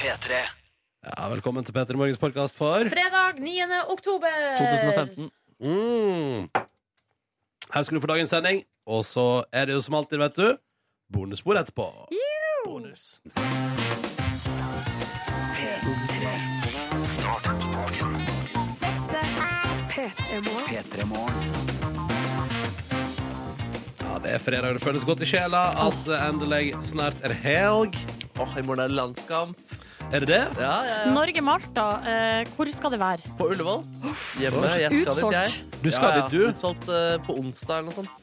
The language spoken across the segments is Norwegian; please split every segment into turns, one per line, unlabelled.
P3.
Ja, velkommen til Petter Morgens podkast for
Fredag 9. oktober.
2015.
mm. Her skal du få dagens sending, og så er det jo som alltid, vet du, bonusspor etterpå. Bonus.
Start dagen.
P3-morgen.
P3 Morgen.
Ja, det er fredag, det føles godt i sjela at det endelig snart er helg.
Åh, I morgen er det landskamp.
Er det det?
Ja, ja, ja.
Norge-Malta, eh, hvor skal det være?
På Ullevål. Hjemme. Jeg skal dit, jeg.
Du skal
ja, ja.
dit, du?
Utsolgt eh, på onsdag eller noe sånt.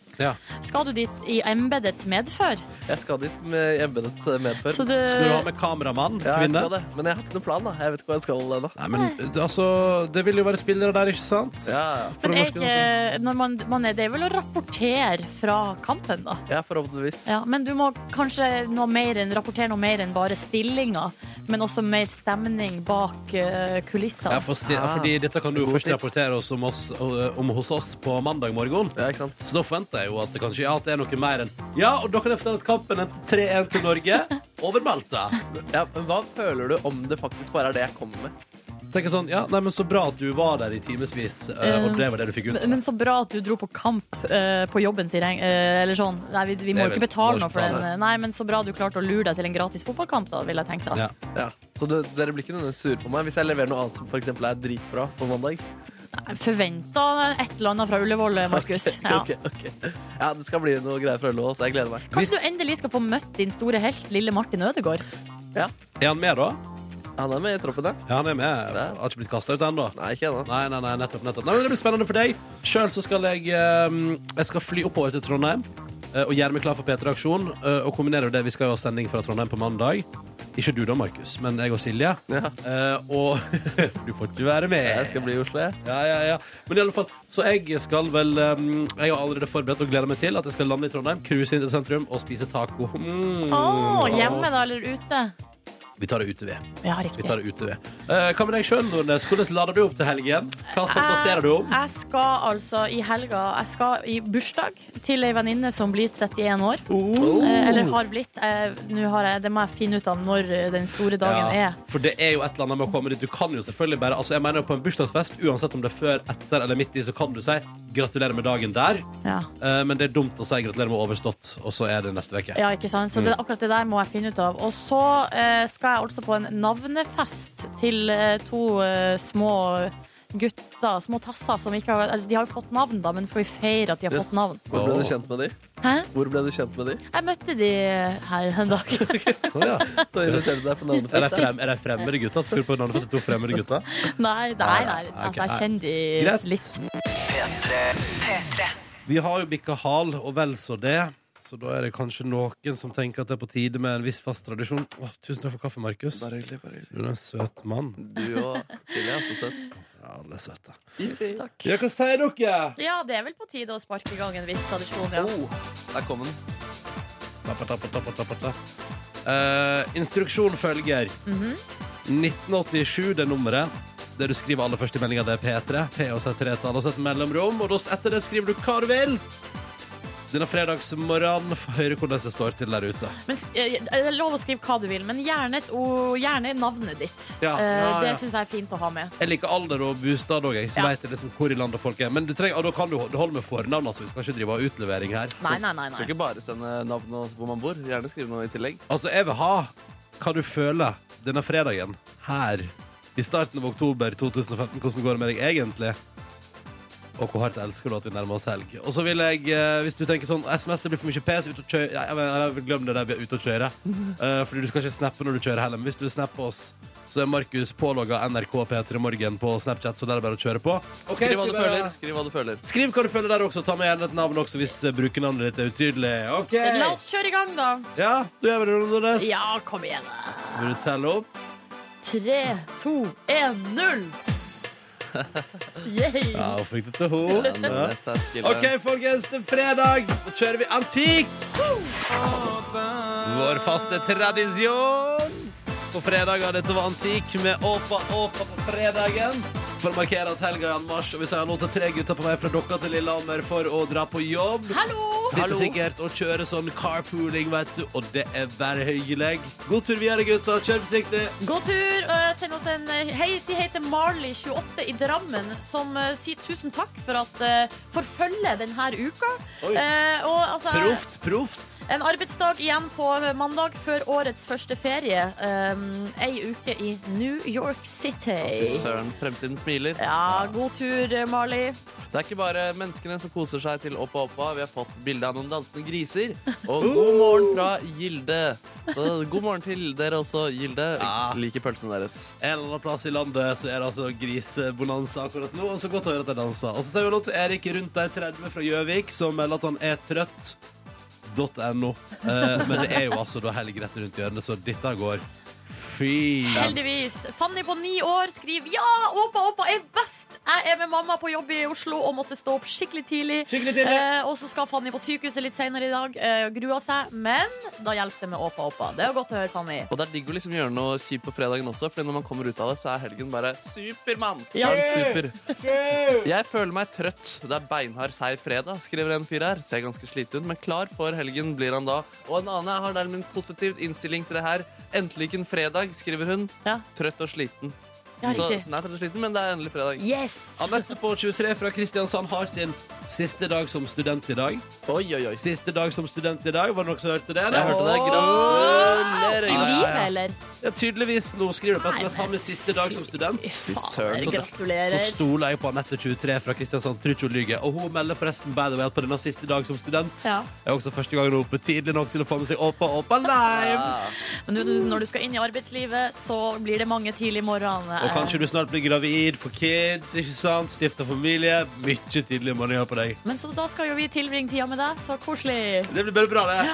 Skal du dit i embetets medfør?
Jeg skal dit med embetets eh, medfør.
Så du,
Skal du ha med kameramann?
Ja, jeg
kvinne?
skal det. Men jeg har ikke noen plan. da Jeg vet ikke hva jeg skal ennå.
Nei, men altså, det vil jo være spillere der, ikke sant?
Ja, ja.
men jeg, eh, når man, man er, det er vel å rapportere fra kampen, da.
ja, forhåpentligvis.
Ja, men du må kanskje noe mer enn, rapportere noe mer enn bare stillinga, men også mer stemning bak eh, kulissene.
Ja, for, sti-
Ah.
fordi dette kan du jo
God
først
tips.
rapportere oss om, oss, eh, om hos oss på mandag morgen.
Ja, ikke sant?
Så da forventer jeg jo at det kanskje ja, at det er noe mer enn Ja, og da kan jeg fortelle at kampen endte 3-1 til Norge over Malta.
Ja, men hva føler du om det faktisk bare er det jeg kommer med?
Tenker sånn, ja, nei, men Så bra at du var der i timevis, eh, og det var det du fikk ut
Men-
av
Men
det.
så bra at du dro på kamp eh, på jobben, sier jeg. Eh, eller sånn. Nei, vi, vi må
Nei,
jo ikke
vel,
betale
må
noe
ikke
for
betale.
den. Nei, men så bra du klarte å lure deg til en gratis fotballkamp, da, vil jeg tenke da.
Ja.
Ja. Så du, dere blir ikke nødvendigvis sure på meg hvis jeg leverer noe annet som for eksempel er dritbra på mandag?
Forventa et eller annet fra Ullevål, Markus. Ja.
Ok, ok. ja, det skal bli noe greier fra Ullevål, så jeg gleder meg.
Kanskje du endelig skal få møtt din store helt, lille Martin Ødegaard.
Er han med, da?
Han er med i troppen, ja?
Ja, han er med.
Ja.
Har ikke blitt kasta ut ennå.
Nei, ikke ennå.
Nei, nei, nei, nettopp, nettopp. Nei, men det blir spennende for deg. Sjøl så skal jeg eh, Jeg skal fly oppover til Trondheim eh, og gjøre meg klar for P3-aksjon. eh, og kombinere det. Vi skal jo ha sending fra Trondheim på mandag. Ikke du da, Markus, men jeg og Silje.
Ja.
Eh, og For du får ikke være med.
Jeg skal bli i Oslo, jeg.
Ja, ja, ja. Men i alle fall, så jeg skal vel um, Jeg har allerede forberedt og gleder meg til at jeg skal lande i Trondheim, cruise inn til sentrum og spise taco. Mm.
Å, hjemme da, eller ute?
Vi tar det ute, vi.
Ja,
vi,
riktig.
tar det ute, vi. Eh, hva med deg sjøl, Nordnes? Hvordan lader du opp til helgen? Hva
Eh,
fantaserer du om?
Jeg skal altså i helga Jeg skal i bursdag til ei venninne som blir 31 år.
Oh.
Eh, Eller har blitt. Eh, Nå har jeg, det må jeg finne ut av når eh, den store dagen
Ja,
er.
for det er jo et eller annet med å komme dit. Du kan jo selvfølgelig bare Altså, jeg mener jo på en bursdagsfest, uansett om det er før, etter eller midt i, så kan du si 'gratulerer med dagen' der.
Ja.
Eh, men det er dumt å si 'gratulerer med overstått', og så er det neste uke.
ja, ikke sant? Så
Mm.
det, akkurat det der må jeg finne ut av. Og så eh, skal jeg altså på en navnefest til eh, to eh, små gutter, små tasser, som ikke har altså, De har jo fått navn, da, men nå skal vi feire at de har
Yes.
fått navn.
Hvor ble du kjent med de?
Hæ?
Hvor ble du kjent med de?
Jeg møtte de her en dag.
Å, ja.
Så inviterer du deg på
Er de
navnefest. da?
frem, er de fremmede gutta? Skal du på en annen fest med to fremmede gutter?
nei, nei, nei.
ok,
Altså, jeg
nei.
kjenner de
Greit.
litt.
Vi har jo bikka hal, og vel så det. Så da er det kanskje noen som tenker at det er på tide med en viss fast tradisjon. Åh, tusen takk for kaffe, Markus.
Bare hyggelig, bare hyggelig.
Du er en søt mann.
Du og Silje er så søt.
Ja, alle er søte.
Tusen takk.
Ja, hva sier dere?
Ja, det er vel på tide å sparke i gang en viss tradisjon, ja.
Oh, der kom den.
Tappa, tappa, tappa, tappa, tappa. Eh, instruksjon følger. 1987, det er nummeret. Det du skriver aller først i meldinga, det er P3. P og så er tretall, og så et mellomrom. Og da s- etter det skriver du hva du vil. Denne fredagsmorgenen får høre hvordan det står til der ute.
Men, sk- eh, det er lov å skrive hva du vil, men gjerne, et, ord- gjerne navnet ditt.
Ja,
Eh,
ja, ja.
Det syns jeg er fint å ha med.
Jeg liker alder og bostad òg, så
Ja.
vet jeg liksom hvor i landet folk er. Men du trenger, og da kan du, du holde med fornavn, altså. Vi skal ikke drive av utlevering her.
Nei, nei, nei.
Skal
nei.
ikke bare sende navn og hvor man bor. Gjerne skrive noe i tillegg.
Altså, jeg vil ha hva du føler denne fredagen her i starten av oktober 2015. Hvordan går det med deg egentlig? Og hvor hardt elsker du at vi nærmer oss helg? Og så vil jeg, eh, hvis du tenker sånn SMS, det blir for mye pes, ut og kjøre ja, jeg, mener, jeg vil glemme det der vi er ute og kjøre. Eh, fordi du skal ikke snappe når du kjører heller. Men hvis du vil snappe oss, så er Markus pålogga NRK P3 Morgen på Snapchat, så der er det bare å kjøre på.
Skriv hva du føler. Skriv hva du føler.
Skriv hva du føler der også. Ta med gjerne et navn også hvis eh, brukernavnet ditt er utydelig. Ok
Eh, La oss kjøre i gang, da.
Ja, du gjør vel det, Nordnes?
Ja, kom igjen. da.
Vil du telle opp?
Tre, to, én, null.
Ja,
Yeah.
hun fikk det til ho.
Ja,
Ja.
Nordnes er skille.
OK, folkens, til fredag så kjører vi antikk! Vår faste tradisjon på fredager. Dette var antikk med Åpa Åpa på fredagen. for å markere at helga er anmarsj. Og vi sier nå til tre gutter på vei fra Dokka til Lillehammer for å dra på jobb.
Hallo!
Sitter
Hallo.
sikkert og kjører sånn carpooling, vet du, og det er bare hyggelig. God tur videre, gutter. Kjør forsiktig.
God tur. eh, Send oss en eh, hei. Si hei til Marley28 i Drammen, som eh, sier tusen takk for at eh, for følget denne uka.
Oi.
Eh, og altså,
Proft, proft.
En arbeidsdag igjen på eh, mandag før årets første ferie. Um, ei uke i New York City.
Søren, fremtiden smiler.
Ja, god tur, Marley.
Det er ikke bare menneskene som koser seg til Oppa Oppa. Vi har fått bilde av noen dansende griser. Og god morgen fra Gilde. Så God morgen til dere også, Gilde.
Ja.
Jeg liker pølsene deres.
En eller annen plass i landet så er det altså grisebonanza akkurat nå. Og så godt å høre at de danser. Og så ser vi nå til Erik rundt der 30 fra Gjøvik, som melder at han er trøtt. .no. Eh, men det er jo altså da helg rett rundt hjørnet, så dette går fy
Heldigvis. Fanny på ni år skriver Ja, Åpa Åpa er best! Jeg er med mamma på jobb i Oslo og måtte stå opp skikkelig tidlig.
Skikkelig tidlig.
Eh, og så skal Fanny på sykehuset litt senere i dag. Eh, grua seg. Men da hjelper det med Åpa Åpa. Det er godt å høre, Fanny.
Og det er digg å liksom gjøre noe kjipt på fredagen også, Fordi når man kommer ut av det, så er helgen bare Supermann!
Ja.
Super. Jeg føler meg trøtt. Det er beinhard, seig fredag, skriver en fyr her. Ser ganske sliten ut, men klar for helgen blir han da. Og en annen jeg har dermed en positiv innstilling til det her. Endelig en fredag, skriver hun.
Ja.
Trøtt og sliten.
Ja,
så,
riktig.
så hun er trøtt og sliten, men det er endelig fredag.
Yes!
Anette på 23 fra Kristiansand har sin siste dag som student i dag.
Oi, oi, oi.
Siste dag som student i dag, var det noen som hørte det?
Jeg
eller?
hørte det. Gratulerer.
I
Ja, ja,
livet,
ja.
eller?
Ja, tydeligvis. Nå skriver du på
Nei,
SMS
men
han med siste dag som student.
Fy
søren,
faen,
så bra.
Så
gratulerer.
stoler jeg på Anette 23 fra Kristiansand. Tror ikke hun lyver. Og hun melder forresten by the way at på denne siste dag som student
Ja.
er også første gang hun er oppe tidlig nok til å få med seg Åpa Åpa Live.
Ja.
Men nå, når du skal inn i arbeidslivet, så blir det mange tidlig morgen.
Og kanskje du snart blir gravid, får kids, ikke sant? stifter familie. Mye tidlig morgen på deg.
eh. Men så da skal jo vi tilbringe tida med deg. Så koselig.
Det blir bare bra, det.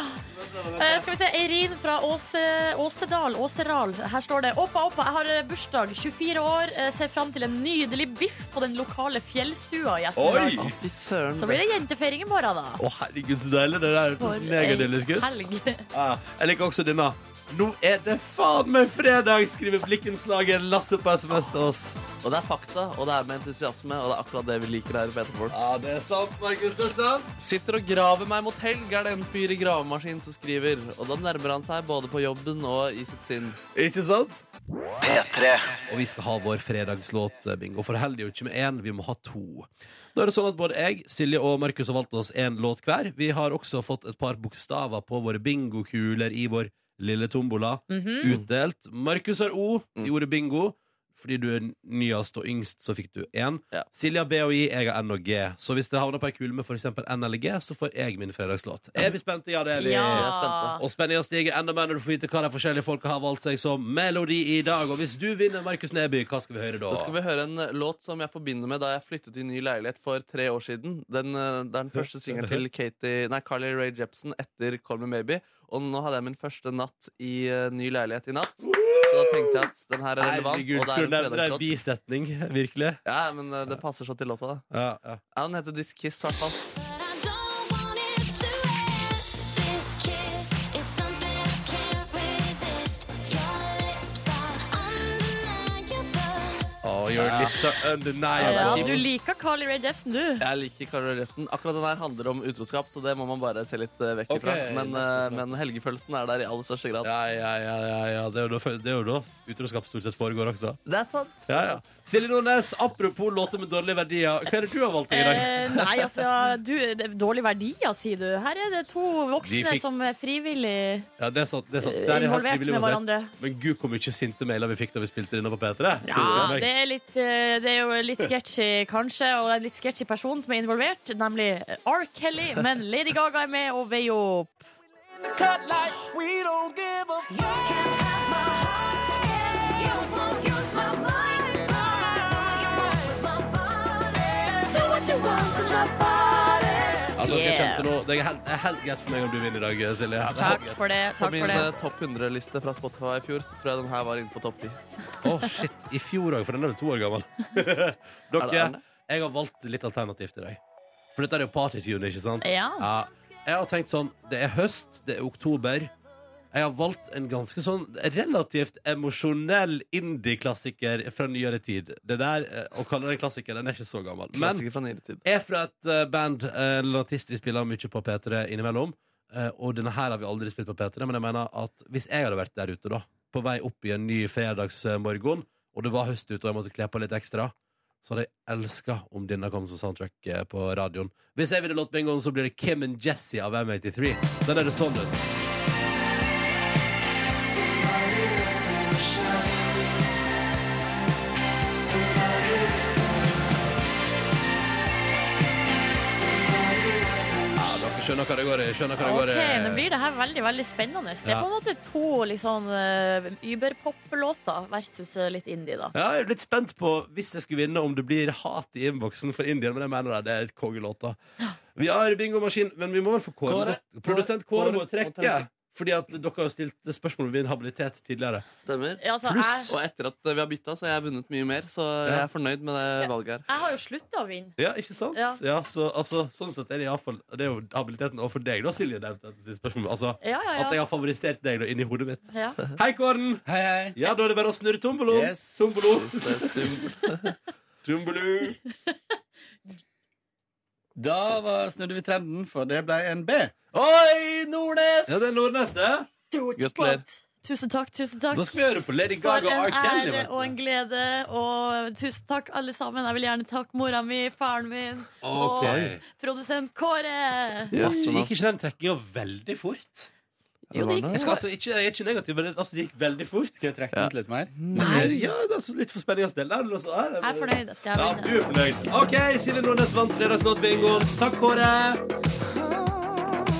Eh, skal vi se, Eirin fra Åse, Åsedal. Åseral. Her står det Oppa, oppa, jeg har eh, bursdag. 24 år. eh, Ser fram til en nydelig biff på den lokale fjellstua i ettermiddag.
Å, Fy søren.
Så blir det jentefeiring i morgen, da.
Å, herregud, så deilig. Det der
For
hørtes megadeilig
ei
ut.
helg.
Ja, Ah, jeg liker også denne. Nå er det faen meg fredag, skriver blikkenslaget Lasse på SMS til oss.
Og det er fakta, og det er med entusiasme, og det er akkurat det vi liker her i Peterfolk.
Ja, Ah, det er sant, Markus. Det er sant.
Sitter og graver meg mot helg, er det en fyr i gravemaskin som skriver. Og da nærmer han seg både på jobben og i sitt sinn.
Ikke sant?
P3
Og vi skal ha vår fredagslåtbingo. For heldig er jo ikke med én, vi må ha to. Da er det sånn at både jeg, Silje og Markus har valgt oss én låt hver. Vi har også fått et par bokstaver på våre bingokuler i vår lille tombola
Mhm.
utdelt. Markus har O
Mm.
i ordet bingo. Fordi du er nyest og yngst, så fikk du én.
Ja.
Silje har B og I, jeg har N og G. Så hvis det havner på ei kule med f.eks. N eller G, så får jeg min fredagslåt. Er vi spente? Ja, det er vi.
er
Ja. Eh,
spente.
Og spenningen stiger enda mer når du får vite hva de forskjellige folka har valgt seg som melodi i dag. Og hvis du vinner, Markus Neby, hva skal vi høre da?
Da skal vi høre en eh, låt som jeg forbinder med da jeg flyttet i ny leilighet for tre år siden. Den, eh, det er den første singelen til Katie, nei, Carly Rae Jepsen etter Call Me Maybe. Og nå hadde jeg min første natt i eh, ny leilighet i natt. Så da tenkte jeg at den her er relevant.
Herregud,
og det er
skulle du
en
nevne det er
fredagslåt.
en bisetning, virkelig?
Ja, men eh, det passer så til låta, da.
Ja, ja.
Ja, den heter This Kiss, i hvert fall.
Oh, your lips are
Ja,
undeniable.
du liker Carly Rae Jepsen, du.
Jeg liker Karl Jepsen. Akkurat den her handler om utroskap, så det må man bare se litt eh, vekk
Ok,
ifra. Men,
nettopp,
eh, men helgefølelsen er der i aller største grad.
Ja, ja, ja, ja, ja. Det er jo da, det er jo da utroskap stort sett foregår også.
Det er sant.
Ja, ja. Silje Nordnes, apropos låter med dårlige verdier, hva er det du har valgt i dag?
Eh, nei, altså du, det er Dårlige verdier, sier du. Her er det to voksne
Vi fikk-
som er frivillig
Ja, det er sant, det er sant. Der er jeg helt
involvert
frivillig å
med
si.
hverandre.
Men gud, hvor mye sinte mailer vi fikk da vi spilte denne på P3.
Ja, det er, litt, eh, det er jo litt sketchy, kanskje, og en litt sketchy person som er involvert, nemlig R. Kelly. Men Lady Gaga er med og veier opp.
Altså, dere
Yeah.
kjente nå- det er helt, det er helt greit for meg om du vinner i dag, Silje. Det er helt
Takk
greit.
for det.
På
Takk
min
for det.
eh, topp 100-liste fra Spotify i fjor så tror jeg den her var inne på topp 10.
Å, shit. I fjor òg, for den er vel to år gammel.
Er det- er
Dere,
det?
jeg har valgt litt alternativt i dag. For dette er jo partytune, ikke sant?
Ja.
Jeg har tenkt sånn Det er høst, det er oktober. Jeg har valgt en ganske sånn relativt emosjonell indie-klassiker fra nyere tid. Det der, eh, Å kalle det en klassiker, den er ikke så gammel. Men
Klassiker fra nyere tid.
er fra et eh, band, eh, en artist vi spiller mye på P3 innimellom. Eh, og denne her har vi aldri spilt på P3, men jeg mener at hvis jeg hadde vært der ute, da, på vei opp i en ny fredagsmorgen, og det var høst ute og jeg måtte kle på litt ekstra, så hadde jeg elska om denne kom som soundtrack eh, på radioen. Hvis jeg vinner låtbingoen, så blir det Kim and Jesse av M83. Den er det sånn ut. Ja, dere skjønner hva det går i. Skjønner hva det
Ok,
går i.
Nå blir det her veldig veldig spennende. Det er
Ja.
på en måte to liksom, eh, überpop-låter versus eh, litt indie, da.
Ja, jeg er litt spent på hvis jeg skulle vinne om det blir hat i innboksen for Indien, men jeg mener det, det er et kongelåta. Vi har bingomaskin, men vi må vel få Kåre.
Kåre.
Produsent Kåre
Kåre
må
må
trekke.
trekke.
Fordi at dere har jo stilt spørsmål ved min habilitet tidligere.
Stemmer.
Ja, altså,
Pluss,
jeg,
og etter at eh, vi har bytta, så har jeg vunnet mye mer. Så jeg er fornøyd med det valget her.
jeg har jo slutta å vinne.
Ja, ikke sant? Ja,
Ja.
så, altså, Sånn sett er det iallfall Det er jo habiliteten overfor deg, da, Silje. Det er et siste spørsmål. Altså,
Ja, ja,
At jeg
ja.
har favorisert deg da inni hodet mitt.
ja.
Hei, Kåren!
Hei, hei.
Ja, da er det bare å snurre tomboloen.
Yes.
Tombolo.
Det
Tombolo.
Da var, snudde vi trenden, for det ble en B.
Oi, Nordnes! Ja, det er Nordnes, det.
Gratulerer.
Tusen takk, tusen takk.
Da skal vi høre på Lady
For
Gaga og R.
en
Kelly.
ære
vet du.
og en glede. Og tusen takk, alle sammen. Jeg vil gjerne takke mora mi, faren min
Ok.
og produsent Kåre.
er
Så
Jøsse navn.
gikk ikke den trekkinga veldig fort?
Jo, det gikk
Jeg, skal, altså, ikke, jeg er ikke negativ, men det, altså, det gikk veldig fort.
Skal jeg trekke
Ja.
ut litt mer?
Ja, det er altså, litt for spenningens del. der, altså, her er
Jeg er
bare-
fornøyd. Skal jeg
Ja,
vinne?
du er fornøyd. OK, Silje Nordnes vant fredagslåtbingoen. Takk, Kåre.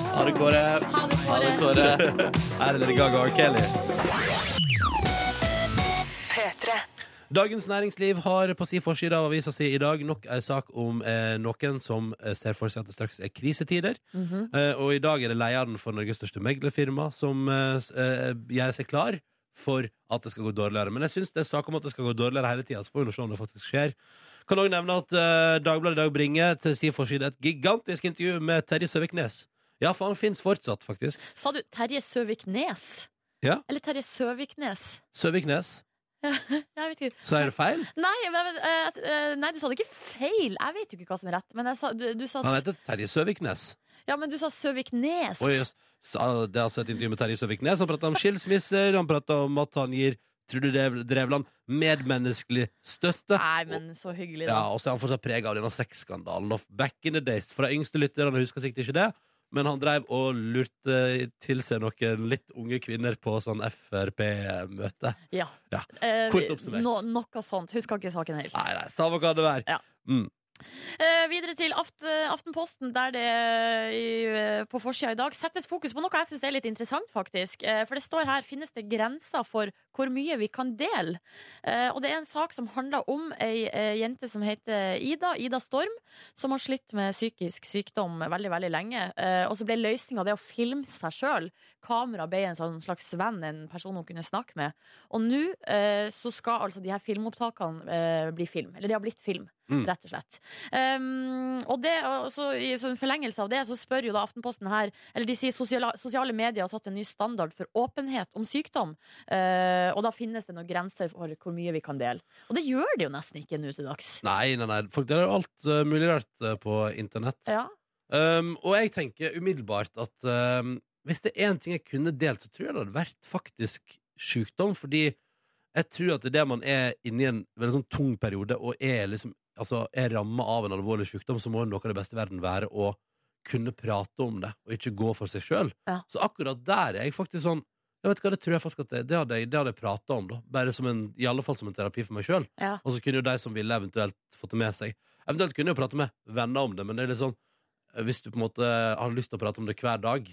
Ha det, Kåre.
Ha det, Kåre.
Kåre.
Her er Lady Gaga og R. Kelly. Dagens Næringsliv har på si forside av avisa si i dag nok en sak om eh, noen som eh, ser for seg at det straks er krisetider. eh, og i dag er det lederen for Norges største meglerfirma som eh, s- eh, gjør seg klar for at det skal gå dårligere. Men jeg syns det er sak om at det skal gå dårligere hele tida, så får vi nå se om det faktisk skjer. Kan òg nevne at eh, Dagbladet i dag bringer til si forside et gigantisk intervju med Terje Søviknes. Ja, for han fins fortsatt, faktisk.
Sa du Terje Søviknes?
Ja.
Eller Terje Søviknes?
Søviknes.
Jeg vet ikke.
Så er det feil.
Nei, men, eh, eh, nei, du sa det ikke feil. Jeg vet jo ikke hva som er rett. Men jeg sa, du, du sa,
Han heter Terje Søviknes.
ja, men du sa Søviknes.
Oi, jøss. Så, det er altså et intervju med Terje Søviknes. Han prater om skilsmisser, han prater om at han gir Trude Drev- Drevland medmenneskelig støtte.
Nei, men så hyggelig,
Ja,
da.
og så er han fortsatt preget av denne sexskandalen. Og back in the days, for de yngste lytterne husker sikkert ikke det, men han drev og lurte til seg noen litt unge kvinner på sånn Frp-møte.
Ja.
Ja.
Eh,
Kort oppsummert.
No, noe sånt. Husker ikke saken helt.
Nei, nei, samme hva det være.
Ja.
Mm.
Eh, videre til Aft Aftenposten, der det eh, i, eh, på forsida i dag settes fokus på noe jeg syns er litt interessant, faktisk. Eh, for det står her finnes det grenser for hvor mye vi kan dele. Eh, og det er en sak som handler om ei eh, jente som heter Ida, Ida Storm, som har slitt med psykisk sykdom veldig, veldig lenge. Eh, og så ble løsninga det å filme seg sjøl. Kamera ble en sånn slags venn, en person hun kunne snakke med. Og nå eh, så skal altså de her filmopptakene eh, bli film. Eller de har blitt film,
Mm.
rett og slett. Um, og det, og så, I så en forlengelse av det så spør jo da Aftenposten her Eller de sier sosiale, sosiale medier har satt en ny standard for åpenhet om sykdom. Eh, og da finnes det noen grenser for hvor mye vi kan dele. Og det gjør det jo nesten ikke nå til dags.
Nei, nei, nei. Folk, det er jo alt eh, mulig rart eh, på internett.
Ja.
Um, og jeg tenker umiddelbart at um, hvis det er én ting jeg kunne delt, så tror jeg det hadde vært faktisk sjukdom. Fordi jeg tror at det er det man er inni en veldig sånn tung periode, og er, liksom, altså, er ramma av en alvorlig sjukdom, så må noe av det beste i verden være å kunne prate om det, og ikke gå for seg sjøl.
Ja.
Så akkurat der er jeg faktisk sånn jeg vet hva, Det tror jeg faktisk at det, det hadde jeg, det hadde jeg prata om, da. Bare som en, i alle fall som en terapi for meg sjøl.
Ja.
Og så kunne jo de som ville, eventuelt fått det med seg. Eventuelt kunne jeg jo prate med venner om det, men det er litt sånn hvis du på en måte har lyst til å prate om det hver dag,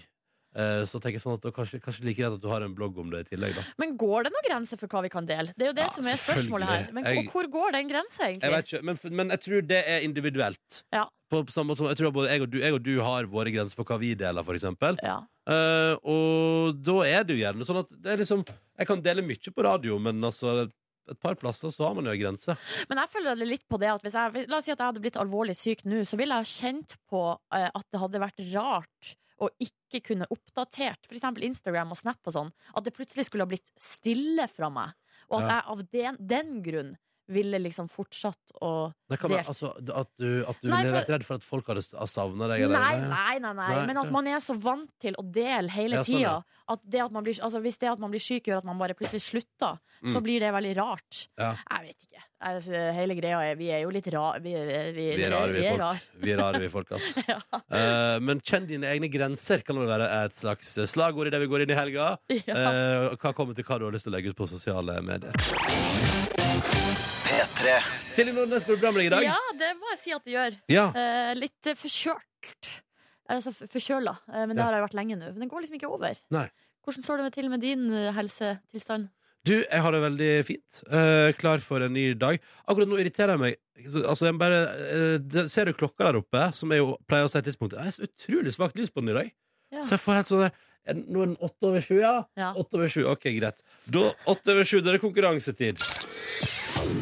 eh, så tenker jeg sånn at det er kanskje, kanskje like greit at du har en blogg om det i tillegg. da
Men går det noen grenser for hva vi kan dele? Det er jo det
Ja,
som er spørsmålet her. Men,
selvfølgelig.
og hvor går den grensa,
jeg
egentlig?
vet ikke, men, men jeg tror det er individuelt.
Ja.
På, på samme måte som Jeg tror både jeg og, du, jeg og du har våre grenser for hva vi deler, for eksempel.
Ja.
Eh, og da er det jo gjerne sånn at det er liksom Jeg kan dele mye på radio, men altså et par plasser så har man jo en grense.
Men jeg føler litt på det at hvis jeg, la oss si at jeg hadde blitt alvorlig syk nå, så ville jeg ha kjent på eh, at det hadde vært rart og ikke kunne oppdatert f.eks. Instagram og Snap og sånn, at det plutselig skulle ha blitt stille fra meg. Og at jeg av den, den grunn ville liksom fortsatt å
Det kan være,
Delt.
altså, at du, at du
Nei,
ville
for-
vært redd for at folk hadde savna deg?
Nei,
eller-
nei, nei, nei.
Nei.
Men at man er så vant til å dele hele
Ja, sånn,
tida.
ja.
At det at man blir, altså, hvis det at man blir syk, gjør at man bare plutselig slutter, så
Mm.
blir det veldig rart.
Ja.
Jeg vet ikke. Altså, hele greia er Vi er jo litt rare. Vi, vi, vi,
Vi er rare, vi,
vi er
folk.
rar.
Vi er rare, vi folk, ass.
Ja.
Eh, men kjenn dine egne grenser kan vel være et slags slagord i det vi går inn i helga.
Ja.
Eh, hva kommer til hva du har lyst til å legge ut på sosiale medier?
P3
Silje Nordnes, går det bra med deg i dag?
ja, det må jeg si at det gjør.
Ja.
Eh, litt eh, forkjølt. Altså f- forkjøla. Eh, men det
Ja.
har jeg vært lenge nå. Men den går liksom ikke over.
Nei.
Hvordan står det til med din eh, helsetilstand?
Du, jeg har det veldig fint. Eh, klar for en ny dag. Akkurat nå irriterer jeg meg. Så, Altså, jeg bare, eh, det, ser du klokka der oppe, som jeg jo pleier å si i tidspunktet? Det er så utrolig svakt lys på den i dag.
Ja.
Så jeg får helt sånn der er det- Nå er den åtte over sju, ja?
Ja.
Åtte over sju, ok, greit. Da, åtte over sju, da er det konkurransetid.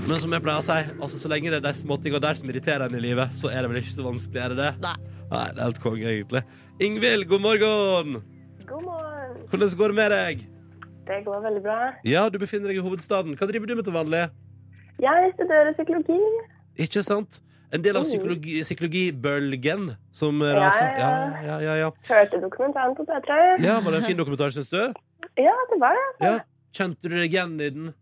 Men som jeg pleier å si, altså, så lenge det er de småtinga der som irriterer en i livet, så er det vel ikke så vanskelig, er det det?
Nei.
Nei, det er helt konge, egentlig. Ingvild, god morgen!
God morgen.
Hvordan går det med deg?
Det går veldig bra.
Ja, du befinner deg i hovedstaden. Hva driver du med til vanlig?
Jeg studerer psykologi.
Ikke sant? En del av
Mm.
psykologi, psykologibølgen som
ja,
raser. Ja,
ja.
ja, ja, ja.
Hørte dokumentaren på P3.
ja, var det en fin dokumentar, syns du?
Ja, det var det.
Ja. Kjente du deg igjen i den?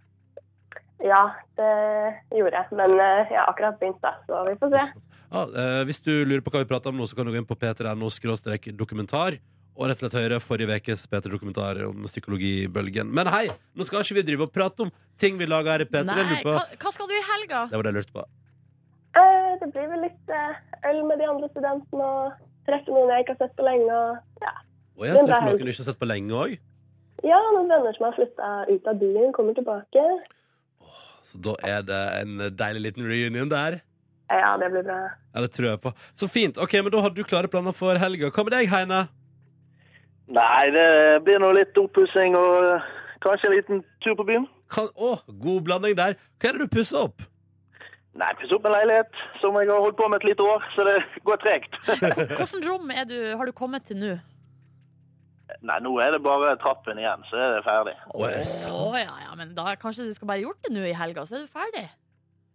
Ja, det gjorde jeg. Men eh, jeg har akkurat begynt, da, så vi får se.
Ja, eh, hvis du lurer på hva vi prater om nå, så kan du gå inn på p3.no-dokumentar. Og rett og slett høre forrige ukes P3-dokumentar om psykologibølgen. Men hei, nå skal ikke vi drive og prate om ting vi lager her i P3. Jeg
Nei,
lurer
hva,
på-
hva skal du i helga?
Det var det jeg lurte på.
Eh, Det blir vel litt eh, øl med de andre studentene og treffe noen jeg ikke har sett på lenge. Og ja,
Og jeg
Men det
treffer
er-
noen du ikke har sett på lenge òg.
ja noen venner som har flytta ut av byen, kommer tilbake.
Så da er det en deilig liten reunion der.
Eh, Ja, det blir bra.
Ja, det tror jeg på. Så fint. ok, Men da hadde du klare planer for helga. Hva med deg, Heine?
Nei, det blir nå litt oppussing og eh, kanskje en liten tur på byen.
Kan, å, god blanding der. Hva er det du pusser opp?
Nei, pusse opp en leilighet, som jeg har holdt på med et lite år, så det går tregt.
Hvilket rom er du, har du kommet til nå?
Nei, nå er det bare trappen igjen, så er det ferdig.
Å, er det sant?
Å, ja, ja, men da kanskje du skal bare gjort det nå i helga, så er du ferdig.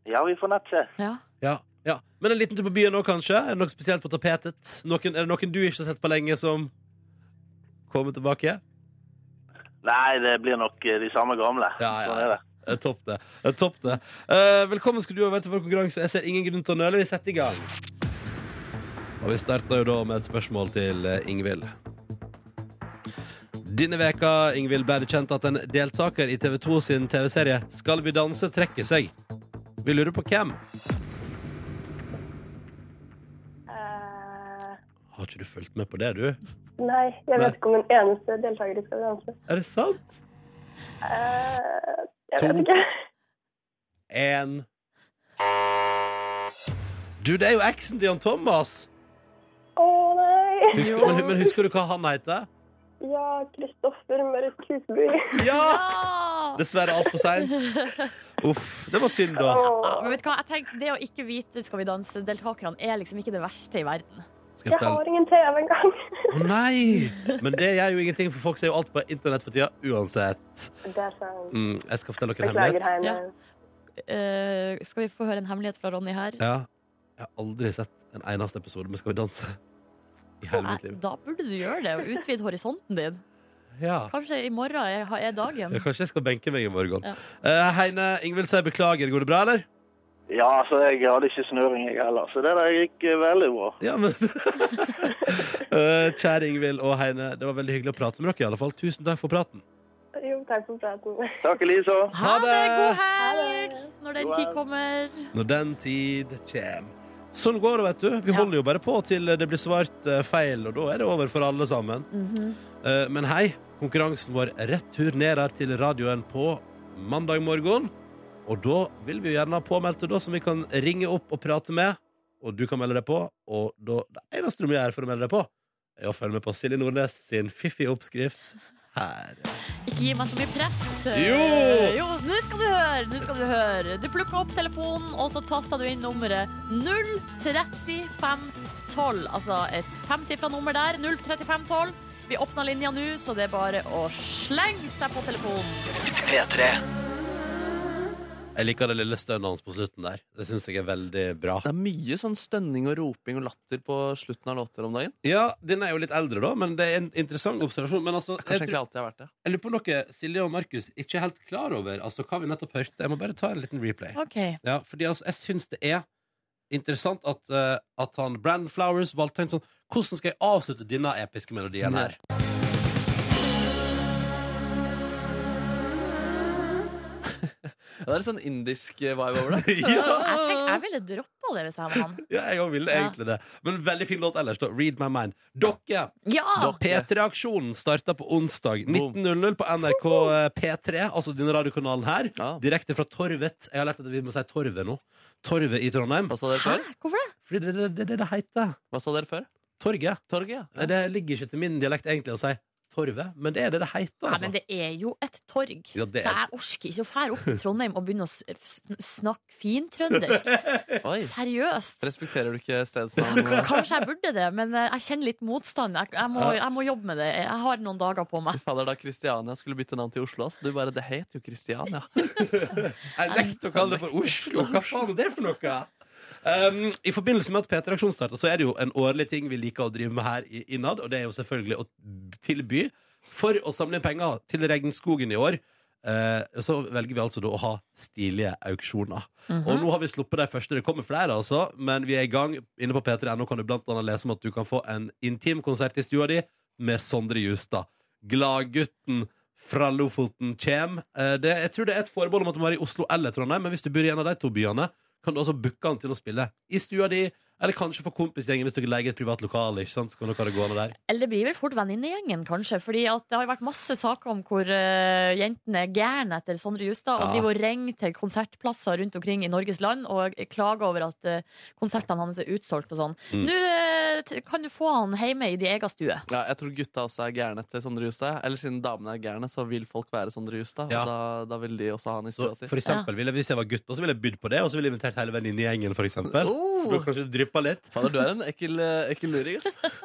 Ja, vi får nett se.
Ja.
Ja, ja. Men en liten tur på byen òg, kanskje? Er det noe spesielt på tapetet? Noen, er det noen du ikke har sett på lenge, som kommer tilbake?
Nei, det blir nok eh, de samme gamle.
Ja, ja,
Sånn er det.
Eh, Topp det. Eh, Topp det. Eh, velkommen skal du være til vår konkurranse. Jeg ser ingen grunn til å nøle. Vi setter i gang. Og vi starter jo da med et spørsmål til eh, Ingvild. Denne veka Ingvild, ble det kjent at en deltaker i TV 2 sin TV-serie Skal vi danse trekker seg. Vi lurer på hvem.
Eh,
Har ikke du fulgt med på det, du?
nei, jeg
Nei.
vet ikke om en eneste deltaker i Skal vi danse.
Er det sant?
Eh, jeg
To.
vet ikke.
En Du, det er jo eksen til Jan Thomas!
Å nei.
Husker, men, men husker du hva han heter?
Ja, Kristoffer Mørk Husby.
Ja!
Ah!
Dessverre alt for seint. Uff, det var synd, da.
Åh,
Ja, men vet du hva, jeg tenker Det å ikke vite Skal vi danse-deltakerne er liksom ikke det verste i verden.
Skal jeg fortelle
jeg har ingen TV engang.
Å nei! Men det gjør jo ingenting, for folk ser jo alt på internett for tida uansett.
Det er sant.
Mm, jeg skal fortelle dere en
Beklager,
hemmelighet.
Heine.
Eh, skal vi få høre en hemmelighet fra Ronny her?
Ja, jeg har aldri sett en eneste episode med Skal vi danse i hele mitt
Nei,
liv.
da burde du gjøre det og utvide horisonten din.
Ja.
Kanskje i morgen er, er dagen.
Ja, Kanskje jeg skal benke meg i morgen.
Ja.
Eh, Heine Ingvild sier beklager. Går det bra, eller?
Ja, så jeg hadde ikke snøring jeg heller, så det der gikk eh, veldig bra.
Ja, men Eh, Kjære Ingvild og Heine, det var veldig hyggelig å prate med dere. i alle fall Tusen takk for praten.
Jo, takk for praten.
Takk, Elisa.
Ha det! God helg!
Ha
Når den tid kommer.
Når den tid kjem. Sånn går det, vet du. Vi holder jo bare på til det blir svart eh, feil, og da er det over for alle sammen.
Mhm.
Eh, Men hei, konkurransen vår returnerer til radioen på mandag morgen. Og da vil vi jo gjerne ha påmeldte da, som vi kan ringe opp og prate med. Og du kan melde deg på. Og da, det eneste du må gjøre for å melde deg på, er å følge med på Silje Nordnes sin fiffige oppskrift her.
Ikke gi meg så mye press.
Jo!
Jo, nå skal du høre! Nå skal du høre. Du plukka opp telefonen, og så tasta du inn nummeret 03512. Altså et femsifra nummer der. 03512. Vi åpna linja nå, så det er bare å slenge seg på telefonen.
Jeg liker det lille stønnet hans på slutten der. Det syns jeg er veldig bra.
Det er mye sånn stønning og roping og latter på slutten av låter om dagen.
Ja, den er jo litt eldre, da, men det er en interessant observasjon. Men altså,
Kanskje
jeg,
egentlig
tror,
alltid har vært det.
jeg lurer på noe Silje og Markus ikke er helt klar over. Altså, hva vi nettopp hørte. Jeg må bare ta en liten replay.
OK.
Ja, fordi altså, jeg syns det er interessant at, eh, at han Brandon Flowers valgte en sånn Hvordan skal jeg avslutte denne episke melodien her?
Ja, det er litt sånn indisk eh, vibe over det.
Jeg, tenk, jeg ville droppa det hvis jeg var han.
Ja, jeg òg ville egentlig det. Men veldig fin låt ellers, da. Read My Mind. Dere!
Ja!
P3-aksjonen starter på onsdag
Boom.
19.00 på NRK P3, altså denne radiokanalen her.
Ja.
Direkte fra Torvet. Jeg har lært at vi må si Torvet nå. Torvet i Trondheim.
Hva sa dere
Hæ?
før?
Hvorfor det?
Fordi det er det, det, det det heter.
Hva sa dere før?
Torget.
Torget, ja.
Nei, Det ligger ikke til min dialekt egentlig å si Torvet, men det er det det heter.
Nei,
Altså.
men det er jo et torg.
Ja, det er-
Så jeg orker ikke å fære opp til Trondheim og begynne å s- sn- snakke fintrøndersk.
Oi.
Seriøst.
Respekterer du ikke stedsnavn?
Kanskje jeg burde det, men eh, jeg kjenner litt motstand. Jeg, jeg, må, jeg må jobbe med det. Jeg har noen dager på meg.
Fader, da Kristiania skulle bytte navn til Oslo, ass. Du bare, det het jo Kristiania.
Jeg nekter å kalle det for Oslo. Hva faen er det for noe? Um, I forbindelse med at P3 Aksjon starta, så er det jo en årlig ting vi liker å drive med her i- innad, og det er jo selvfølgelig å tilby. For å samle inn penger til Regnskogen i år, eh, så velger vi altså da å ha stilige auksjoner. Og nå har vi sluppet de første. Det kommer flere, altså, men vi er i gang. Inne på p3.no kan du blant annet lese om at du kan få en intim konsert i stua di med Sondre Justad. Gladgutten fra Lofoten kjem. Eh, Det, jeg tror det er et forbehold om at du må være i Oslo eller Trondheim, men hvis du bor i en av de to byene, kan du også booke han til å spille i stua di, eller kanskje for kompisgjengen hvis dere leier et privat lokale, ikke sant? Så kan dere ha det gående der.
Eller det blir vel fort venninnegjengen, kanskje. Fordi at det har jo vært masse saker om hvor eh, jentene er gærne etter Sondre Justad og
Ja.
driver og ringer til konsertplasser rundt omkring i Norges land og klager over at eh, konsertene hans er utsolgt og sånn.
Mm.
Nå eh, t- kan du få han hjemme i din egen stue.
Ja, jeg tror gutta også er gærne etter Sondre Justad. Eller siden damene er gærne, så vil folk være Sondre Justad.
Ja.
Og da, da vil de også ha han i
Så
stua si.
for eksempel, ville, hvis jeg var gutt, så ville jeg bydd på det, og så ville jeg invitert hele venninnegjengen, for eksempel.
Oh.
For da kanskje det drypper litt.
Fader, du er en ekkel, eh, ekkel luring, ass.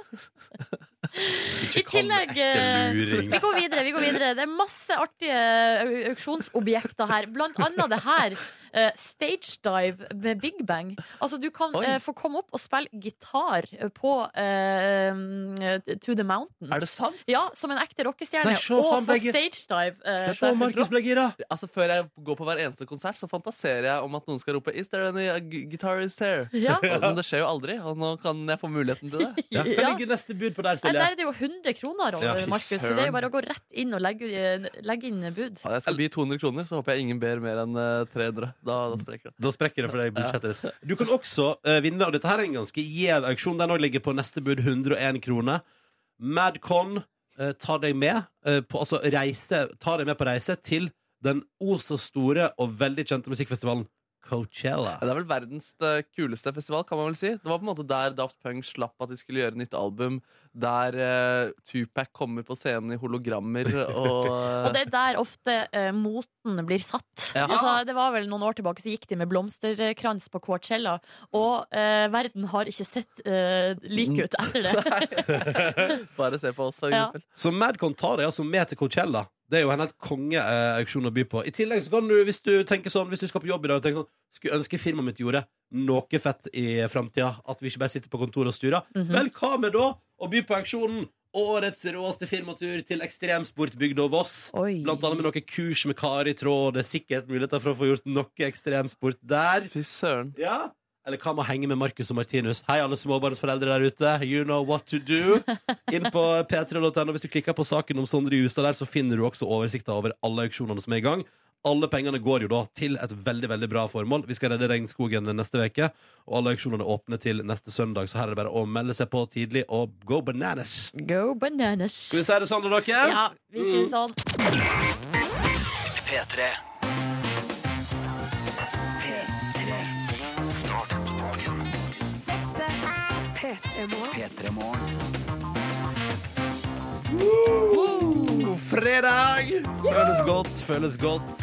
I tillegg eh,
luring.
Vi går videre. vi går videre Det er masse artige au- auksjonsobjekter her. Blant annet det her. eh, Stage dive med Big Bang. Altså Du kan
Oi.
eh, få komme opp og spille gitar på eh, To The Mountains.
Er det sant?
Ja, Som en ekte rockestjerne.
Nei, se,
og
faen,
få
begge-
stage dive. eh,
Se, Markus ble gira.
Altså, Før jeg går på hver eneste konsert, så fantaserer jeg om at noen skal rope 'Is there any uh, gu- guitarist here?'
Ja.
Og- Men det skjer jo aldri, og nå kan jeg få muligheten til det.
Ja. Det
Ja.
ligger neste bud på der,
Nei,
Silje.
der er det jo 100 kroner,
Ja,
eh,
fy
Markus. Så det er jo bare å gå rett inn og legge, eh, legge inn bud.
Ja, jeg skal by 200 kroner, så håper jeg ingen ber mer enn eh, 300. Da, da sprekker det.
Da sprekker det for deg budsjettet ditt. Du kan også eh, vinne, og dette her er en ganske gjev auksjon. Den òg ligger på neste bud 101 kroner. Madcon eh, tar deg med eh, på altså reise, tar deg med på reise til den o så store og veldig kjente musikkfestivalen Coachella.
Ja, Det er vel verdens eh, kuleste festival, kan man vel si. Det var på en måte der Daft Punk slapp at de skulle gjøre nytt album, der eh, Tupac kommer på scenen i hologrammer og eh,
Og det er der ofte eh, moten blir satt.
Ja.
Altså, det var vel Noen år tilbake så gikk de med blomsterkrans på Coachella, og eh, verden har ikke sett eh, lik ut etter det.
Bare se på oss, for
Ja.
eksempel.
Så Madcon tar deg altså med til Coachella. Det er jo en helt kongeauksjon å by på. I tillegg så kan du, hvis du tenker sånn Hvis du skal på jobb i dag og tenker sånn Skulle ønske firmaet mitt gjorde noe fett i framtida. At vi ikke bare sitter på kontoret og sturer. Vel, hva med da å by på auksjonen? Årets råeste firmatur til ekstremsportbygda Voss.
Oi.
Blant annet med noe kurs med Kari Tråd. Det er sikkert muligheter for å få gjort noe ekstremsport der.
Fy søren.
Ja eller hva med å henge med Markus og Martinus? Hei, alle småbarnsforeldre der ute. You know what to do. Inn på p3.no. Hvis du klikker på saken om Sondre Justad der, så finner du også oversikta over alle auksjonene som er i gang. Alle pengene går jo da til et veldig veldig bra formål. Vi skal redde regnskogen neste uke. Og alle auksjonene åpner til neste søndag, så her er det bare å melde seg på tidlig og go bananas.
Go bananas.
Skal vi si det sånn, da, dere?
Ja, vi sier sånn.
Start på dagen. Dette er P3 Morgen.
God fredag! Føles godt, føles godt.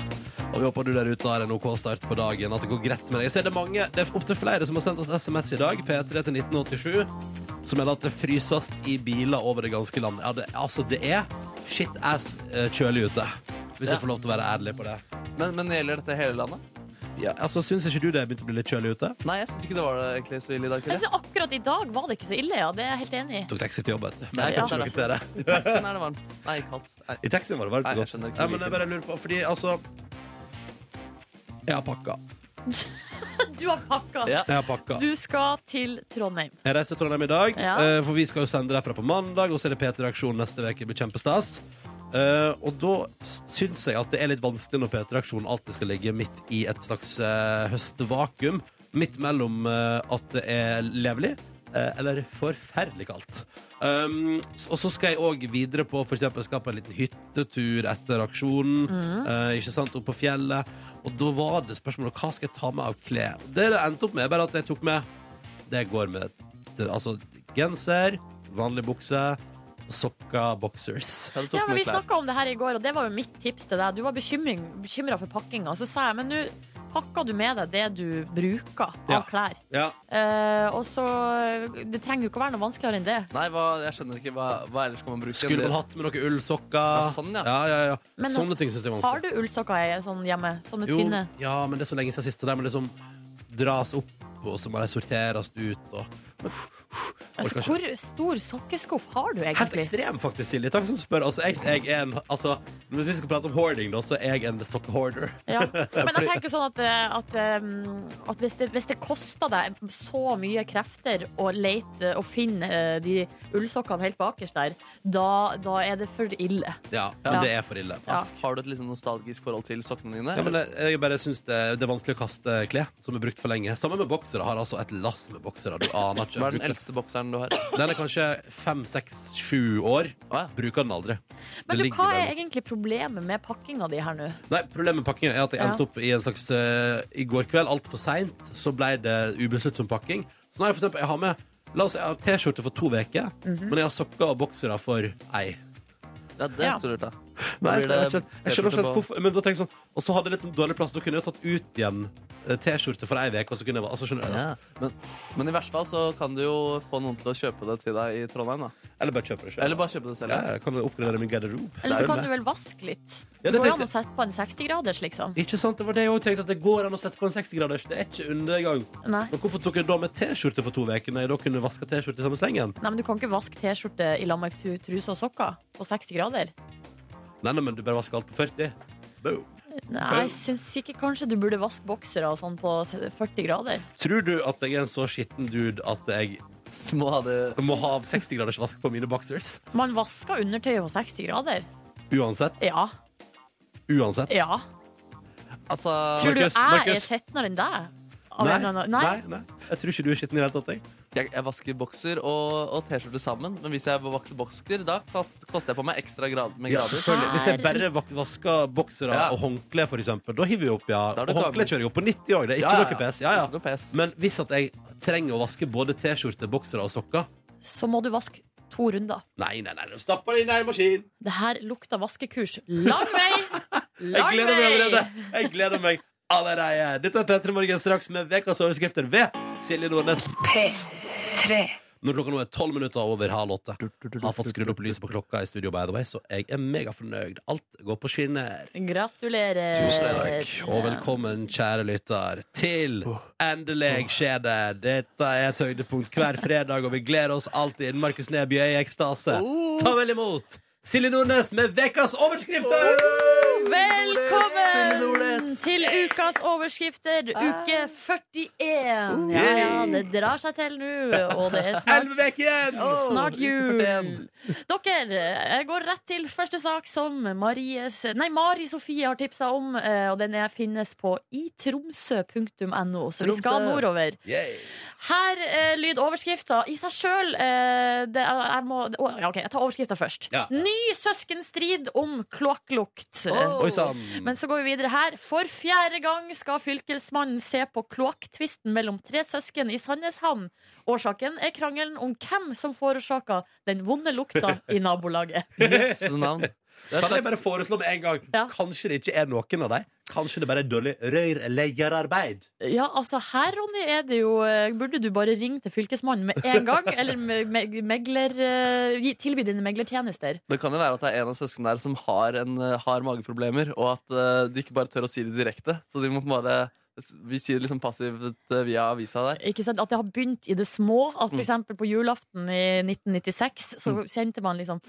Og vi håper du der ute har en OK start på dagen. At det går greit med deg. Jeg ser det er mange, det er opptil flere som har sendt oss SMS i dag, P3 til 1987, som melder at det fryses i biler over det ganske land. Ja, det, altså, det er shit ass eh, kjølig ute. Hvis
Ja.
jeg får lov til å være ærlig på det.
Men, men gjelder dette hele landet?
Ja, altså, Syns ikke du det begynte å bli litt kjølig ute?
Nei, jeg syns ikke det var det egentlig så ille i dag.
Jeg
Silje.
synes akkurat i dag var det ikke så ille, ja. Det er jeg helt enig i.
Tok taxi til jobb, vet du. Men
Nei,
jeg kan ikke
ja.
noe til det.
I taxien Sånn er det varmt. Nei, kaldt. Nei.
I taxien var det varmt
Nei,
og
jeg
godt.
skjønner ikke
Nei, men jeg
hvilken.
bare lurer på, fordi altså Jeg har pakka.
Du har pakka.
Ja.
Jeg har pakka.
Du skal til Trondheim.
Jeg reiser til Trondheim i dag,
Ja.
eh, for vi skal jo sende derfra på mandag, og så er det P3-aksjon neste uke. Det blir kjempestas. Eh, og da syns jeg at det er litt vanskelig når P3-aksjonen alltid skal ligge midt i et slags eh, høstvakuum. Midt mellom eh, at det er levelig eh, eller forferdelig kaldt. Um, s- og så skal jeg òg videre på for eksempel skal på en liten hyttetur etter aksjonen. eh, ikke sant, Opp på fjellet. Og da var det spørsmålet hva skal jeg ta med av klær. Det det endte opp med, er bare at jeg tok med det går med til- altså, genser, vanlig bukse, sokker, boxers.
Ja, du tok
Ja, men
med
Vi
klær.
snakka om det her i går, og det var jo mitt tips til deg. Du var bekymra for pakkinga. Så sa jeg men nå pakker du med deg det du bruker av
Ja.
klær.
Ja.
Eh, og så Det trenger jo ikke å være noe vanskeligere enn det.
Nei, hva, jeg skjønner ikke. Hva, hva ellers kan man bruke?
Skulle
Det-
man hatt med noen ullsokker?
Ja, sånn, ja.
Ja, ja, ja.
Men
Sånne ting syns jeg er vanskelig.
Har du ullsokker eh, sånn hjemme? Sånne
Jo,
tynne?
ja, men det er så lenge siden sist, og de må liksom dras opp, og så må de sorteres ut, og
Altså,
orker
hvor stor sokkeskuff har du
Helt
egentlig?
ekstrem, faktisk, Silje. Takk som spør. Altså, jeg, jeg er en, altså, hvis vi skal prate om hoarding, da, så er jeg en sokkehorder.
Ja. Men jeg tenker sånn at, eh, at, eh, at hvis, det, hvis det koster deg så mye krefter å lete og finne eh, de ullsokkene helt bakerst der, da, da er det for ille.
Ja, men
Ja.
det er for ille.
Ja.
Har du et liksom nostalgisk forhold til sokkene dine?
Ja, men jeg, jeg bare synes det, det er vanskelig å kaste klær som er brukt for lenge. Sammen med boksere. Har altså et lass med boksere. Du aner ikke.
hva er den
Bruker-
eldste bokseren du har?
Den er kanskje fem, seks, sju år.
Å, ja.
Bruker den aldri. Det
Men du,
ligger der
hva er
masse.
egentlig problemet med pakkinga di her nå?
Nei, Problemet med pakkinga er at jeg
Ja.
endte opp i en slags eh, I går kveld, altfor seint, så ble det ubesluttsom pakking. Så nå har jeg for eksempel, jeg har med La oss si jeg har T-skjorte for to uker,
Mhm.
men jeg har sokker og boksere for ei.
Ja, det er
Ja.
ikke så lurt, da. Da
Nei, jeg,
blir det
skjønner- jeg skjønner ikke
T-skjorte
helt
på-
hvorfor Men da tenker jeg sånn Og så hadde jeg litt sånn dårlig plass. Da kunne jeg tatt ut igjen eh, T-skjorte for ei uke, og så kunne jeg altså, skjønner du?
Men, men i verste fall så kan du jo få noen til å kjøpe det til deg i Trondheim. da
Eller bare kjøpe det selv.
Eller bare kjøpe det selv.
Ja, jeg kan jo oppgradere min garderobe.
Eller
Det er
så
jo
kan
det.
du vel vaske litt?
Ja, det
Det går jo
tenkte-
an å sette på en 60-graders, liksom.
Ikke sant? Det var det jeg også tenkte, at det går an å sette på en 60-graders. Det er ikke undergang.
Nei.
Men hvorfor tok jeg da med T-skjorte for to uker, når jeg da kunne vaske T-skjorte i samme slengen?
Nei, men Du kan ikke vaske T-skjorte i lag med tu- truse og sokker på 60 grader.
Nei, nei, men du bare vasker alt på 40. Boom.
Nei, Jeg syns ikke kanskje du burde vaske boksere og sånn på 40 grader.
Tror du at jeg er en så skitten dude at jeg
Du må ha det
må ha 60-graders vask på mine boxers?
Man vasker undertøyet på 60 grader.
Uansett.
Ja.
Uansett.
ja.
Altså
Tror du
Markus,
jeg er
Markus.
skjetnere enn deg? Av
Nei,
en eller annen-
nei,
Nei?
nei. Jeg tror ikke du er skitten i det hele tatt. jeg.
Jeg, jeg vasker bokser og, og T-skjorte sammen, men hvis jeg vasker bokser, da kast- koster jeg på meg ekstra grad, med
Ja,
grader.
selvfølgelig. Hvis jeg bare vak- vasker boksere
Ja.
og håndkle, for eksempel, da hiver vi opp, ja.
Da er
Og
det
håndkle
gammel.
kjører jeg opp på 90 år. Det er ikke
Ja, ja, ja.
noe pes. Ja,
Ikke noe
ja.
pes.
Men hvis at jeg trenger å vaske både T-skjorte, boksere og sokker
Så må du vaske to runder.
Nei, nei, nei, de stapper det inn i en maskin.
Det her lukter vaskekurs. Lang vei!
Jeg
Lang
gleder meg allerede. Jeg gleder meg allerede. Dette er P3 Morgen straks med ukas overskrifter ved Silje Nordnes. Når klokka nå er tolv minutter over halv åtte. Har fått skrudd opp lyset på klokka i studio, by the way, så jeg er megafornøyd. Alt går på skinner.
Gratulerer.
Tusen takk.
Eh,
Og velkommen, kjære lytter, til Endelig skjer det. Dette er et høydepunkt hver fredag, og vi gleder oss alltid. Markus Neby er i ekstase. Ta vel imot Silje Nordnes med ukas overskrifter!
Velkommen
Nordnes!
til ukas overskrifter, uke 41.
Uh.
Ja, ja, det drar seg til nå, og det er snart,
Elleve uker igjen!
snart jul. Dere, jeg går rett til første sak som Maries, nei, Mari Sofie har tipsa om, eh, og den er, finnes på itromsø.no, så vi skal
Tromsø.
nordover.
Yay.
Her eh, lyd overskrifta i seg sjøl. Eh, det er- jeg må å, ja, OK, jeg tar overskrifta først.
Ja.
Ny søskenstrid om kloakklukt.
Oi sann.
Men så går vi videre her. For fjerde gang skal fylkesmannen se på kloakktvisten mellom tre søsken i Sandneshamn. Årsaken er krangelen om hvem som forårsaka den vonde lukta i nabolaget.
Jøsse navn. Det er
Kan jeg
slags
bare foreslå med en gang?
Ja.
Kanskje det ikke er noen av dem? Kanskje det bare er dårlig rørleggerarbeid?
Ja, altså her, Ronny, er det jo eh, Burde du bare ringe til fylkesmannen med en gang? Eller me- me- megler, eh, gi- tilby dine meglertjenester.
Det kan jo være at det er en av søsknene der som har, en, eh, har mageproblemer, og at eh, de ikke bare tør å si det direkte. Så de må på en måte Vi sier det liksom passivt eh, via avisa der.
Ikke sant? At det har begynt i det små. At
Mm.
for eksempel på julaften i 1996 så kjente man liksom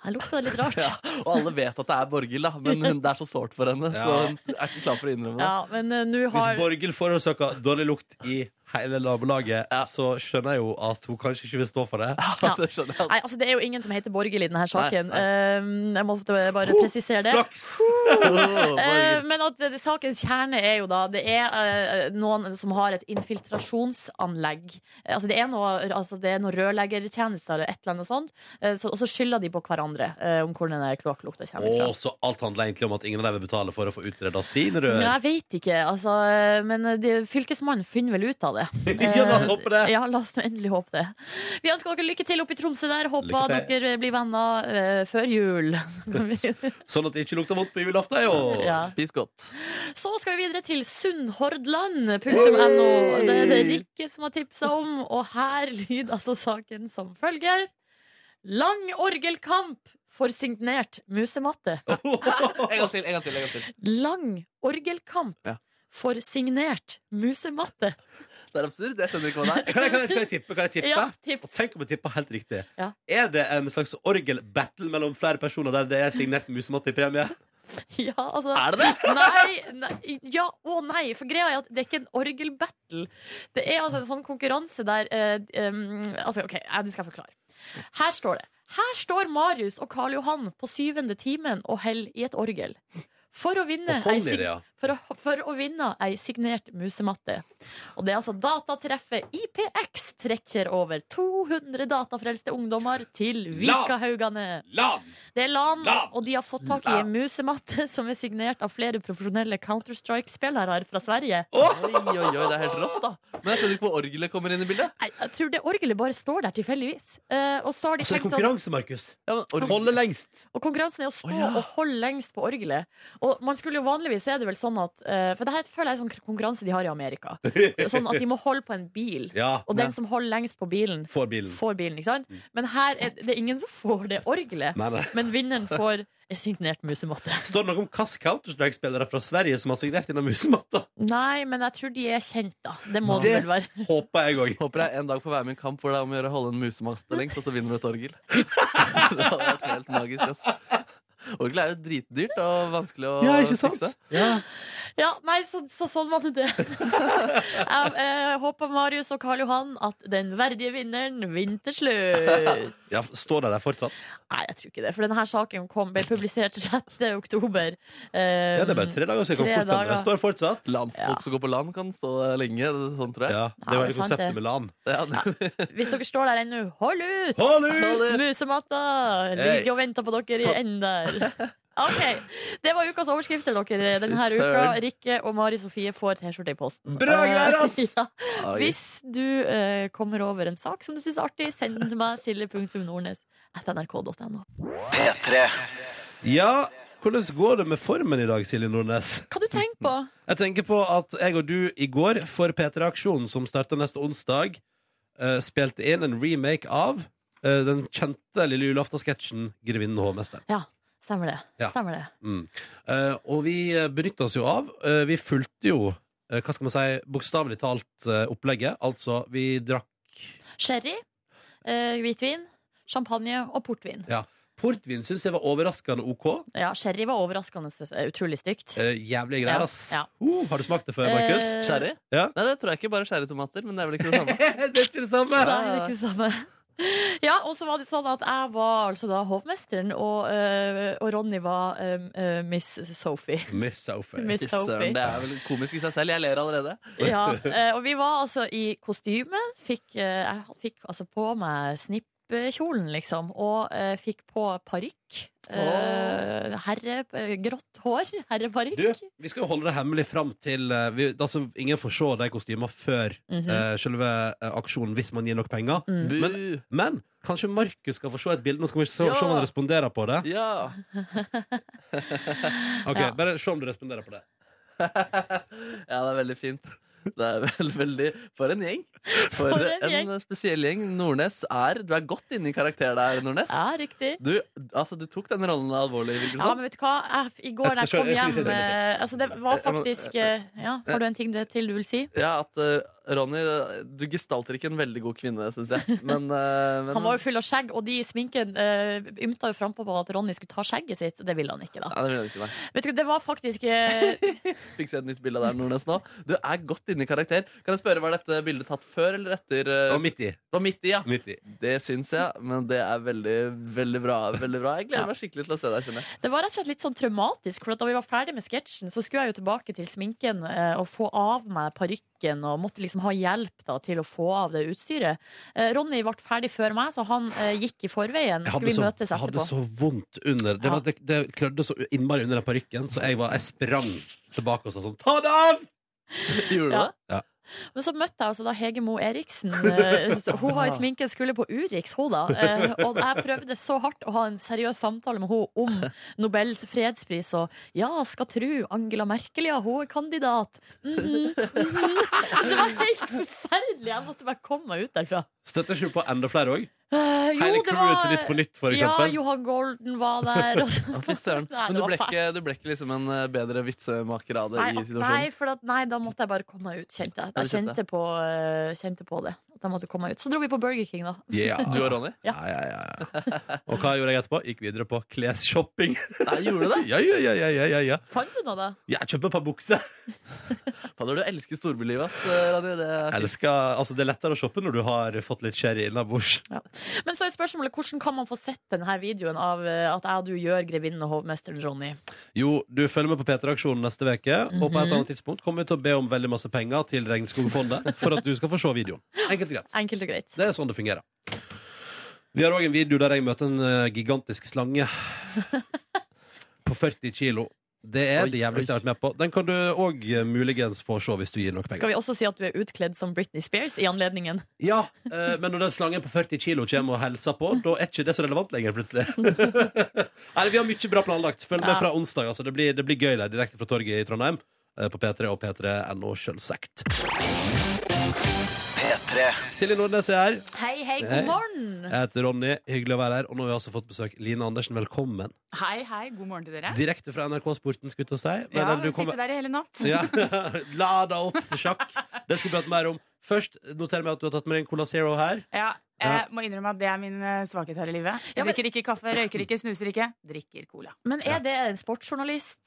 Her lukta det litt rart.
Ja, og alle vet at det er Borghild, da, men hun, det er så sårt for henne. Så
Ja.
hun er ikke klar for å innrømme det.
Ja, men eh, nå
Hvis
har
Borghild forårsaka dårlig lukt i hele nabolaget,
Ja.
så skjønner jeg jo at hun kanskje ikke vil stå for det.
Ja.
Det skjønner jeg.
Nei,
Altså.
altså Det er jo ingen som heter Borghild i denne saken.
Nei,
Eh, jeg måtte bare presisere det.
Flaks!
Åh,
Eh,
Borghild.
men at eh, sakens kjerne er jo da Det er eh, noen som har et infiltrasjonsanlegg. Eh, Altså det er noe, altså det er noe rørleggertjenester eller et eller annet sånt. Eh, så, og så skylder de på hverandre eh, om hvor den der kloakklukta kommer fra.
Og så alt handler egentlig om at ingen av dem vil betale for å få utreda sine rør.
Men jeg veit ikke, altså. eh, Men de, fylkesmannen finner vel ut av det.
Ja, la oss håpe det.
Eh, Ja, la oss nå endelig håpe det. Vi ønsker dere lykke til oppe i Tromsø der.
Lykke
Håper
til.
dere blir venner eh, før jul. Så kan vi-
Sånn at det ikke lukter vondt på julaften, jo.
Ja.
Spis godt.
Så skal vi videre til sunnhordland.no. Det er det Rikke som har tipsa om, og her lyder altså saken som følger. Lang orgelkamp for signert musematte.
En gang til, en gang til. en gang til
Lang orgelkamp
Ja.
for signert musematte.
Det er absurd. Jeg skjønner ikke hva det er.
Kan jeg, kan, jeg, kan jeg tippe? Kan jeg tippe?
Ja,
Og
tips.
Tenk om jeg tippa helt riktig.
Ja.
Er det en slags orgelbattle mellom flere personer der det er signert musematte i premie?
Ja, altså
Er det det?
Nei, nei, ja og nei. For greia er at det er ikke en orgelbattle. Det er altså en sånn konkurranse der eh, em, Altså, OK, ja, nå skal jeg forklare. Her står det. Her står Marius og Karl Johan på syvende timen og heller i et orgel. For å vinne
Og hånd
ei
i det,
sig-
ja.
for, å, for å vinne ei signert musematte. Og det er altså datatreffet IPX trekker over 200 datafrelste ungdommer til
La-
Vikahaugane.
Land!
Det er LAN,
LAN!
og de har fått tak i en musematte som er signert av flere profesjonelle Counter-Strike-spillere fra Sverige.
Oi, oi, oi, det er helt rått, da. Men jeg skjønner ikke hvor orgelet kommer inn i bildet.
Nei, Jeg tror det orgelet bare står der tilfeldigvis. Eh, og så har de
Så Altså, det er
tenkt sånn
konkurranse, Markus.
Ja, men orgel-
Holde lengst.
Og konkurransen er å stå
Å, ja.
og holde lengst på orgelet. Og man skulle jo vanligvis er det vel sånn at eh, For det her føler jeg er sånn konkurranse de har i Amerika. Sånn at de må holde på en bil.
Ja.
Og den som holder lengst på bilen,
Får bilen.
får bilen. ikke sant? Men her er det ingen som får det orgelet.
Nei, nei.
Men vinneren får en signert musematte.
Står det noe om hvilke Counter-Strike-spillere fra Sverige som har signert denne musematta?
Nei, men jeg tror de er kjent, da. Det må det
Det-
vel være.
Håper jeg òg.
Håper jeg en dag får være med i en kamp hvor det er om å gjøre å holde en musemast lengst, og så vinner du et orgel. det hadde vært helt magisk, ass. Orgel er jo dritdyrt og vanskelig å fikse.
Ja, nei, så, så sånn var det det. jeg eh, håper Marius og Karl Johan at den verdige vinneren vinner til slutt.
Ja, står de der fortsatt?
Nei, jeg tror ikke det, for denne saken kom, ble publisert 6. oktober. Eh,
Ja, det er bare tre dager siden.
Tre
Kan fortelle.
dager.
De står fortsatt.
Land,
Ja.
Folk som går på land, kan stå lenge. Sånn tror jeg.
Ja,
Ja,
det var
det
jo
er sant, det.
konseptet med LAN.
Ja, det,
Eh, Hvis dere står der ennå, hold ut!
Hold ut!
Musematta
Hey.
ligger og venter på dere i enden der. OK. Det var ukas overskrifter, dere, eh, denne
Søren.
uka. Rikke og Mari Sofie får T-skjorte i posten.
Bra
Eh,
greier, ass!
ja.
Oi.
Hvis du eh, kommer over en sak som du syns er artig, send den til meg. Silje.nordnes at nrk.no.
Ja, hvordan går det med formen i dag, Silje Nordnes?
Hva du tenker på?
Jeg tenker på at jeg og du i går, for P3-aksjonen som starter neste onsdag, eh, spilte inn en remake av eh, den kjente lille julaftensketsjen 'Grevinnen og hovmesteren'.
Ja, stemmer det.
Ja.
Stemmer det.
Mm. Eh, og vi eh, benytta oss jo av eh, Vi fulgte jo, eh, hva skal man si, bokstavelig talt eh, opplegget. Altså, vi drakk
Sherry, eh, hvitvin, champagne og portvin.
Portvin syns jeg var overraskende OK.
Ja, sherry var overraskende eh, utrolig stygt.
Eh, jævlige greier,
Ja,
ass.
ja.
Uh, har du smakt det før, Markus?
Eh,
Sherry?
Ja.
Nei, det tror jeg ikke. Bare sherrytomater. Men det er vel ikke det samme.
det er ikke det samme!
Nei, det er ikke det samme. Ja, og så var det sånn at jeg var altså da hovmesteren, og, eh, og Ronny var eh, eh, Miss Sophie.
Miss Sophie.
Miss
Fy
Sophie.
Søren, det er vel komisk i seg selv. Jeg ler allerede.
Ja, eh, og vi var altså i kostyme. Fikk, eh, jeg fikk altså på meg snipp puppekjolen, liksom, og eh, fikk på parykk. Eh, herre, eh, grått hår, herreparykk.
Du, vi skal jo holde det hemmelig fram til eh, vi, altså, Ingen får se de kostymene før
Mhm.
eh, selve eh, aksjonen, hvis man gir nok penger.
Mm.
Bu!
Men kanskje Markus skal få se et bilde. Nå skal vi se,
Ja.
se om han responderer på det.
Ja!
Ok,
Ja.
Bare se om du responderer på det.
ja, det er veldig fint. Det er vel, veldig For en gjeng! For,
For en
en, spesiell gjeng. Nordnes er Du er godt inne i karakter der, Nordnes.
Ja, riktig.
Sånn.
Du, altså, du tok den rollen alvorlig, virker det
Ja,
som.
men vet du hva? Jeg, I går
Jeg
da jeg
skal
kom
kjøre- jeg skal si
hjem
det litt.
eh, Altså, det var faktisk eh, Ja, har du en ting du, til du vil si?
Ja, at eh, Ronny, du gestalter ikke en veldig god kvinne, syns jeg. Men, eh, men
Han var jo full av skjegg, og de i sminken eh, ymta jo frampå på at Ronny skulle ta skjegget sitt. Det ville han ikke, da.
Nei, det vil jeg ikke, nei.
Vet du hva, det var faktisk eh,
Fikk se et nytt bilde av deg, Nordnes, nå. Du er godt inne i karakter. Kan jeg spørre, Var dette bildet tatt før eller etter? eh,
Og midt i.
det var midt i, ja.
Midt i.
Det syns jeg, men det er veldig, veldig bra. Veldig bra. Jeg
Ja.
gleder meg skikkelig til å se deg, kjenner jeg.
Det var rett og slett litt sånn traumatisk, for at da vi var ferdig med sketsjen, så skulle jeg jo tilbake til sminken eh, og få av meg parykken, og måtte liksom ha hjelp da til å få av det utstyret. Eh, Ronny ble ferdig før meg, så han eh, gikk i forveien.
Jeg
Skulle
hadde
vi
så,
møtes
jeg hadde
etterpå?
så vondt under. Det,
Ja.
var, det, det klødde så innmari under den parykken, så jeg, var, jeg sprang tilbake og sa sånn Ta det av!
Gjorde du
Ja.
det?
Men så møtte jeg altså da Hege Mo Eriksen. eh, så Hun
Ah.
var i sminken, skulle på Urix, hun da. Eh, Og jeg prøvde så hardt å ha en seriøs samtale med hun om Nobels fredspris og ja, skal tru Angela Merkel, ja, hun er kandidat. Mhm, mhm. Det var helt forferdelig. Jeg måtte bare komme meg ut derfra.
Støtter ikke du på enda flere òg?
Eh, jo,
Hele
det
crewet
var-
til Nytt på Nytt, for
Ja,
eksempel.
Johan Golden var der. og så-
Ja, Fy søren.
Nei,
Men
det
du ble,
var
ikke,
fælt.
du ble ikke liksom en eh, bedre vitsemaker av det
Nei,
i situasjonen?
nei, for at, nei, da måtte jeg bare komme meg ut, kjente jeg.
Ja,
Jeg
du kjente
kjente på, eh, kjente på det. At jeg måtte komme meg ut. Så dro vi på Burger King, da.
Yeah.
Du og Ronny?
Ja, ja, ja, ja. Og hva gjorde jeg etterpå? Gikk videre på klesshopping.
Nei, gjorde du det?
Ja, ja, ja, ja, ja, ja, ja.
Fant du noe, da?
Jeg kjøper et par bukser.
Fader, du elsker storbylivet, ass, eh, Ronny. Det er fint.
Elsker, altså, det er lettere å shoppe når du har fått litt sherry innabords.
Men så er spørsmålet, hvordan kan man få sett denne videoen av eh, at jeg og du gjør grevinnen og hovmesteren Ronny?
Jo, du følger med på P3-aksjonen neste uke.
Mhm.
Og på et eller annet tidspunkt kommer vi til å be om veldig masse penger til Regnskogfondet for at du skal få se videoen. Enkelt og greit.
Enkelt og greit.
Det er sånn det fungerer. Vi har òg en video der jeg møter en eh, gigantisk slange på 40 kilo. Det er
Oi,
det jævligste jeg har vært med på. Den kan du òg muligens få se hvis du gir nok penger.
Skal vi også si at du er utkledd som Britney Spears i anledningen?
Ja, eh, men når den slangen på 40 kilo kommer og hilser på, da er ikke det så relevant lenger, plutselig. Nei, vi har mye bra planlagt. Følg med
Ja.
fra onsdag. Altså. Det, blir, det blir gøy der, direkte fra torget i Trondheim. eh, På P3 og P3.no, sjølsagt.
P3.
Silje Nordnes er her.
Hei, hei,
Hei.
god morgen!
Jeg heter Ronny. Hyggelig å være her. Og nå har vi altså fått besøk. Line Andersen, velkommen.
Hei, hei, god morgen til dere.
Direkte fra NRK Sporten, skulle jeg til å si. Men,
Ja,
eh, du
sitte
kommer-
der i hele natt.
Ja. La deg opp til sjakk. Det skal vi prate mer om. Først noterer jeg meg at du har tatt med deg en Cola Zero her.
Ja, jeg må innrømme at det er min eh, svakhet her i livet. Jeg
Ja, men-
drikker ikke kaffe, røyker ikke, snuser ikke. Drikker cola.
Men er det en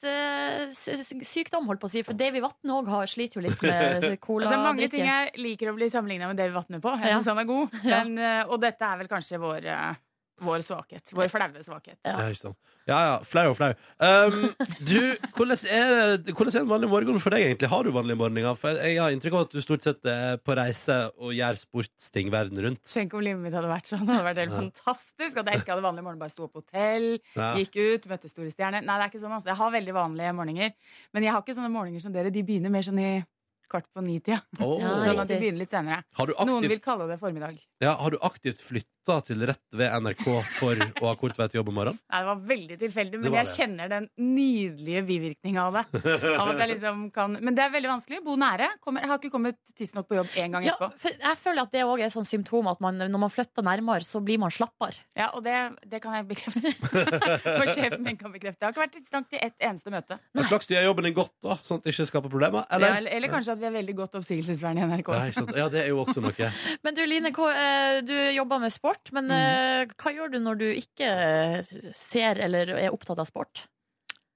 eh, sportsjournalistsykdom, holdt på å si? For Davy Vatn òg sliter jo litt med eh,
Altså, det er mange ting
coladrikking.
jeg liker å bli sammenligna med Davy Vatne på. Jeg
Ja.
synes han er god.
Ja.
Men, eh, og dette er vel kanskje vår, eh, vår svakhet. Vår flaue svakhet.
Ja.
Ja, ikke sant. Ja, ja, flau og flau. Um, du, hvordan er, det- hvordan er en vanlig morgen for deg egentlig? Har du vanlige morgener? For jeg har inntrykk av at du stort sett er på reise og gjør sportsting verden rundt.
Tenk om livet mitt hadde vært sånn. Det hadde vært helt
Ja.
fantastisk. At jeg ikke hadde vanlig morgen, bare sto opp på hotell,
Ja.
gikk ut, møtte store stjerner. Nei, det er ikke sånn, altså. Jeg har veldig vanlige morgener. Men jeg har ikke sånne morgener som dere. De begynner mer sånn i kvart på ni-tida.
Åh.
Ja,
Sånn at de
riktig.
begynner litt senere.
har, du
Noen vil
aktivt,
kalle det formiddag.
ja, har du aktivt flytta til rett ved NRK for å ha kort vei til jobb om morgenen?
Nei, det var veldig tilfeldig,
Det
men
var
jeg kjenner den nydelige bivirkninga av det. Av at jeg liksom kan, men det er veldig vanskelig. Bo nære. Kommer, jeg har ikke kommet tidsnok på jobb én gang
Ja,
etterpå.
for jeg føler at det òg er sånn symptom at man, når man flytter nærmere, så blir man slappere.
Ja, Og det, det kan jeg bekrefte. Og sjefen min kan bekrefte. Jeg har ikke vært tidsnok til ett eneste møte.
Men Slags du gjør jobben din godt, da, sånn at det ikke skaper problemer?
Eller,
Eller?
eller kanskje at vi har veldig godt oppsigelsesvern i NRK.
Ja, ikke sant. ja, det er jo også noe.
Men du Line, hva, eh, du jobber med sport,
Mhm.
men eh, hva gjør du når du ikke eh, ser eller er opptatt av sport?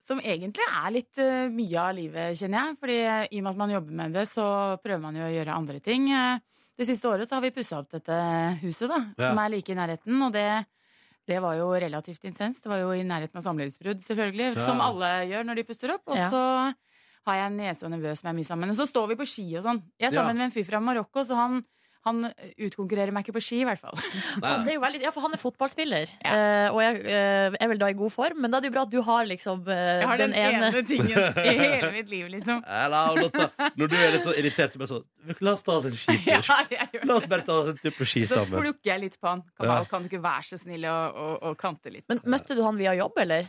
Som egentlig er litt eh, mye av livet, kjenner jeg. Fordi eh, i og med at man jobber med det, så prøver man jo å gjøre andre ting. Eh, Det siste året så har vi pussa opp dette huset, da,
Ja.
som er like i nærheten. Og det, det var jo relativt intenst. Det var jo i nærheten av samlivsbrudd, selvfølgelig.
Ja.
Som alle gjør når de pusser opp. Og
Ja.
så har jeg en niese og en nevø som er mye sammen. Og så står vi på ski og sånn. Jeg er
Ja.
sammen med en fyr fra Marokko, så han han utkonkurrerer meg ikke på ski, i hvert fall.
Ja, det
Nei,
er jo veldig, ja, for han er fotballspiller, eh, og jeg eh, er vel da i god form, men da er det jo bra at du har liksom eh,
Jeg har den, ene. tingen i hele mitt liv, liksom.
la henne ta Når du er litt så irritert, så bare sånn La oss ta oss en
Ja,
skitur.
jeg gjør
La oss
det.
bare ta oss en tur på ski
Så
sammen.
plukker jeg litt på han.
Ja.
Kamal, kan du ikke være så snill å, å, å kante litt?
Men møtte du han via jobb, eller?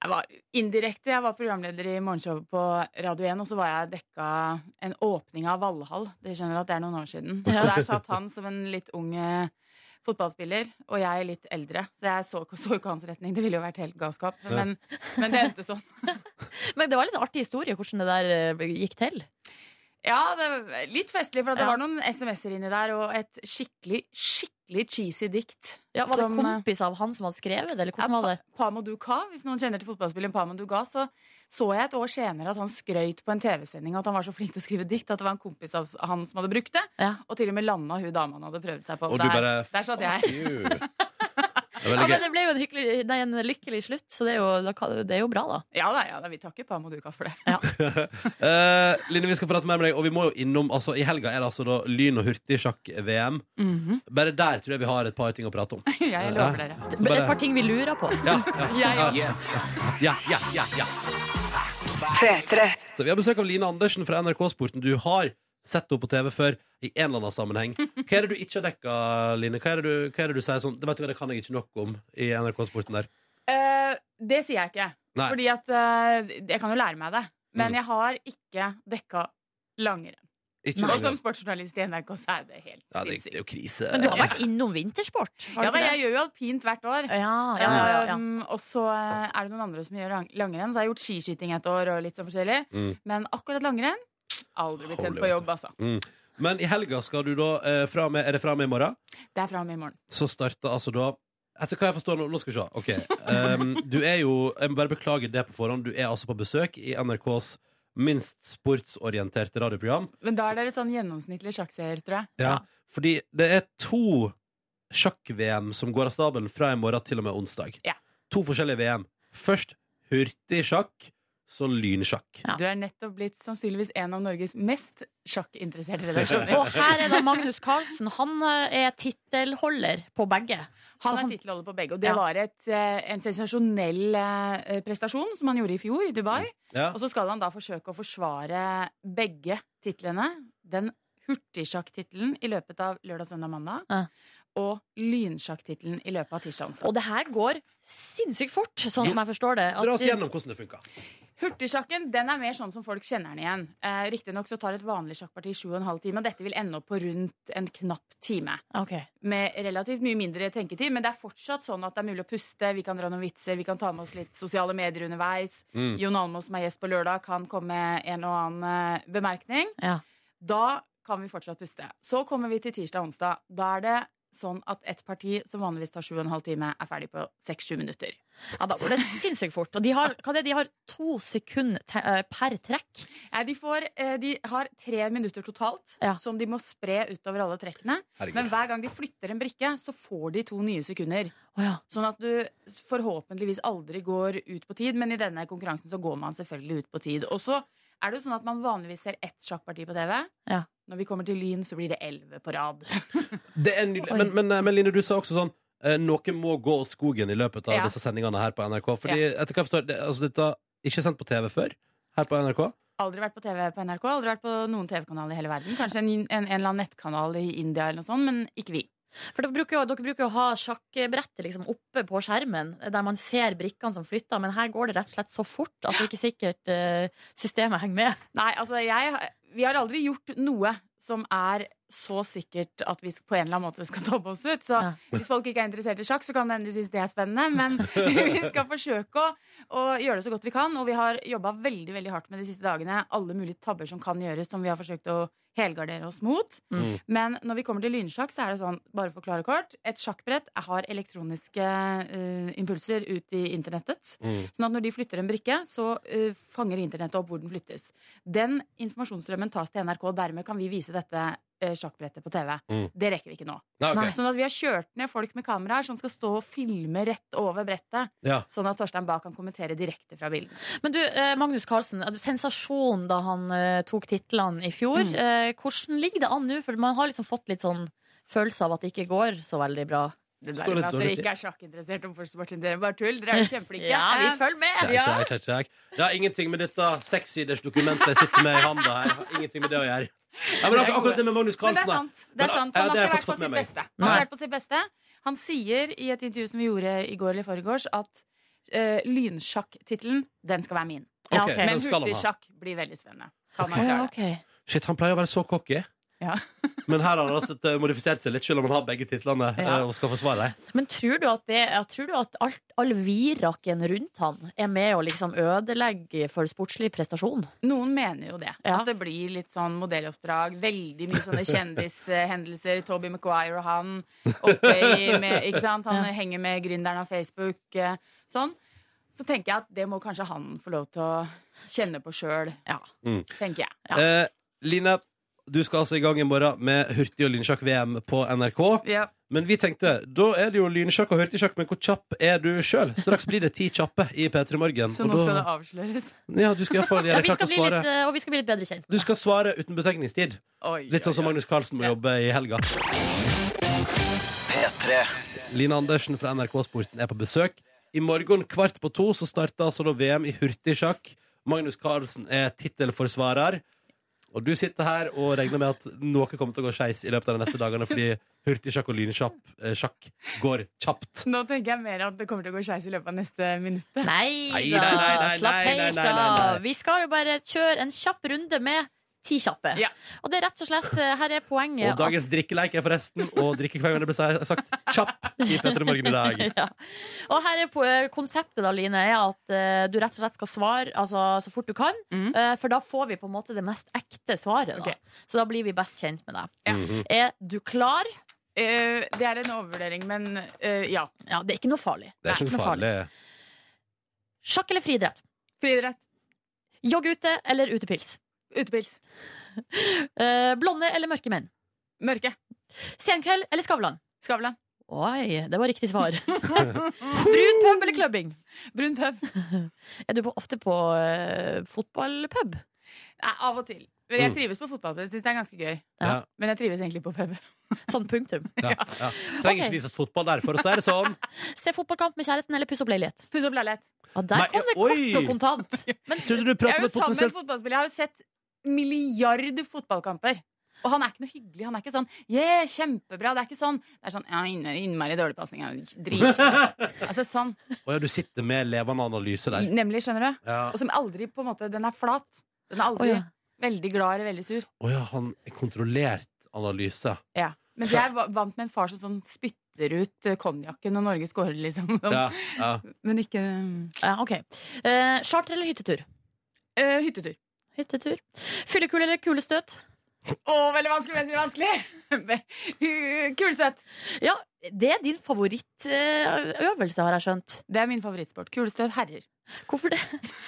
Jeg var indirekte. Jeg var programleder i morgenshowet på Radio 1, og så var jeg dekka en åpning av Valhall. Det skjønner du at det er noen år siden. Og der satt han som en litt ung eh, fotballspiller, og jeg litt eldre. Så jeg så, så jo ikke hans retning. Det ville jo vært helt galskap. Men, men det endte sånn.
Men det var litt en artig historie hvordan det der eh, gikk til.
Ja, det var litt festlig, for det
Ja.
var noen SMS-er inni der, og et skikkelig, skikkelig cheesy dikt.
Ja, var
som, eh,
det kompis av han som hadde skrevet det, eller hvordan var det?
Ja, Pa- Pamo Duka, hvis noen kjenner til fotballspilleren Pamo Duga, så så jeg et år senere at han skrøyt på en TV-sending at han var så flink til å skrive dikt at det var en kompis av s- han som hadde brukt det,
Ja.
og til og med landa hun dama han hadde prøvd seg på.
Og du
der,
bare-
der satt jeg.
Ew. Det er
Ja,
veldig
men
gøy.
det ble jo en, hyggelig, nei, en lykkelig slutt, så det er jo, da kan- det er jo bra, da.
Ja da, ja da, vi takker Pamo Duka for det.
Eh, Line, vi skal prate mer med deg, og vi må jo innom altså, I helga er det altså da lyn- og hurtigsjakk-VM.
Mhm.
Bare der tror jeg vi har et par ting å prate om.
Jeg lover dere.
Så bare-
Et par ting vi lurer på.
Ja, ja,
Jeg,
ja, ja, ja, ja. Så vi har besøk av Line Andersen fra NRK Sporten. Du har sett henne på TV før i en eller annen sammenheng. Hva er det du ikke har dekka, Line? Hva er det du, hva er det du sier sånn Det vet du hva, det kan jeg ikke nok om i NRK Sporten der.
Eh, det sier jeg ikke,
Nei.
fordi at eh, jeg kan jo lære meg det. Men
Mm.
jeg har ikke dekka langrenn.
Ikke
Og som
lenger.
sportsjournalist i NRK så er det helt
ja, det, det er
sinnssykt.
jo krise.
sånn Men du har vært innom vintersport? Har
Ja
du
da,
ikke det?
jeg gjør jo alpint hvert år.
Ja, ja, ja, ja, ja.
Um, og så eh, er det noen andre som gjør lang langrenn. Så jeg har gjort skiskyting et år og litt sånn forskjellig.
Mm.
Men akkurat langrenn aldri blitt
Holy
sendt på
vet
jobb, altså.
Men i helga skal du da eh, fra og med, Er det fra og med i morgen?
Det er fra og med i morgen.
så starta altså da Altså, hva jeg forstår nå? Nå skal vi se. Ok, um, Du er jo Jeg må bare beklage det på forhånd. Du er altså på besøk i NRKs minst sportsorienterte radioprogram.
Men da er dere sånn gjennomsnittlig sjakkseer, tror jeg.
Ja, Fordi det er to sjakk-VM som går av stabelen fra i morgen til og med onsdag.
Ja.
To forskjellige VM. Først hurtigsjakk, så lynsjakk.
Ja.
Du er nettopp blitt sannsynligvis en av Norges mest sjakkinteresserte
Og
redaksjoner.
her er da Magnus Carlsen. Han eh, er tittelholder på begge. Så
Han er tittelholder på begge, og det
Ja.
var et, eh, en sensasjonell eh, prestasjon som han gjorde i fjor i Dubai.
Ja.
Og så skal han da forsøke å forsvare begge titlene. Den hurtigsjakktittelen i løpet av lørdag, søndag, mandag.
Ja.
Og lynsjakktittelen i løpet av tirsdag,
Og
onsdag.
det her går sinnssykt fort, sånn som jeg forstår det. At
Dra oss
de-
gjennom hvordan det funka.
Hurtigsjakken den er mer sånn som folk kjenner den igjen. Eh, Riktignok så tar et vanlig sjakkparti sju og en halv time, og dette vil ende opp på rundt en knapp time.
Ok.
Med relativt mye mindre tenketid, men det er fortsatt sånn at det er mulig å puste. Vi kan dra noen vitser, vi kan ta med oss litt sosiale medier underveis.
Mm.
Jon Almaas, som er gjest på lørdag, kan komme med en og annen eh, bemerkning.
Ja.
Da kan vi fortsatt puste. Så kommer vi til tirsdag og onsdag. Da er det sånn at et parti som vanligvis tar sju og en halv time, er ferdig på seks-sju minutter.
ja, da går det sinnssykt fort. Og de har, hva er det, de har to sekunder te- eh, per trekk.
Nei, De, får, eh, de har tre minutter totalt
Ja.
som de må spre utover alle trekkene. Men
Herregud.
hver gang de flytter en brikke, så får de to nye sekunder.
Å ja.
Sånn at du forhåpentligvis aldri går ut på tid, men i denne konkurransen så går man selvfølgelig ut på tid. Og så er det jo sånn at man vanligvis ser ett sjakkparti på TV.
Ja.
Når vi kommer til Lyn, så blir det elleve på rad.
Det er nydelig.
Oi.
Men, men, men Line, du sa også sånn eh, noe må gå åt skogen i løpet av
Ja.
disse sendingene her på NRK. Fordi etter hva jeg forstår, det, altså, dette er ikke sendt på TV før her på NRK.
Aldri vært på TV på NRK, aldri vært på noen TV-kanal i hele verden. Kanskje en, en, en eller annen nettkanal i India eller noe sånt, men ikke vi.
For dere bruker, jo, dere bruker jo å ha sjakkbrettet liksom oppe på skjermen, der man ser brikkene som flytter, men her går det rett og slett så fort at det ikke sikkert eh, systemet henger med.
Nei, altså jeg Vi har aldri gjort noe som er så sikkert at vi på en eller annen måte skal dobbe oss ut. Så
Ja.
hvis folk ikke er interessert i sjakk, så kan det hende de synes det er spennende. Men vi skal forsøke å, å gjøre det så godt vi kan. Og vi har jobba veldig veldig hardt med de siste dagene. Alle mulige tabber som kan gjøres, som vi har forsøkt å helgardere oss mot.
Mm.
Men når vi kommer til lynsjakk, så er det sånn, bare for å forklare kort Et sjakkbrett har elektroniske eh, impulser ut i internettet.
Mm.
Sånn at når de flytter en brikke, så eh, fanger internettet opp hvor den flyttes. Den informasjonsstrømmen tas til NRK, og dermed kan vi vise dette eh, sjakkbrettet på TV.
Mm.
Det rekker vi ikke nå.
Nei, ok.
Nei, Sånn at vi har kjørt ned folk med kameraer som skal stå og filme rett over brettet,
Ja.
sånn at Torstein Bae kan kommentere direkte fra bilden.
Men du, eh, Magnus Carlsen, sensasjon da han eh, tok titlene i fjor.
Mm.
Eh, Eh, hvordan ligger det an nå? For man har liksom fått litt sånn følelse av at det ikke går så veldig bra.
Det
Står
der
litt
med at dere
dårlig til.
ikke er sjakkinteressert om førstepartiet, dere er bare tull. Dere er jo kjempeflinke.
Ja, vi
Eh,
følger med!
Check, check, check, check. Det har ingenting med dette sekssiders dokumentet jeg sitter med i handa her. Har Ingenting med det å gjøre. Ja, men ak akkurat det med Magnus
Men det
Carlsen
er
da.
sant. Det
Men,
er sant.
ja, det
Han har
har
ikke
jeg
vært
fått med
på sitt
meg.
beste. Han har
Nei.
vært på sitt beste. Han sier i et intervju som vi gjorde i går eller i forgårs, at uh, lynsjakk-tittelen, den skal være min.
Ok,
Ja, ok.
den
Men
skal han ha.
hurtigsjakk blir veldig spennende. Kan
Å,
han
ja,
klare det?
ok.
Shit, han pleier å være så cocky.
Ja.
Men her har han altså eh, modifisert seg litt, selv om han har begge titlene eh,
Ja.
og skal forsvare dem.
Men tror du at, det, ja, tror du at alt, all viraken rundt han er med å liksom ødelegge for sportslig prestasjon?
Noen mener jo det.
Ja.
At det blir litt sånn modelloppdrag. Veldig mye sånne kjendishendelser. Toby Maguire og han oppe i med, Ikke sant? Han
Ja.
henger med gründeren av Facebook. eh, Sånn. Så tenker jeg at det må kanskje han få lov til å kjenne på sjøl,
Ja.
tenker jeg.
Eh, Line, du skal altså i gang i morgen med hurtig- og lynsjakk-VM på NRK.
Ja.
Men vi tenkte, da er det jo lynsjakk og hurtigsjakk, men hvor kjapp er du sjøl? Straks blir det ti kjappe i P3 Morgen.
Så nå skal det avsløres.
Ja, du skal iallfall
Ja,
gjøre
vi
klart
skal
å
bli
svare.
litt, eh, og vi skal bli litt bedre kjent.
Du skal svare uten betegningstid.
Oi,
Litt sånn som Magnus Carlsen må jobbe i helga. Line Andersen fra NRK Sporten er på besøk. I morgen kvart på to så starter altså da VM i hurtigsjakk. Magnus Carlsen er tittelforsvarer. Og du sitter her og regner med at noe kommer til å gå skeis i løpet av de neste dagene fordi hurtigsjakk og lynsjakk eh, sjakk går kjapt.
Nå tenker jeg mer at det kommer til å gå skeis i løpet av neste minuttet.
Nei,
Nei,
da,
nei, nei, nei,
slapp
nei, nei,
helt
nei, nei, nei.
av. Vi skal jo bare kjøre en kjapp runde med ti kjappe.
Ja.
Og det er rett og slett, eh, her er poenget
Og dagens drikkeleik er forresten å drikke hver gang det blir sagt kjapp i P3 Morgen i dag.
ja. Og her er po- eh, konseptet da, Line, er at eh, du rett og slett skal svare altså, så fort du kan.
Mhm.
eh, for da får vi på en måte det mest ekte svaret. Da.
Ok.
Så da blir vi best kjent med deg.
Ja.
Mhm.
Er du klar?
Eh, det er en overvurdering, men eh, ja.
Ja, det er ikke noe farlig.
Det er ikke noe farlig.
Sjakk eller friidrett?
Friidrett.
Jogg ute eller utepils?
Utepils.
Eh, blonde eller mørke menn?
Mørke.
Senkveld eller Skavlan?
Skavlan.
Oi, det var riktig svar. Brun pub eller clubbing?
Brun pub.
Er du på, ofte på eh, fotballpub?
Nei, av og til. Men jeg
Mm.
trives på fotballpub. Syns det er ganske gøy.
Ja.
Men jeg trives egentlig på pub.
Sånn punktum.
Ja, ja. Trenger
Ok.
ikke vises fotball der, for å si det sånn.
Se fotballkamp med kjæresten eller pusse opp leilighet?
Pusse opp leilighet.
Ja, der
Nei,
kom det
ja, oi.
kort og kontant.
Men trodde du
Jeg
pratet
er jo
med
sammen med en
potensielt
fotballspiller. Jeg har jo sett milliard fotballkamper. Og han er ikke noe hyggelig. Han er ikke sånn 'yeah, kjempebra'. Det er ikke sånn. Det er sånn ja, inne- innmari dårlig pasning. ja, Dritkjipt. Altså sånn.
Å ja, du sitter med levende analyse der.
Nemlig, skjønner du.
Ja.
Og som aldri på en måte Den er flat. Den er aldri
Å, ja.
veldig glad eller veldig sur.
Å ja, han er kontrollert analyse.
Ja. Mens jeg var vant med en far som sånn spytter ut eh, konjakken når Norge scorer, liksom.
Ja, ja.
Men ikke
Ja, ok. Eh, charter eller hyttetur?
eh, Hyttetur.
Hyttetur. Fyllekule eller kulestøt?
Å, veldig vanskelig, veldig vanskelig! Kulestøt.
Ja, det er din favorittøvelse, har jeg skjønt.
Det er min favorittsport. Kulestøt herrer.
Hvorfor det?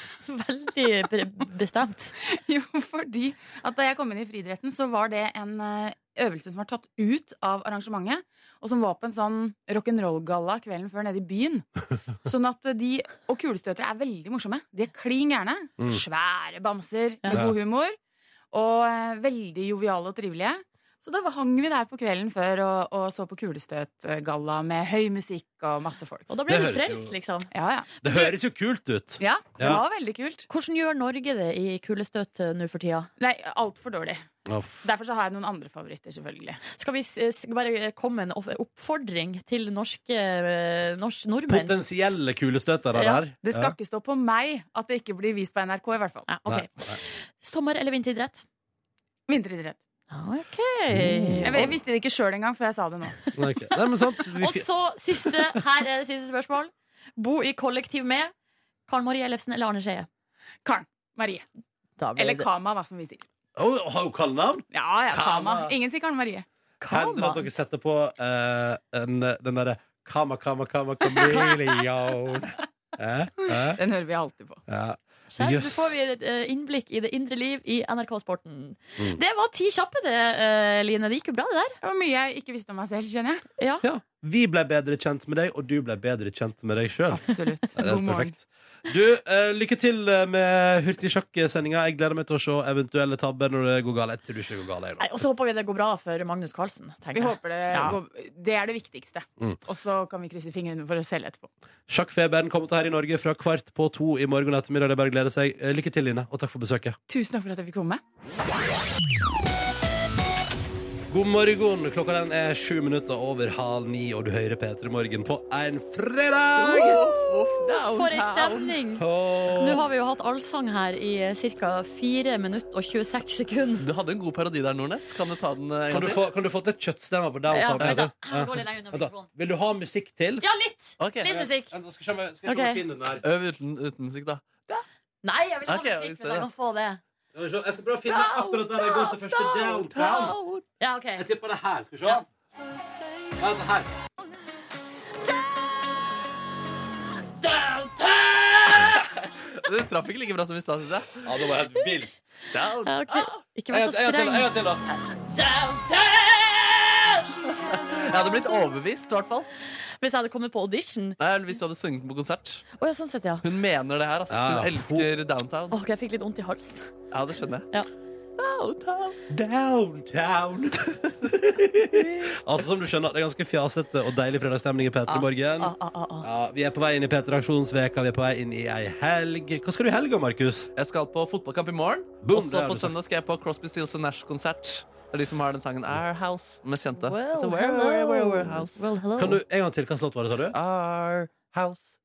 Veldig pre- bestemt.
Jo, fordi at da jeg kom inn i friidretten, så var det en eh, øvelse som var tatt ut av arrangementet, og som var på en sånn rock'n'roll-galla kvelden før nede i byen. Sånn at eh, de Og kulestøtere er veldig morsomme. De er klin gærne.
Mm.
Svære bamser med
Ja.
god humor. Og eh, veldig joviale og trivelige. Så da hang vi der på kvelden før og, og så på kulestøtgalla med høy musikk og masse folk.
Og da ble
Det
du
høres jo-
frelst, liksom.
Ja, ja.
Det høres jo kult ut.
ja det
Ja.
var veldig kult.
Hvordan gjør Norge det i kulestøt eh, nå for tida?
Nei, altfor dårlig.
Uff.
Derfor så har jeg noen andre favoritter, selvfølgelig.
Skal vi s- eh, s- bare komme med en off- oppfordring til norske eh, norsk nordmenn?
Potensielle kulestøtere
Ja,
der.
Det skal ikke stå på meg at det ikke blir vist på NRK, i hvert fall.
Ja, ok.
Nei,
Sommer- eller vinteridrett?
Vinteridrett.
Ok.
Mm.
Jeg, jeg visste det ikke sjøl engang før jeg sa det nå.
nei. Nei, ok. Nei, men sant. Vi
Og
fi-
så siste, her er det siste spørsmål. Bo i kollektiv med Karen Marie Ellefsen eller Arne Skeie?
Karen. Marie.
Da ble
Eller
det-
Kama, hva som vi sier.
Å, har hun kallenavn?
Ja, ja, Kama.
Kama.
Ingen sier Karen Marie.
Hender det at dere setter på eh, en, den derre Kama, kama, kama, kameleon. Eh? Eh?
Den hører vi alltid på.
Ja.
Skjær,
Jøss.
Nå får vi et eh, innblikk i det indre liv i NRK Sporten.
Mm.
Det var ti kjappe, det, eh, Line. Det gikk jo bra, det der.
Det var mye jeg ikke visste om meg selv, kjenner jeg.
ja. Vi ble bedre kjent med deg, og du ble bedre kjent med deg sjøl.
Absolutt.
Det er
God
helt
morgen.
perfekt. Du, eh, lykke til eh, med hurtigsjakk-sendinga. Jeg gleder meg til å se eventuelle tabber når det går galt. Jeg tror ikke det går galt. jeg, da.
Nei, Og så håper vi det går bra for Magnus Carlsen. tenker
Vi
jeg.
håper det
Ja.
går Det er det viktigste.
Mm.
Og så kan vi krysse fingrene for oss selv etterpå.
Sjakkfeberen kommer til her i Norge fra kvart på to i morgen ettermiddag. Det er bare å glede seg. Eh, Lykke til, Line, og takk for besøket.
Tusen takk for at jeg fikk komme.
God morgen. Klokka den er sju minutter over halv ni, og du hører P3 Morgen på en fredag!
For ei stemning!
Åh.
Nå har vi jo hatt allsang her i ca. 4 minutter og 26 sekunder.
Du hadde en god parodi der, Nordnes. Kan du ta den eh, en
Kan du
gang til?
få, kan du få til et kjøttstemmer på deg?
Ja,
og ta
vent da.
med? Ja.
Gå litt lenger unna
Vent da.
mikrofonen.
Vil du ha musikk til?
Ja, litt!
Ok.
Litt musikk.
Vent da, Skal vi se om jeg- skal vi se om
Ok.
jeg finner den her.
Øv uten, uten musikk, da.
Nei, jeg vil ha
Ok, jeg
musikk
ser
hvis jeg
det.
kan få det.
Skal vi se, Jeg skal prøve å finne akkurat der jeg går til første downtown.
Ja, OK.
Jeg tipper det her. Skal vi se. Vent, det her.
Det traff ikke like bra som i stad, syns jeg.
Ja, det var helt vilt.
Down.
Ja, ok. Ikke vær
En
så
til, en til,
streng.
en til, da.
Jeg hadde
altså-
blitt overbevist, i hvert fall.
Hvis jeg hadde kommet på audition.
Nei, Hvis du hadde sunget den på konsert.
Å ja, sånn sett, ja.
Hun mener det her, ass.
Ja, ja.
Hun elsker downtown.
Ok, jeg fikk litt vondt i halsen.
Ja, det skjønner jeg.
Ja.
Downtown.
Downtown. altså, som du skjønner, det er ganske fjasete og deilig fredagsstemning i P3 Morgen.
Ah, ah, ah, ah.
Ja, vi er på vei inn i P3 Aksjonsveka, vi er på vei inn i ei helg. Hva skal du i helga, Markus?
Jeg skal på fotballkamp i morgen.
Boom,
og
det
så
har
på
du sagt.
søndag skal jeg på Crosby Stills Nash-konsert. Det er de som har den sangen Our House, mest kjente.
Well,
Så where, where, where, where
hello.
house?
Well, hello.
Kan du eh, en gang til? Hva slags låt var det, sa du?
Our house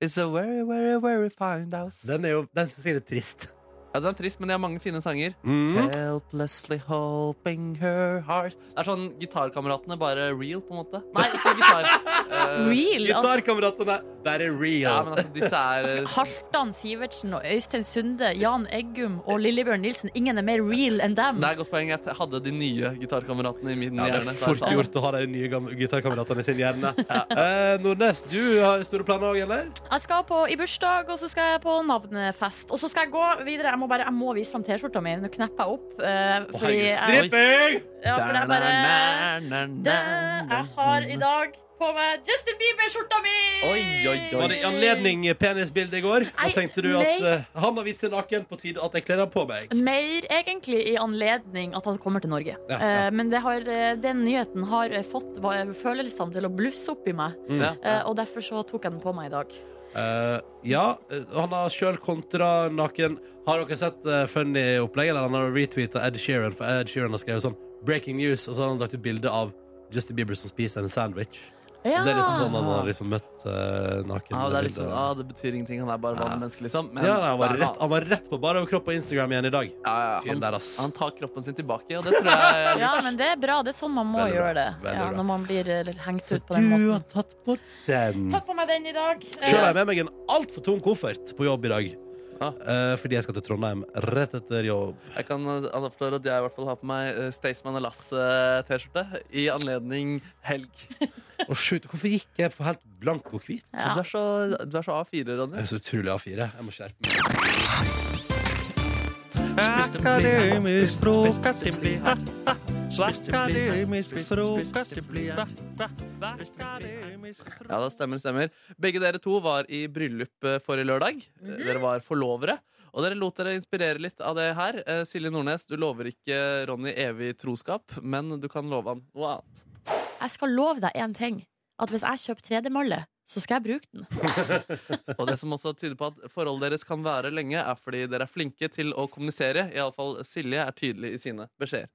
is a very, very, very fine house.
Den er jo Den syns jeg er litt trist.
Ja, den er trist, men de har mange fine sanger.
Mm.
Helplessly hoping her heart Det er sånn Gitarkameratene, bare real, på en måte. Nei, ikke gitar. Eh,
Real, altså.
Gitarkameratene, bare real.
ja, men altså, disse er eh,
Halvdan Sivertsen og Øystein Sunde, Jan Eggum og Lillebjørn Nilsen. Ingen er mer real enn dem.
Det er et godt poeng. Jeg hadde de nye gitarkameratene i min
Ja, det
hjerne. så jeg
er fort
sa det. sånn.
gjort å ha de nye gam- gitarkameratene i sin hjerne. Eh, Nordnes, du har store planer òg, eller?
Jeg skal på i bursdag, og så skal jeg på navnefest. Og så skal jeg gå videre. Jeg må, bare, jeg må vise fram T-skjorta mi. Nå knepper jeg opp. eh,
Å,
fordi
herregud,
jeg,
stripping!
ja, fordi jeg bare Jeg har i dag på meg Justin Bieber-skjorta mi!
Oi, oi, oi.
Var det i anledning penisbildet i går? Da
Nei,
tenkte du at
nei.
eh, han har vist seg naken på tide at jeg kler han på meg.
Mer egentlig i anledning at han kommer til Norge.
Ja, ja.
Eh, men det har, eh, den nyheten har eh, fått hva- følelsene til å blusse opp i meg.
Ja.
Mm.
Eh, og derfor så tok jeg den på meg i dag.
Eh, ja, eh, han har sjøl kontra naken. Har dere sett eh, funny opplegget der han har retweeta Ed Sheeran? For Ed Sheeran har skrevet sånn 'Breaking news', og så har han lagt ut bilde av Justin Bieber som spiser en sandwich.
Ja.
Det er liksom sånn han har liksom møtt eh, naken.
Ja, det, er
bildet.
liksom, ah, det betyr ingenting. Han er bare vanlig menneske, liksom. Men
ja, nei, han, var
det er
rett, han var rett på bar overkropp på Instagram igjen i dag.
Ja, ja, ja.
Fyren
han,
der, ass.
han tar kroppen sin tilbake, og det tror jeg er
Ja, men det er bra. Det er sånn man må
Veldig bra.
gjøre det.
Veldig
Ja,
bra.
når man blir eh, hengt ut på den
Du har
måten.
tatt på den.
Tatt på meg den i dag.
Sjøl har jeg med meg en altfor tung koffert på jobb i dag.
Ah.
Eh, fordi jeg skal til Trondheim rett etter jobb.
Jeg kan eh, avsløre at jeg i hvert fall har på meg eh, Staysman og Lass-T-skjorte i anledning helg.
Og shoot, hvorfor gikk jeg for helt blank og hvit?
Så du er så, du er så A4, Ronny.
Jeg er så utrolig A4. Jeg må skjerpe meg.
Ja, det stemmer, det stemmer. Begge dere to var i bryllup eh, forrige lørdag. Dere var forlovere. Og dere lot dere inspirere litt av det her. Eh, Silje Nordnes, du lover ikke Ronny evig troskap, men du kan love han noe annet.
Eh, Jeg skal love deg én ting. At hvis jeg kjøper 3D-malle, så skal jeg bruke den.
Og det som også tyder på at forholdet deres kan vare lenge, er fordi dere er flinke til å kommunisere. Iallfall Silje er tydelig i sine beskjeder.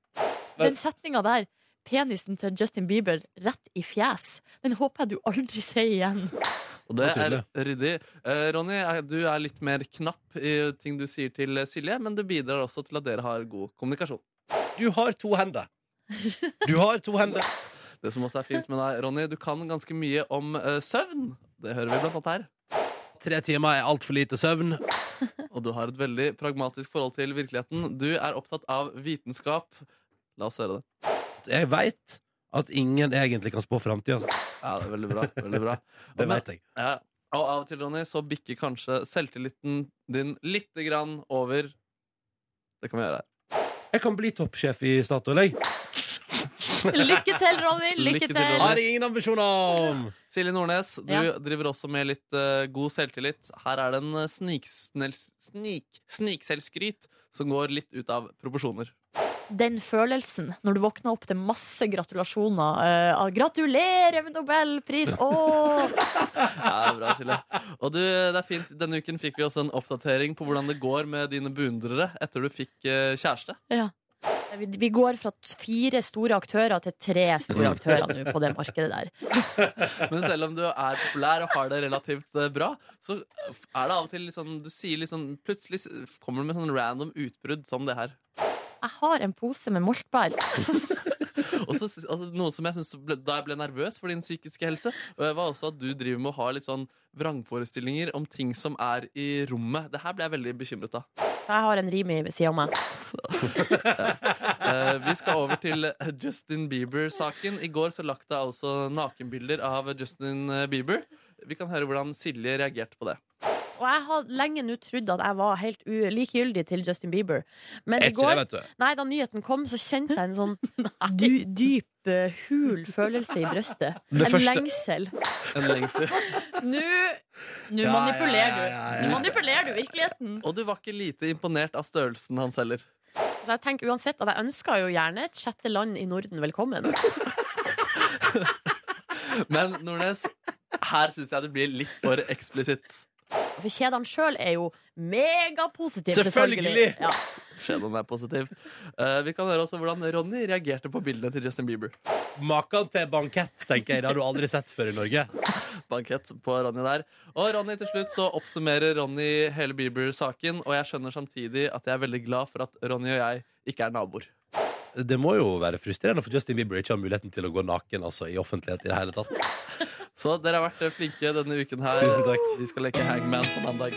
Den setninga der, penisen til Justin Bieber rett i fjes, den håper jeg du aldri sier igjen.
Og det
Det var
er ryddig. Eh, Ronny, eh, du er litt mer knapp i ting du sier til Silje, men du bidrar også til at dere har god kommunikasjon.
Du har to hender. Du har to hender.
Det som også er fint med deg, Ronny, du kan ganske mye om eh, søvn. Det hører vi blant annet her.
Tre timer er altfor lite søvn.
Og du har et veldig pragmatisk forhold til virkeligheten. Du er opptatt av vitenskap. La oss høre det.
Jeg veit at ingen egentlig kan spå framtida.
Ja, det er veldig bra. Veldig bra.
Det vet jeg.
Ja. Og av og til, Ronny, så bikker kanskje selvtilliten din lite grann over Det kan vi gjøre her.
Jeg kan bli toppsjef i Statoil, jeg.
Lykke til, Ronny. Lykke
Lykke til,
til.
Ronny.
Har jeg ingen ambisjoner om!
Silje Nordnes, du
Ja.
driver også med litt eh, god selvtillit. Her er det en eh, sniksnell- snik, snikselvskryt som går litt ut av proporsjoner.
Den følelsen når du våkner opp til masse gratulasjoner. eh, av 'Gratulerer med nobelpris!' Åh!
Ja, det er bra, Silje. Og du, det er fint. Denne uken fikk vi også en oppdatering på hvordan det går med dine beundrere etter du fikk eh, kjæreste.
Vi, vi går fra t- fire store aktører til tre store
Mm.
aktører nå på det markedet der.
Men selv om du er populær og har det relativt eh, bra, så er det av og til litt sånn Du sier litt sånn Plutselig s- kommer du med sånn random utbrudd som det her.
Jeg har en pose med moltbær.
Og så, altså, noe som jeg synes ble, Da jeg ble nervøs for din psykiske helse, øh, var også at du driver med å ha litt sånn vrangforestillinger om ting som er i rommet. Det her ble jeg veldig bekymret av.
Jeg har en Rimi ved sida av meg.
Eh, vi skal over til eh, Justin Bieber-saken. I går så lagt jeg altså nakenbilder av Justin eh, Bieber. Vi kan høre hvordan Silje reagerte på det.
Og jeg har lenge nå trodd at jeg var helt u- likegyldig til Justin Bieber. Men
Er
i
ikke det,
går,
vet du.
nei, da nyheten kom, så kjente jeg en sånn dy, dyp, eh, hul følelse i brøstet.
Det
En
første-
lengsel.
En lengsel.
Nå nå
Ja,
manipulerer
ja,
du.
ja, ja, ja.
Nå manipulerer du virkeligheten.
Og du var ikke lite imponert av størrelsen hans heller.
Så jeg tenker uansett at jeg ønsker jo gjerne et sjette land i Norden velkommen.
Men Nordnes, her syns jeg det blir litt for eksplisitt.
For kjedene sjøl er jo megapositive, selvfølgelig.
Selvfølgelig.
Ja.
Skjeden er positiv. Eh, vi kan høre også hvordan Ronny reagerte på bildene til Justin Bieber.
Maken til bankett, tenker jeg. Det har du aldri sett før i Norge.
Bankett på Ronny der. Og Ronny til slutt så oppsummerer Ronny hele Bieber-saken, og jeg skjønner samtidig at jeg er veldig glad for at Ronny og jeg ikke er naboer.
Det må jo være frustrerende for Justin Bieber ikke har muligheten til å gå naken altså, i offentlighet i det hele tatt.
Så dere har vært flinke denne uken her.
Tusen takk.
Vi skal leke hangman på mandag.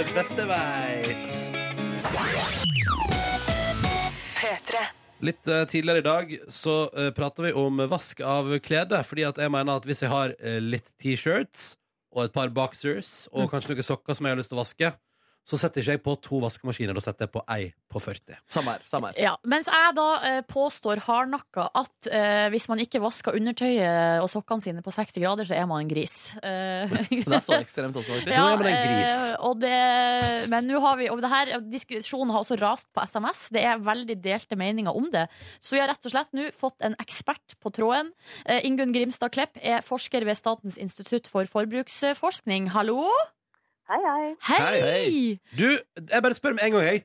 Det beste veit. Litt eh, tidligere i dag så uh, prata vi om vask av klede, fordi at jeg mener at hvis jeg har eh, litt T-shirts og et par boxers og kanskje noen sokker som jeg har lyst til å vaske, så setter ikke jeg på to vaskemaskiner, da setter jeg på ei på 40.
Samme her. samme her.
Ja, mens jeg da eh, påstår hardnakka at eh, hvis man ikke vasker undertøyet og sokkene sine på 60 grader, så er man en gris. Eh,
Men det er så ekstremt også, faktisk.
Ja. er man en gris.
eh, og det, men nå har vi Og det her diskusjonen har også rast på SMS. Det er veldig delte meninger om det. Så vi har rett og slett nå fått en ekspert på tråden. Eh, Ingunn Grimstad Klepp er forsker ved Statens institutt for forbruksforskning. Hallo!
Hei, hei.
Hei!
Hei. Du, jeg bare spør med en gang, jeg.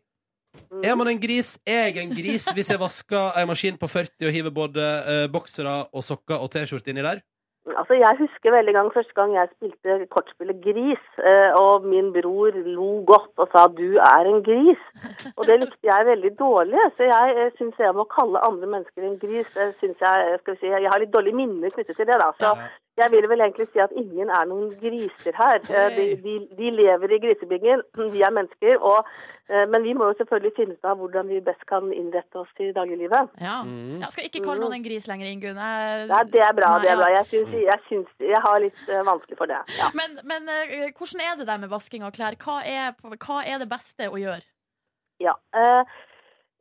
Er man en gris? Er jeg en gris hvis jeg vasker ei maskin på 40 og hiver både eh, boksere og sokker og T-skjorte inni der?
Altså, jeg husker veldig gang første gang jeg spilte kortspillet Gris, eh, og min bror lo godt og sa 'du er en gris'. Og det likte jeg veldig dårlig, så jeg eh, syns jeg må kalle andre mennesker en gris. Jeg, synes jeg, eh, skal vi si, jeg har litt dårlige minner knyttet til det, da. Så jeg vil vel egentlig si at ingen er noen griser her. Eh, De, de, de lever i grisebingen, de er mennesker. Og, eh, men vi må jo selvfølgelig finne ut av hvordan vi best kan innrette oss i dagliglivet.
Ja. Jeg skal ikke kalle noen en gris lenger, Ingunn.
Nei,
Jeg-
det er bra.
Nei,
det
ja.
er bra. Jeg, syns, jeg, syns, jeg har litt eh, vanskelig for det. Ja.
Men, men eh, hvordan er det der med vasking av klær? Hva er, hva er det beste å gjøre?
ja. Eh,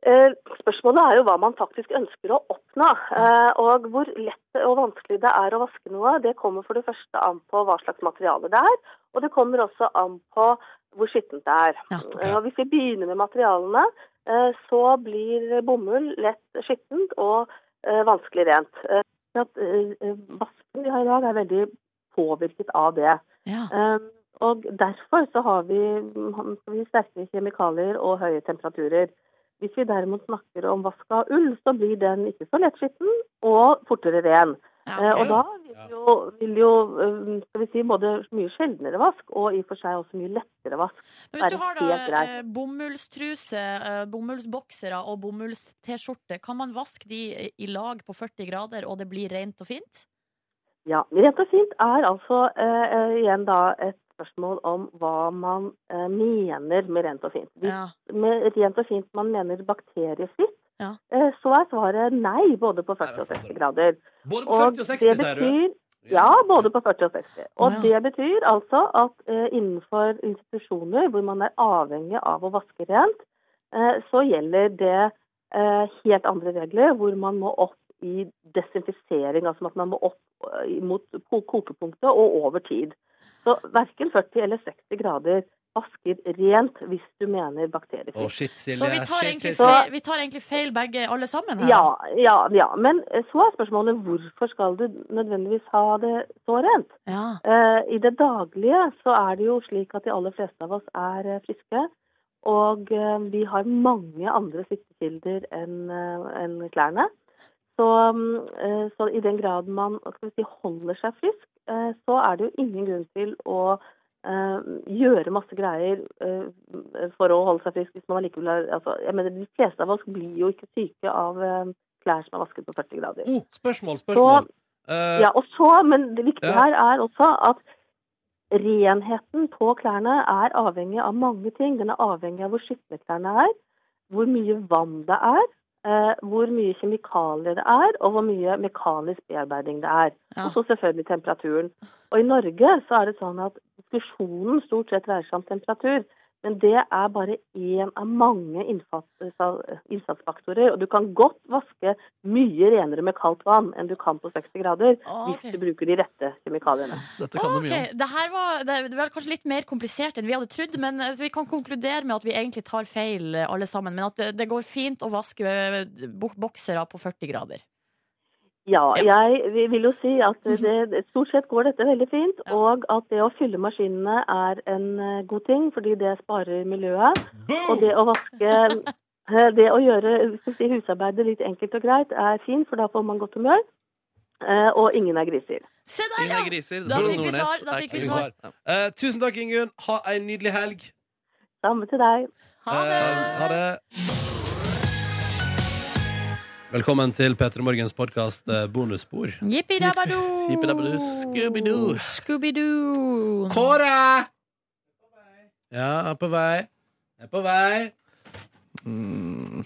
eh, spørsmålet er jo hva man faktisk ønsker å oppnå. Eh, og hvor lett og vanskelig det er å vaske noe, det kommer for det første an på hva slags materiale det er. Og det kommer også an på hvor skittent det er.
Ja.
Eh, og hvis vi begynner med materialene, eh, så blir bomull lett skittent og eh, vanskelig rent. Eh, at, eh, vasken vi har i dag er veldig påvirket av det.
Ja.
Eh, Og derfor så har vi, har vi sterkere kjemikalier og høye temperaturer. Hvis vi derimot snakker om vask av ull, så blir den ikke så lett skitten og fortere ren. Eh, Og da vil jo, vil jo eh, skal vi si, både mye sjeldnere vask og i og for seg også mye lettere vask.
Men hvis du
er
har da
helt greit.
eh, bomullstruse, eh, bomullsboksere og bomulls-T-skjorte, kan man vaske de eh, i lag på 40 grader, og det blir rent og fint?
Ja, Rett og fint er altså eh, eh, igjen da et spørsmål om hva man eh, mener med rent og fint. Hvis
Ja.
med rent og fint man mener bakteriefritt,
Ja.
eh, så er svaret nei både på
Nei,
40 og
det er
60 grader.
Både på
Og
40 og 60,
det
sier du?
betyr, ja, både på 40 og 60. Og
Å,
det betyr altså at eh, innenfor institusjoner hvor man er avhengig av å vaske rent, eh, så gjelder det eh, helt andre regler, hvor man må opp i desinfisering, altså at man må opp eh, mot ko- kokepunktet og over tid. Så verken 40 eller 60 grader vasker rent hvis du mener
Å,
bakteriefritt.
shit, Silje.
Så vi tar
Shit,
egentlig
shit, shit.
feil, vi tar egentlig feil begge, alle sammen? Her,
Ja,
da.
ja, ja. Men eh, så er spørsmålet hvorfor skal du nødvendigvis ha det så rent?
ja.
Eh, I det daglige så er det jo slik at de aller fleste av oss er eh, friske. Og eh, vi har mange andre smittekilder enn eh, enn klærne. Så, mm, eh, så i den grad man hva skal vi si, holder seg frisk, eh, så er det jo ingen grunn til å eh, gjøre masse greier eh, for å holde seg frisk hvis man allikevel er altså, jeg mener, De fleste av oss blir jo ikke syke av eh, klær som er vasket på 40 grader.
Oh, spørsmål, spørsmål. Eh,
Ja, og så, men det viktige
Ja.
her er også at renheten på klærne er avhengig av mange ting. Den er avhengig av hvor skitne klærne er, hvor mye vann det er, eh, hvor mye kjemikalier det er, og hvor mye mekanisk bearbeiding det er.
Ja.
Og så selvfølgelig temperaturen. Og i Norge så er det sånn at diskusjonen stort sett dreier seg om temperatur. Men det er bare én av mange innsats- innsatsfaktorer. Og du kan godt vaske mye renere med kaldt vann enn du kan på 60 grader
Ah, ok.
hvis du bruker de rette kjemikaliene.
Dette kan du mye om.
Ok, Det her var, det det var kanskje litt mer komplisert enn vi hadde trodd, men eh, så vi kan konkludere med at vi egentlig tar feil eh, alle sammen. Men at det, det går fint å vaske eh, bo- boksere på 40 grader.
Ja,
Ja. Mhm.
jeg vi- vil jo si at det, det- stort sett går dette veldig fint.
Ja.
Og at det å fylle maskinene er en eh, god ting, fordi det sparer miljøet. Og det å vaske eh, Det å gjøre skal vi si, husarbeidet litt enkelt og greit er fint, for da får man godt humør. eh, Og ingen er griser.
Se der,
Ingen
ja!
er griser.
Da
Bro
fikk vi
Nordnes
svar, da
er
fikk vi
kul.
svar.
Ja.
eh, tusen takk, Ingunn. Ha ei nydelig helg.
Samme til deg.
Ha det!
Eh, ha det. Velkommen til P3 Morgens eh, podkast Bonusspor.
Jippi dabadu!
Jippi-dabadu, Scooby-Doo.
Scooby-Doo.
Kåre! Ja, er på vei. Er på vei.
Mm.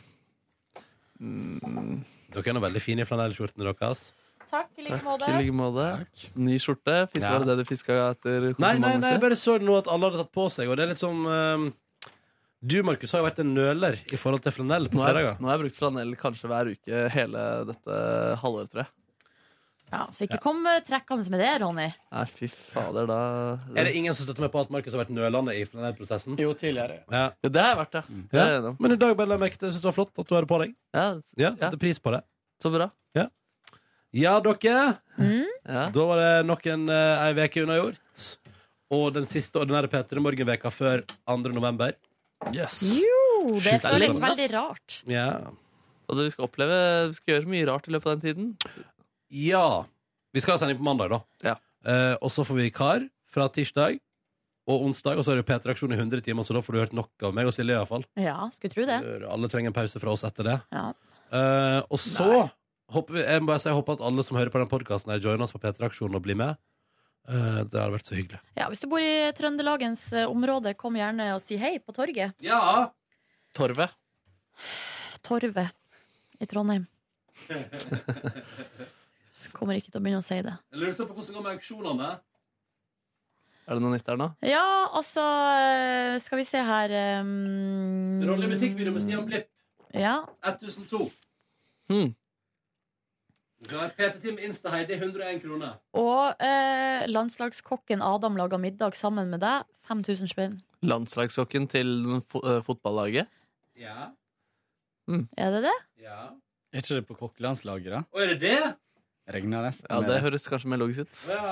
Dere er nå veldig fine i flanellskjortene deres.
Takk i like
Takk i
måte.
like måte. Ny skjorte. Fisk,
Ja.
Var det det du fiska etter?
Nei, nei, nei,
konfirmasjonsmessig?
jeg bare så nå at alle hadde tatt på seg, og det er litt som ehm, Du, Markus, har jo vært en nøler i forhold til flanell på
Nå har, jeg,
fredager.
nå har jeg brukt flanell kanskje hver uke hele dette halvåret, tror jeg.
Ja, så ikke kom eh, trekkende med det, Ronny.
Nei, fy fader, da
Er det ingen som støtter meg på at Markus har vært nølende i flanellprosessen?
Jo, tidligere.
Ja.
Jo, det har jeg vært, ja. Det
Ja.
er jeg enig om.
Men i dag bare la jeg merke til jeg synes det var flott at du har det på deg.
Ja,
Ja,
ja,
Setter pris på det.
så bra.
Ja, dere.
Ja.
Da var det nok en eh, ei uke unnagjort. Og den siste ordinære P3 Morgen-veka før 2. november.
Jo, Oh, det
Sjukt.
føles
Det er
veldig
lenge, ass.
rart.
Ja.
Og det vi skal oppleve Vi skal gjøre så mye rart i løpet av den tiden.
ja. Vi skal ha sending på mandag, da.
Ja.
Eh, og så får vi kar fra tirsdag og onsdag. Og så er det P3 Aksjon i 100 timer, så da får du hørt nok av meg og Silje. i hvert fall
Ja, skulle tro det.
Alle trenger en pause fra oss etter det.
Ja.
Eh, og så håper vi, jeg må bare si jeg håper at alle som hører på den podkasten, joiner oss på P3 Aksjon og blir med. Eh, det hadde vært så hyggelig.
Ja, Hvis du bor i Trøndelagens eh, område, kom gjerne og si hei på torget.
Ja!
Torvet.
Torvet i Trondheim. Kommer ikke til å begynne å si det.
Jeg lurer så på hvordan det går med auksjonene.
Er det noe nytt der nå?
Ja, altså eh, Skal vi se her um,
Rolle musikkvideo med Stian Blipp.
Ja.
1002.
Hmm.
PT-team Insta-Heidi 101 kroner.
Og eh, landslagskokken Adam laga middag sammen med deg. 5000 spenn.
Landslagssokken til fo eh, fotballaget.
Ja.
Er det det?
Ja.
Er ikke det på kokkelandslaget, da?
Og er det det?
Regner nesten
Ja,
med
Det
det.
høres kanskje mer logisk ut.
Ja.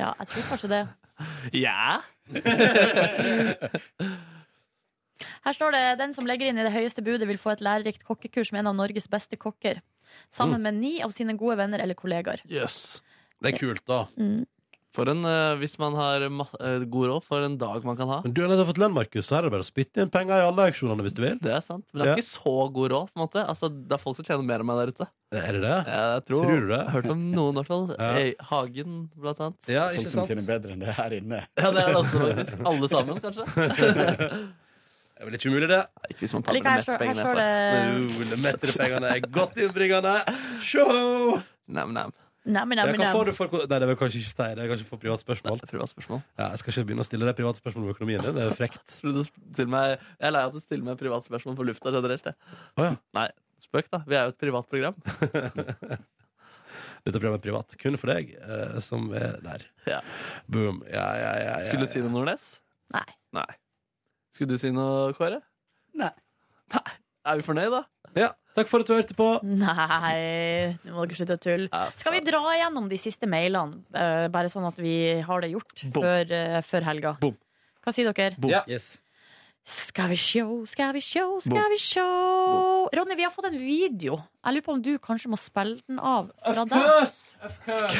Ja, jeg tror kanskje det.
Ja!
Her står det den som legger inn i det høyeste budet, vil få et lærerikt kokkekurs med en av Norges beste kokker. Sammen med ni av sine gode venner eller kollegaer.
Jøss. Yes.
Det er kult, da.
Mm.
For en, eh, hvis man har ma eh, god råd, for en dag man kan ha.
Men du har nettopp fått lønn, Markus, så her er det bare å spytte inn penger i alle auksjonene hvis du vil.
Det er sant. Men det er
Ja.
ikke så god råd. på en måte Altså, Det er folk som tjener mer enn meg der ute.
Er det det?
Jeg tror,
Tror du det?
Jeg har hørt om noen, i hvert fall.
Ja.
Eh, Hagen, blant annet.
Ja,
Folk sånn som tjener bedre enn det her inne.
Ja, det er det også, faktisk. Alle sammen, kanskje.
Det er vel ikke umulig, det.
Nei, Ikke hvis man
Jeg
tar med de meste
liker her, står- her
pengene.
står
jeg får.
det
Metterpengene er godt innbringende. Show!
Nam, nam.
Nei, men, nei,
Ja,
men,
hva
nei.
får du for Nei, det vil jeg kanskje ikke si. Det er kanskje for privat
Nei,
spørsmål.
det er privat spørsmål.
Ja, jeg skal ikke begynne å stille deg private spørsmål om økonomien. Det er frekt.
Tror du du stiller meg, jeg er lei av at du stiller meg privatspørsmål på lufta generelt. jeg.
Å, ja.
Nei, Spøk, da. Vi er jo et privat program.
Dette programmet er privat. Kun for deg eh, som er der.
Ja.
Boom. Ja, ja, ja, ja,
Skulle du si
ja.
noe, Nordnes?
Nei.
Nei. Skulle du si noe, Kåre?
Nei.
Nei. Er vi fornøyd, da?
ja. Takk for at du hørte på.
Nei, nå må dere slutte å tulle. Skal vi dra igjennom de siste mailene, eh, bare sånn at vi har det gjort
Bom.
før, eh, før helga?
Bom.
Hva sier dere?
Bom. Ja.
Yes.
Skal vi sjå, skal vi sjå, skal vi sjå Ronny, vi har fått en video. Jeg lurer på om du kanskje må spille den av fra deg.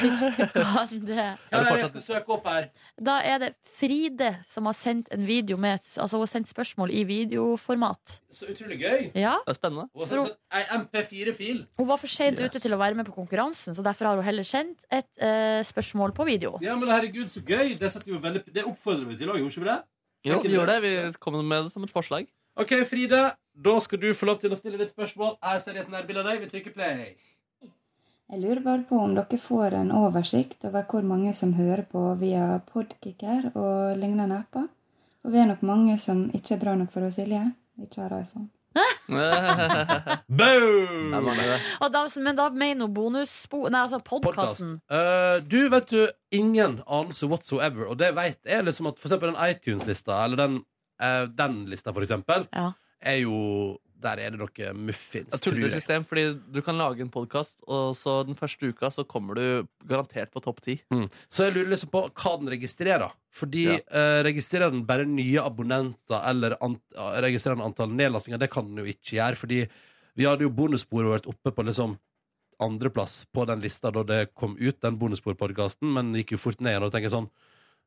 Hvis du kan det.
Er det fortsatt...
søke opp her.
Da er det Fride som har sendt en video med et- Altså hun har sendt spørsmål i videoformat.
Så utrolig gøy.
Ja,
Det er spennende.
Hun
sendt For-
ei MP4-fil.
Hun var for sent
Yes.
ute til å være med på konkurransen, så derfor har hun heller sendt et eh, spørsmål på video.
Ja, men herregud, så gøy. Det, oppfordrer vi til òg, gjorde ikke det?
Jo, vi gjorde det. Vi kom med det som et forslag.
OK, Fride. Da skal du få lov til å stille ditt spørsmål. Her ser jeg et nærbilde av deg. Vi trykker play.
Jeg lurer bare på om dere får en oversikt over hvor mange som hører på via Podkicker og lignende apper. Og vi er nok mange som ikke er bra nok for oss, Silje. Ikke har iPhone.
Der
Boom!
var det.
Og da, men da mener hun bonusspor... Nei, altså podkasten.
Eh, du, vet du, ingen anelse whatsoever. Og det jeg vet, er liksom at for eksempel den iTunes-lista, eller den, eh, den lista, for eksempel,
Ja.
er jo Der er det noe muffins,
Jeg tullete system, fordi du kan lage en podkast, og så den første uka så kommer du garantert på topp ti.
Så jeg lurer liksom på hva den registrerer. Fordi
Ja.
eh, registrerer den bare nye abonnenter, eller ant eh, registrerer den antall nedlastinger? Det kan den jo ikke gjøre, fordi vi hadde jo bonussporet vært oppe på liksom andreplass på den lista da det kom ut, den bonussporpodkasten, men gikk jo fort ned igjen. Og da tenker jeg sånn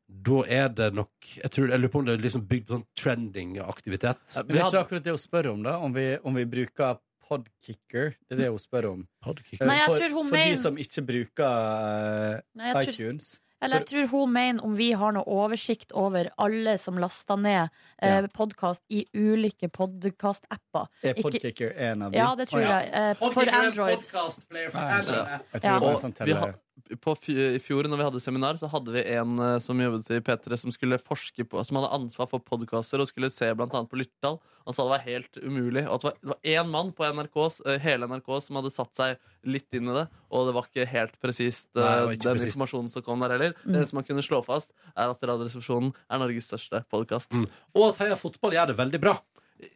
Da er det nok Jeg, tror, jeg lurer på om det er liksom bygd på sånn trending-aktivitet.
Men det er ikke akkurat det hun spør om, da. Om vi, om vi bruker podkicker. Det er det hun spør om.
Podkick.
Eh,
Nei, jeg
for,
tror hun
for
mener-
de som ikke bruker
Nei,
eh,
jeg tror,
iTunes.
eller jeg tror hun mener om vi har noe oversikt over alle som lasta ned eh, podkast i ulike podkast-apper.
Er
Ikke-
podkicker en av de?
Ja, det tror
Å, ja.
jeg. Eh, for Android.
Nei, jeg skjønner. Jeg tror
Ja.
det var en
Og
sånn
vi
telle.
har- På fj- I fjor når vi hadde seminar, så hadde vi en eh, som jobbet i P3 som skulle forske på, som hadde ansvar for podkaster og skulle se blant annet på Lyttdal. Han sa det var helt umulig. Og at det var- det var én mann på NRKs, eh, hele NRK som hadde satt seg litt inn i det, og det var ikke helt presist eh,
Nei, det var ikke
den
presist.
informasjonen som kom der heller. Det eneste man kunne slå fast, er at Radioresepsjonen er Norges største podkast.
Mm. Og at Heia Fotball gjør det veldig bra.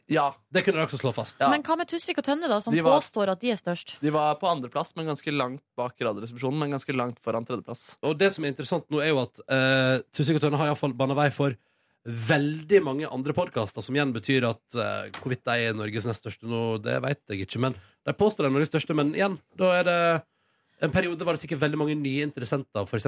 Ja,
Det kunne dere også slå fast.
Ja.
Men hva med Tusvik og Tønne, da, som
De var-
påstår at de er størst?
de var på andreplass, men ganske langt bak Radioresepsjonen, men ganske langt foran tredjeplass.
Og det som er interessant nå er jo at uh, Tusvik og Tønne har iallfall banna vei for veldig mange andre podkaster, som igjen betyr at eh, hvorvidt de er Norges nest største nå, det vet jeg ikke. Men de påstår de er Norges største, men igjen, da er det en periode var det sikkert veldig mange nye interessenter, f.eks.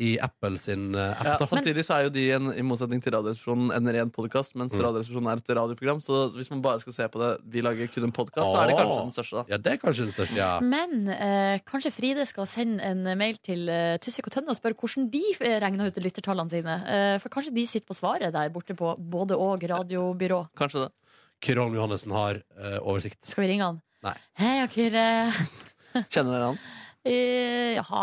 i Apple sin eh,
Ja,
app. da.
samtidig så er jo de en, i motsetning til Radioresepsjonen en ren podkast, mens
Mm.
Radioresepsjonen er et radioprogram. Så hvis man bare skal se på det, vi lager kun en podkast, så er det kanskje
Ah.
den største, da.
Ja, det er kanskje den største, ja.
Men eh, kanskje Fride skal sende en mail til eh, Tusvik og Tønne og spørre hvordan de regna ut lyttertallene sine. Eh, for kanskje de sitter på svaret der borte på både og radiobyrå.
Kanskje det.
Kyrholm Johannessen har eh, oversikt.
Skal vi ringe han?
Nei.
Hei, og Kyrre.
Kjenner dere han?
Eh, ja hva,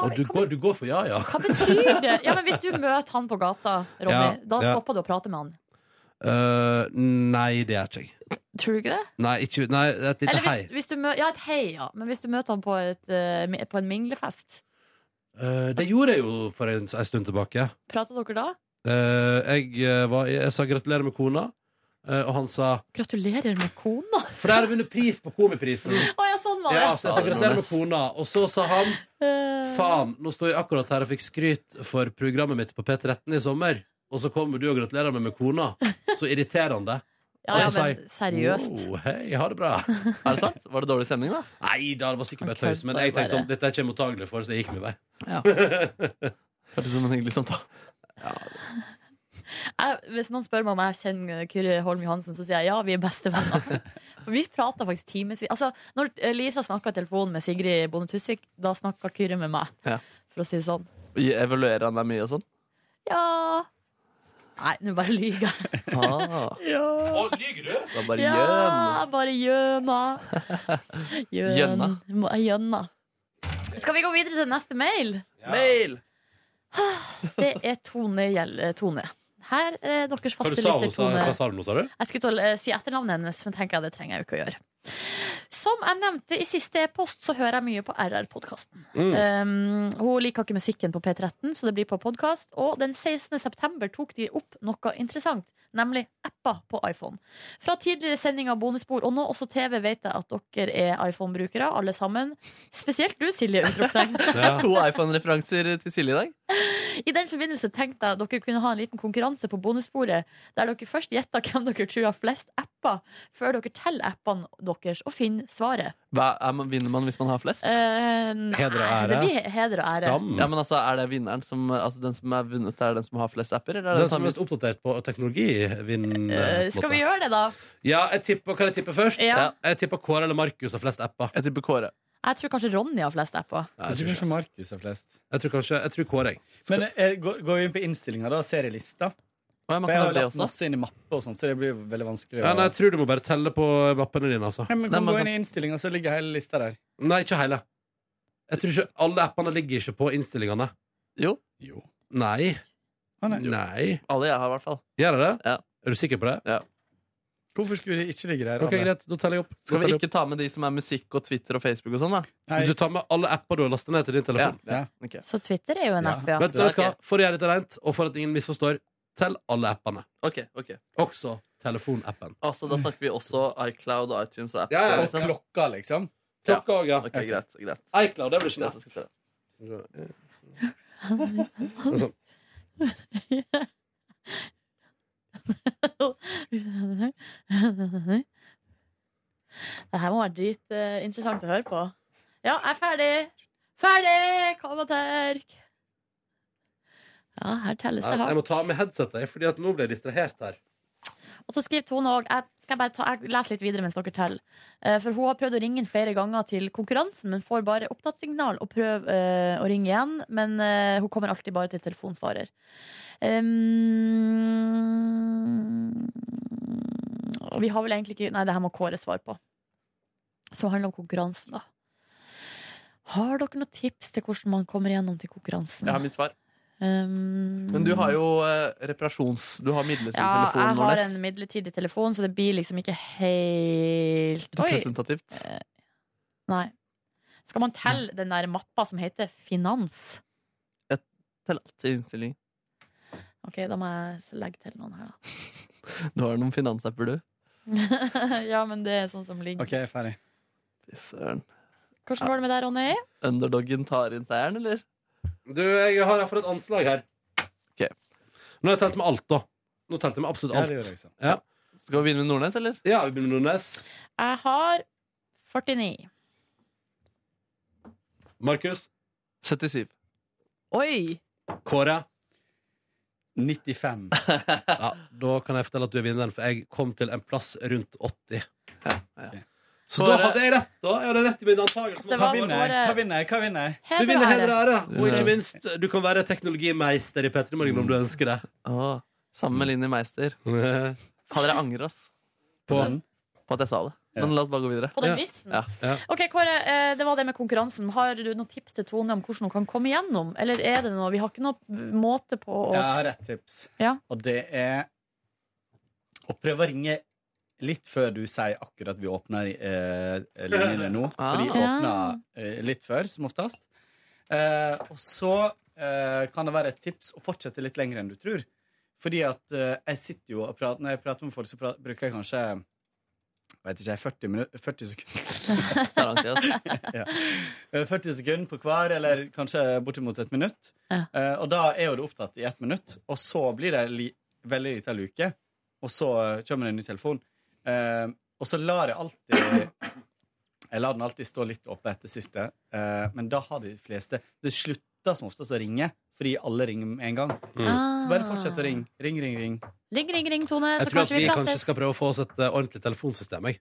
Og du
hva,
går, du går for ja, ja.
hva betyr det? Ja, men Hvis du møter han på gata, Ronny,
Ja,
da
ja.
stopper du å prate med han.
Eh, nei, det er ikke jeg.
Tror du ikke det?
Nei, ikke, nei et lite
Eller
hei.
hvis, hvis du møter, ja, et hei, ja. Men hvis du møter han på, et, eh, mi- på en minglefest,
Eh, det gjorde jeg jo for en, en stund tilbake.
prater dere da?
Eh, jeg, eh, var, jeg sa gratulerer med kona, eh, og han sa
Gratulerer med kona!
For der har jeg vunnet pris på Komiprisen!
Å ja, sånn var det.
Ja, så jeg sa gratulerer med kona, og så sa han
Eh,
faen, nå står jeg akkurat her og fikk skryt for programmet mitt på P13 i sommer, og så kommer du og gratulerer meg med kona. Så irriterende.
Ja,
Og
ja,
så sa jeg,
men seriøst.
Wow, Oh, hei, ha det bra.
Er det sant? Var det dårlig stemning, da?
Nei da, det var sikkert bare
Han
tøys, men
kødda
jeg tenkte
bare.
sånn, dette er ikke jeg mottagelig for, så jeg gikk min vei.
Hørtes ut som en hyggelig samtale.
Jeg, hvis noen spør meg om jeg kjenner Kyrre Holm Johansen, så sier jeg ja, vi er bestevenner. For vi prater faktisk timevis. Altså, når Lisa snakka i telefonen med Sigrid Bonde Tusvik, da snakka Kyrre med meg.
Ja.
For å si det sånn.
Vi Evaluerer han deg mye og sånn?
Ja Nei, nå bare lyver jeg.
Ah, det var bare gjøn.
Ja, bare gjøna. Gjøn-
Gjønna.
Må- Gjønna. Skal vi gå videre til neste mail? Ah,
Mail!
Det er Tone Gjell... Tone. Her er deres
Hva
faste
du sa
lytter,
hun, sa,
Tone.
hva sa hun, nå, sa du?
Jeg skulle til å eh, si etternavnet hennes, men tenker jeg det trenger jeg jo ikke å gjøre. Som jeg nevnte i siste e-post, så hører jeg mye på RR-podkasten.
Mm.
Um, hun liker ikke musikken på P13, så det blir på podkast. Og den 16. september tok de opp noe interessant, nemlig apper på iPhone. Fra tidligere sending av Bonusbord, og nå også TV, vet jeg at dere er iPhone-brukere, alle sammen. Spesielt du, Silje Utropstegn.
To iPhone-referanser til Silje i dag.
I den forbindelse tenkte jeg at dere kunne ha en liten konkurranse på bonussporet, der dere først gjetter hvem dere tror har flest apper, før dere teller appene deres og finner svaret.
Hva er man, vinner man hvis man har flest?
Eh, nei,
Heder og ære.
det blir heder og ære.
Ja, men altså, Er det vinneren som altså, Den som er vunnet, er den som har flest apper? Eller er
Den som er mest oppdatert på teknologi, vinner.
Eh, skal vi gjøre det, da?
Ja, jeg tipper, Kan jeg tippe først?
Ja. Ja.
Jeg tipper Kåre eller Markus har flest apper.
Jeg tipper Kåre.
Jeg tror kanskje Ronny har flest apper.
Jeg tror kanskje Markus er flest.
Jeg tror kanskje, jeg tror Kåre.
Men eh, går, går vi inn på innstillinga, da? Serielista?
For
man
jeg
kan
har
ha det
lagt
også.
masse inn i mappe og sånn, så det blir veldig vanskelig å
Ja, nei, jeg tror du må bare telle på mappene dine, altså.
Nei, men kan gå inn i innstillinga, så ligger hele lista der.
Nei, ikke hele. Jeg tror ikke alle appene ligger ikke på innstillingene.
Jo.
Nei.
Ah, nei.
Nei.
Alle jeg har, i hvert fall.
Gjør det det? Er du sikker på det?
Hvorfor skulle det ikke ligge der?
Ok,
Anne?
greit. Da teller jeg opp. Da
Skal
teller
vi
jeg
ikke ta med de som er musikk og Twitter og Facebook og sånn, da?
Nei. Du tar med alle apper du har lastet ned til din telefon.
Ja.
Så Twitter er jo en app, ja.
Men, vet du hva? For å gjøre dette rent, og for at ingen misforstår, tell alle appene.
Ok, ok
Også telefonappen.
Altså, Da snakker vi også iCloud og iTunes og
Ja, ja,
AppStore.
og
klokka, liksom.
Klokka òg, ja.
Ok, greit, greit.
iCloud, det blir ikke
det. skal
til.
Og
sånn.
Det her må være dritinteressant å høre på. Ja, jeg er ferdig. Ferdig! Kom og tørk! Ja, her telles det
Nei, Jeg må
hardt.
ta med headsetet, jeg, fordi at nå ble jeg distrahert her.
Og så skriver Tone òg jeg, skal bare ta- jeg leser litt videre mens dere teller. Eh, For hun har prøvd å ringe inn flere ganger til konkurransen, men får bare opptattsignal og prøver eh, å ringe igjen. Men eh, hun kommer alltid bare til telefonsvarer. Um, og vi har vel egentlig ikke Nei, det her må Kåre svare på. Som handler om konkurransen, da. Har dere noen tips til hvordan man kommer gjennom til konkurransen?
Jeg har mitt svar.
Um,
Men du har jo eh, reparasjons... Du har midlertidig
ja,
telefon,
jeg har
Nordnes.
en midlertidig telefon, så det blir liksom ikke helt Oi!
Representativt.
Nei. Skal man telle den der mappa som heter finans?
Jeg teller alltid innstilling.
OK, da må jeg legge til noen her,
Du har noen finansapper, du.
da. ja, men det er sånn som ligger.
Ok, jeg er ferdig.
Fy søren.
Hvordan går det med deg, Ronny?
Underdoggen tar inn seieren, eller?
Du, jeg har her for et anslag her. Nå har jeg telt med alt, da. Nå telte jeg med absolutt
Ja,
alt.
det gjør jeg
liksom.
også.
Ja.
Skal vi begynne med Nordnes, eller?
Ja, vi begynner med Nordnes.
Jeg har 49.
Markus?
77.
Oi!
Kåre?
95.
ja, da kan jeg fortelle at du er vinneren, for jeg kom til en plass rundt 80. Så
For-
da hadde jeg rett, da. Jeg hadde rett i min antakelse.
Hva vinner jeg? Hva vinner jeg? Hva vinner jeg?
Du vinner heder og ære. Og
Ja.
ikke minst, du kan være teknologimeister i P3 Morgen om du ønsker det.
Åh, sammen med Linni Meister. Fader, jeg angrer, ass.
På,
på at jeg sa det. Men la oss bare gå videre.
På den vitsen?
Ja.
OK, Kåre, eh, det var det med konkurransen. Har du noen tips til Tone om hvordan hun kan komme gjennom? Eller er det noe Vi har ikke noen måte på å
Jeg har rett tips.
Ja.
Og det er å prøve å ringe litt før du sier akkurat vi åpner eh, linjene nå. For de
Ah.
åpner eh, litt før, som oftest. Eh, og så eh, kan det være et tips å fortsette litt lenger enn du tror. Fordi at eh, jeg sitter jo og prater Når jeg prater med folk, så pra- bruker jeg kanskje jeg vet ikke, 40, minu- 40 sekunder. ja. Eh, 40 sekunder på hver, eller kanskje bortimot et minutt. Eh, og da er jo det opptatt i ett minutt, og så blir det li veldig lita luke, og så eh, kommer det en ny telefon. Eh, og så lar jeg alltid Jeg lar den alltid stå litt oppe etter siste, eh, men da har de fleste Det slutter som oftest å ringe, fordi alle ringer med en gang. mm. Så bare fortsett å ringe. Ring, ring, ring.
Ah. Ring, ring, ring, Tone,
Jeg
så
tror at
kanskje
vi
vi
kanskje
prates.
skal prøve å få oss et eh, ordentlig telefonsystem, jeg.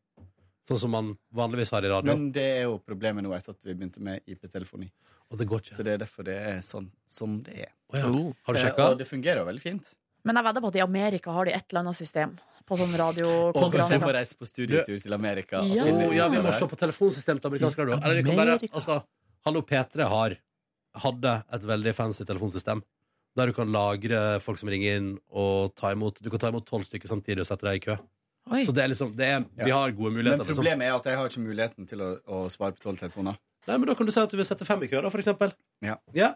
Sånn som man vanligvis har i radio.
Men det er jo problemet nå etter at vi begynte med IP-telefoni. Så det er derfor det er sånn som det er.
Å ja. Oh, har du
Eh,
sjekka?
Og det fungerer jo veldig fint.
Men jeg vedder på at i Amerika har de et eller annet system på sånn
Og kanskje jeg må
radiokonkurranse.
reise på studietur til Amerika. og
Ja.
finne ut
Oh, ja, vi
av
må
det.
se på telefonsystemet til amerikansk radio. Eller vi kan bare, altså, Hallo P3 har hadde et veldig fancy telefonsystem. Der du kan lagre folk som ringer inn, og ta imot. Du kan ta imot tolv stykker samtidig og sette deg i kø.
Oi.
Så det er liksom det er, Vi
Ja.
har gode
Men
muligheter. Liksom.
problemet er at jeg har ikke muligheten til å, å svare på tolv telefoner.
Nei, men Da kan du si at du vil sette fem i kø, da, for eksempel.
Ja.
Ja.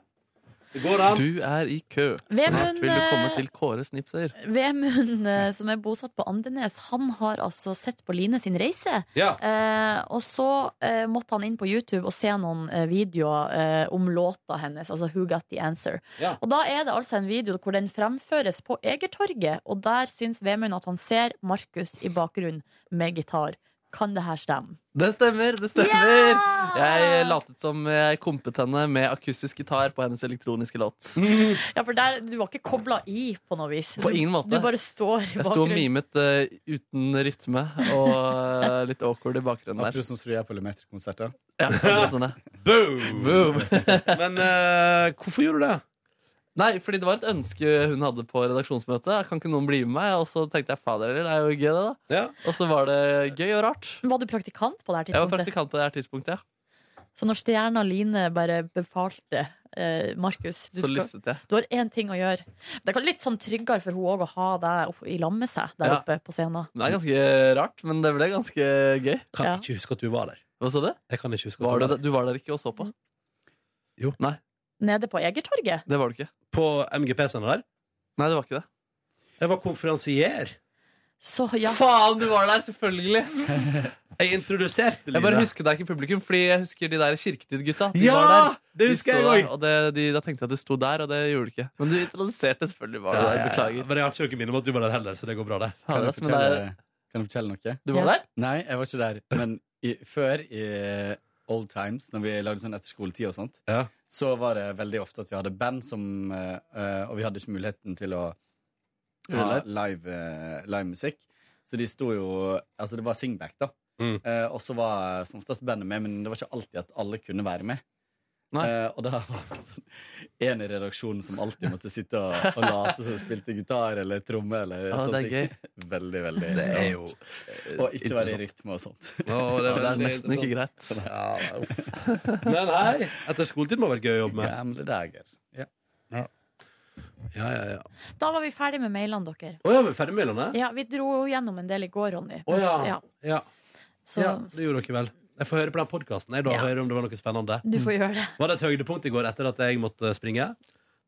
Det går an.
Du er i kø.
Vemund,
Snart vil du komme
eh,
til Kåre Snipser.
Vemund, eh, som er bosatt på Andenes, han har altså sett på Line sin reise.
Ja.
Eh, og så eh, måtte han inn på YouTube og se noen eh, videoer eh, om låta hennes, altså Who Got The Answer.
Ja.
Og da er det altså en video hvor den fremføres på Egertorget, og der syns Vemund at han ser Markus i bakgrunnen med gitar. Kan det her stemme?
Det stemmer, det stemmer! Jeg latet som jeg kompet henne med akustisk gitar på hennes elektroniske låt.
Ja, for der, du var ikke kobla i på noe vis.
På ingen måte.
Du bare står i
Jeg sto og
bakgrunnen.
mimet eh, uten rytme og eh, litt awkward i bakgrunnen der.
Akkurat sånn som du gjør på Lemeter-konserter.
Ja, det var sånn, ja.
Boom!
Boom.
Men eh, hvorfor gjorde du det?
Nei, fordi det var et ønske hun hadde på redaksjonsmøtet. Kan ikke noen bli med meg? Og så tenkte jeg fader, det er jo gøy, det, da.
Ja.
Og så var det gøy og rart.
Var du praktikant på det her
Jeg var
tidspunktet?
praktikant på det her tidspunktet, ja.
Så når stjerna Line bare befalte eh, Markus du,
Så
skal,
lystet jeg.
du har én ting å gjøre. Det er litt sånn tryggere for hun òg å ha deg opp, i lag med seg der
Ja.
oppe på scenen.
Det er ganske rart, men det ble ganske gøy.
Kan
Ja.
ikke huske at du var der.
Hva sa du?
Jeg kan ikke huske at
Var
du
du,
var
der- du var der ikke og så på?
Jo.
Nei,
Nede på Egertorget.
det var du ikke.
der. På MGP-scenen der.
Nei, det var ikke det.
Jeg var konferansier.
Så ja.
Faen, du var der, selvfølgelig!
Jeg introduserte
Jeg bare
Line.
husker deg ikke i publikum, fordi jeg husker de der Kirketid-gutta. De
Ja!
var der.
Det
De
husker
sto
jeg
der,
også.
og det, de, Da tenkte jeg at du sto der, og det gjorde du ikke. Men du introduserte selvfølgelig var du
Ja, ja,
der.
ja.
Beklager.
Men jeg har ikke noe minne om at du var der heller, så det går bra, det.
Fader,
Kan jeg
ass, men det
fortelle,
er-
kan jeg fortelle noe?
Du var
Ja.
der?
Nei, jeg var ikke der. Men i, før, i old times, når vi lagde sånn etterskoletid og sånt,
Ja.
så var det veldig ofte at vi hadde band som eh, eh, Og vi hadde ikke muligheten til å ha
Gjorde du det?
live, eh, live musikk. Så de sto jo Altså, det var singback, da.
Mm.
Eh, og så var som oftest bandet med, men det var ikke alltid at alle kunne være med.
Nei.
Eh, og da var det sånn en i redaksjonen som alltid måtte sitte og, og late som hun spilte gitar eller tromme eller
Ja,
sånne
det er
ting. Veldig, veldig
Det er jo
rart. Og ikke være i rytme og sånt.
Å,
Ja,
er
det er
veldig
nesten ikke
interessant.
greit.
Ja, uff. Men hei, etter skoletid må det ha vært gøy å jobbe med.
Gamle dager. Ja.
Ja, ja, ja.
Da var vi ferdig med mailene deres.
Å ja, vi er ferdig med mailene?
Ja, vi dro gjennom en del i går, Ronny.
Å ja.
Ja,
Ja.
så
ja, det gjorde dere vel. Jeg får høre på den podkasten da
Ja.
og høre om det var noe spennende.
du
Mm.
får gjøre det.
Var det et høydepunkt i går etter at jeg måtte springe?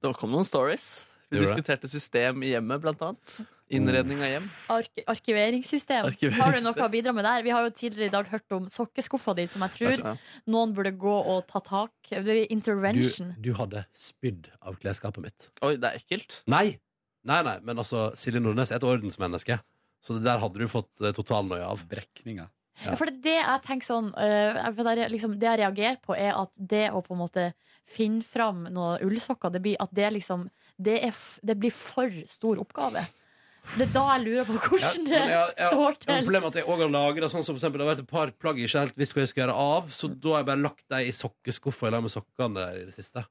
Det kom noen stories. Vi
Gjorde det?
diskuterte system i hjemmet, blant annet. Innredning av hjem.
Ark arkiveringssystem.
Arkiveringssystem.
Har du noe å bidra med der? Vi har jo tidligere i dag hørt om sokkeskuffa di, som jeg tror
Ja.
noen burde gå og ta tak. Det er
Du,
intervention.
du hadde spydd av klesskapet mitt.
Oi, det er ekkelt.
Nei! Nei, nei, men altså, Silje Nordnes er et ordensmenneske. Så det der hadde du fått eh, totalnøye av.
Brekninga.
Ja.
Ja. For det, er det jeg tenker sånn øh, for det, er liksom, det jeg reagerer på, er at det å på en måte finne fram noen ullsokker, det blir, at det, liksom, det, er, f- det blir for stor oppgave. Det er da jeg lurer på
Ja,
hvordan
men
det
jeg- jeg- jeg-
står
men
til.
Problemet er at jeg også har lagret sånn som for eksempel, Det har vært et par plagg jeg ikke helt visst hva jeg skal gjøre av, så da har jeg bare lagt dem i sokkeskuffa i lag med sokkene der i det siste.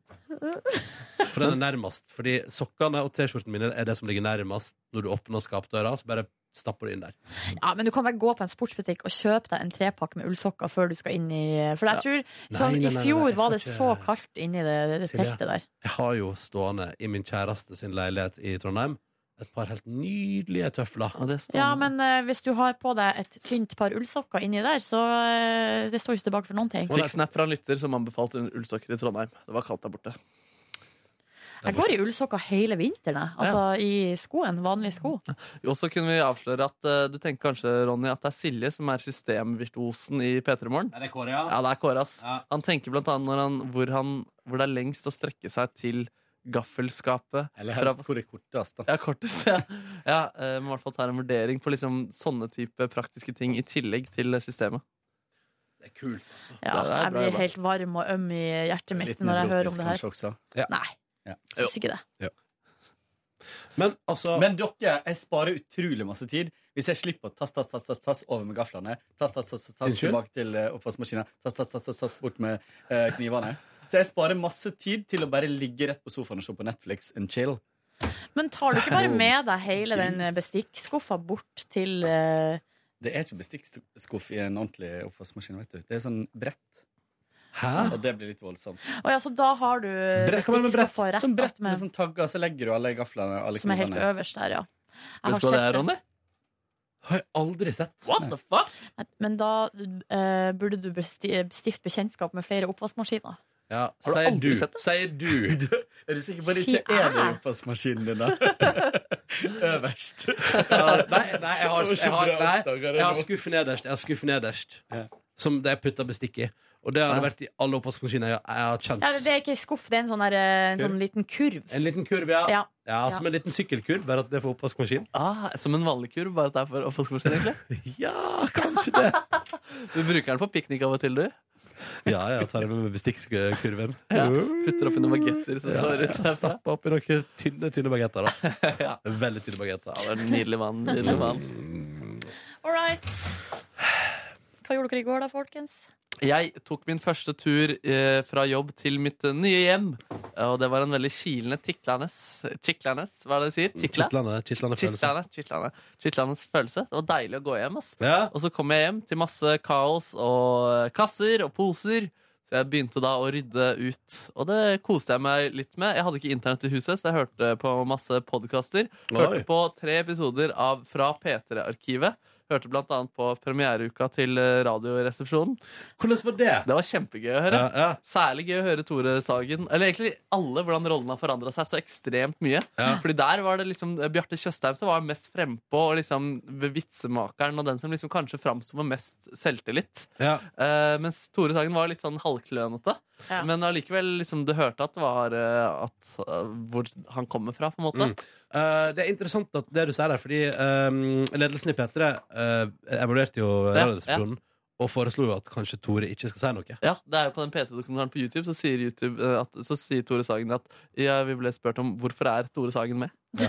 For den er nærmest. Fordi sokkene og T-skjorten mine er det som ligger nærmest når du åpner skapdøra. Så bare stapper du inn der.
Ja, men du kan vel gå på en sportsbutikk og kjøpe deg en trepakke med ullsokker før du skal inn i For jeg tror, sånn,
Nei, nei, nei, nei,
I fjor
jeg skal
var det
ikke-
så kaldt inni det, det
Silje.
teltet der.
Jeg har jo stående i min kjæreste sin leilighet i Trondheim et par helt nydelige tøfler.
Ja, det står-
Ja, men øh, hvis du har på deg et tynt par ullsokker inni der, så øh, det står ikke tilbake for noen ting.
Fikk snap fra en lytter som anbefalte ullsokker i Trondheim. Det var kaldt der borte.
Jeg går i ullsokker hele vinteren, jeg. altså i skoen, vanlige sko.
Og så kunne vi avsløre at eh, du tenker kanskje, Ronny, at det er Silje som er systemvirtuosen i P3 Morgen.
Er det Kåre, ja?
Ja, det er Kåre, ass.
Ja.
Han tenker blant annet når han, hvor, han, hvor det er lengst å strekke seg til gaffelskapet.
Eller
Fra-
helst hvor det er kortest, da.
Ja, kortest, ja. ja eh, men i hvert fall tar en vurdering på liksom sånne type praktiske ting i tillegg til systemet.
Det er kult, altså.
Ja,
Det er
jeg
bra
blir
jobba.
helt varm og øm i hjertet mitt
Litt
når jeg hører
nevrotisk
om det her.
kanskje også.
Nei,
Ja.
syns ikke det.
Men altså
Men dere, jeg sparer utrolig masse tid hvis jeg slipper å tass, tass, tass, tass, tass over med gaflene. Tass, tass, tass, tass, tass
Unnskyld?
tilbake til eh, oppvaskmaskinen. Tass, tass, tass, tass, tass bort med eh, knivene. Så jeg sparer masse tid til å bare ligge rett på sofaen og se på Netflix and chill.
Men tar du ikke bare med deg hele den bestikkskuffa bort til eh,
Det er ikke bestikkskuff i en ordentlig oppvaskmaskin, vet du. Det er sånn brett,
Hæ?
og det blir litt voldsomt.
Å ja, så da har du
hva mener du med brett?
bestikkskuffa rett
Sånn brett
opp
med
med,
sånn tagger, så legger du alle gaflene alle
som er helt
knivene.
øverst der, ja.
Vet
Jeg har
du hva det er,
sett det.
Ronny?
Har jeg aldri sett.
What the fuck?
Men da eh, burde du besti stifte bekjentskap med flere oppvaskmaskiner.
Ja,
Har du
sier
aldri
du,
sett det?
Sier du.
Er du sikker på at det
Si
ikke er
æ.
det i oppvaskmaskinen din, da? Øverst.
Ja, nei, nei, jeg har, jeg har, nei, jeg har
skutt
skuffen nederst. Jeg har skuffen nederst Som det jeg putter bestikk i. Og det har det vært i alle oppvaskmaskiner jeg, jeg har
Ja, det
kjent.
er ikke en skuff, det er en sånn, der, eh, en sånn liten kurv.
En liten kurv, ja.
Ja.
ja som en liten sykkelkurv, bare at det er for oppvaskmaskin.
Ah, som en vanlig kurv, bare at det er for oppvaskmaskin, egentlig.
Ja, kanskje det.
Du bruker den på piknik av og til, du.
Ja, jeg tar det med meg bestikkurven.
Ja. Putter oppi noen bagetter som står
Ja,
ute. herfra.
Stappe oppi noen tynne, tynne bagetter. Da.
Ja.
Veldig tynne bagetter.
Ja, det er en nydelig mann. Nydelig mann.
All right. Hva gjorde dere i går da, folkens?
Jeg tok min første tur eh, fra jobb til mitt eh, nye hjem. Og det var en veldig kilende, tiklende Tiklende, hva er det de sier? Tikla?
Kitlende, kitlende følelse.
Kitlende, kitlende, kitlende følelse. Det var deilig å gå hjem, ass.
Ja.
Og så kom jeg hjem til masse kaos og eh, kasser og poser. Så jeg begynte da å rydde ut, og det koste jeg meg litt med. Jeg hadde ikke internett i huset, så jeg hørte på masse podkaster. Hørte
Oi.
på tre episoder av fra P3-arkivet. Hørte blant annet på premiereuka til eh, Radioresepsjonen.
Hvordan var det?
Det var kjempegøy å høre.
Ja, ja.
Særlig gøy å høre Tore Sagen. Eller egentlig alle, hvordan rollen har forandra seg så ekstremt mye.
Ja.
Fordi der var det liksom eh, Bjarte Tjøstheim som var mest frempå, og liksom vitsemakeren og den som liksom kanskje framsto med mest selvtillit.
Ja.
Eh, mens Tore Sagen var litt sånn halvklønete.
Ja.
Men allikevel, liksom, du hørte at det var eh, at, eh, hvor han kommer fra, på en måte.
Mm. Eh, det er interessant at det du sier der, fordi eh, ledelsen i P3 eh, evaluerte jo
Ja,
Radioresepsjonen og foreslo jo at kanskje Tore ikke skal si noe.
Ja, det er jo På den P3-dokumentaren på YouTube så sier, YouTube, eh, at, så sier Tore Sagen at ja, vi ble spurt om hvorfor er Tore Sagen med.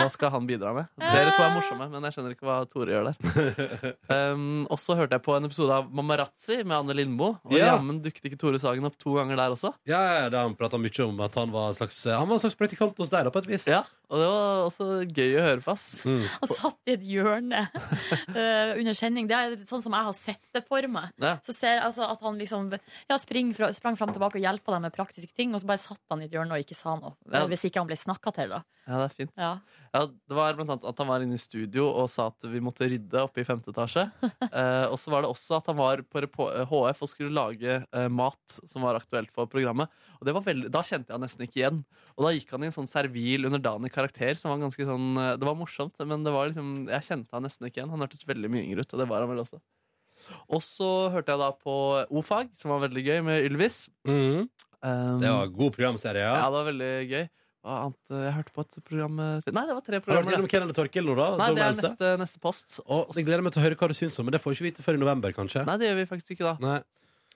Hva skal han bidra med? Dere to er morsomme, men jeg skjønner ikke hva Tore gjør der. Um, og så hørte jeg på en episode av Mamarazzi med Anne Lindmo. Og
Ja.
jammen dukket ikke Tore Sagen opp to ganger der også.
Ja, ja, da Han prata mye om at han var en slags, eh, han var en slags praktikant hos deg, da, på et vis.
Ja, Og det var også gøy å høre på. ass.
Mm.
Han satt i et hjørne eh, under sending. Det er sånn som jeg har sett det for meg.
Ja.
Så ser jeg altså at han liksom ja, spring fra, sprang fram og tilbake og hjelpa dem med praktiske ting, og så bare satt han i et hjørne og ikke sa noe.
Ja.
Hvis ikke han ble snakka til, da.
Ja, det er fint.
Ja.
Ja, det var blant annet at han var inne i studio og sa at vi måtte rydde oppe i femte etasje. Eh, og så var det også at han var på repo- eh, HF og skulle lage eh, mat som var aktuelt for programmet. Og det var veldig, Da kjente jeg han nesten ikke igjen. Og da gikk han i en sånn servil underdanig karakter som var ganske sånn eh, Det var morsomt, men det var liksom, jeg kjente han nesten ikke igjen. Han hørtes veldig mye yngre ut, og det var han vel også. Og så hørte jeg da på O-fag, som var veldig gøy, med Ylvis.
Mm.
Um,
Det var en god programserie.
ja,
Ja.
det var veldig gøy. Hva annet? Jeg hørte på et program eh, Nei, det var tre
Har du hørt
programmer. ja.
gjennom Kenan og Torkil nå, da?
Nei,
Dom
det er
Else?
neste, neste post.
Og jeg gleder meg til å høre hva du syns om, men det får jeg ikke vite før i november, kanskje.
Nei, det gjør vi faktisk ikke da.
Nei.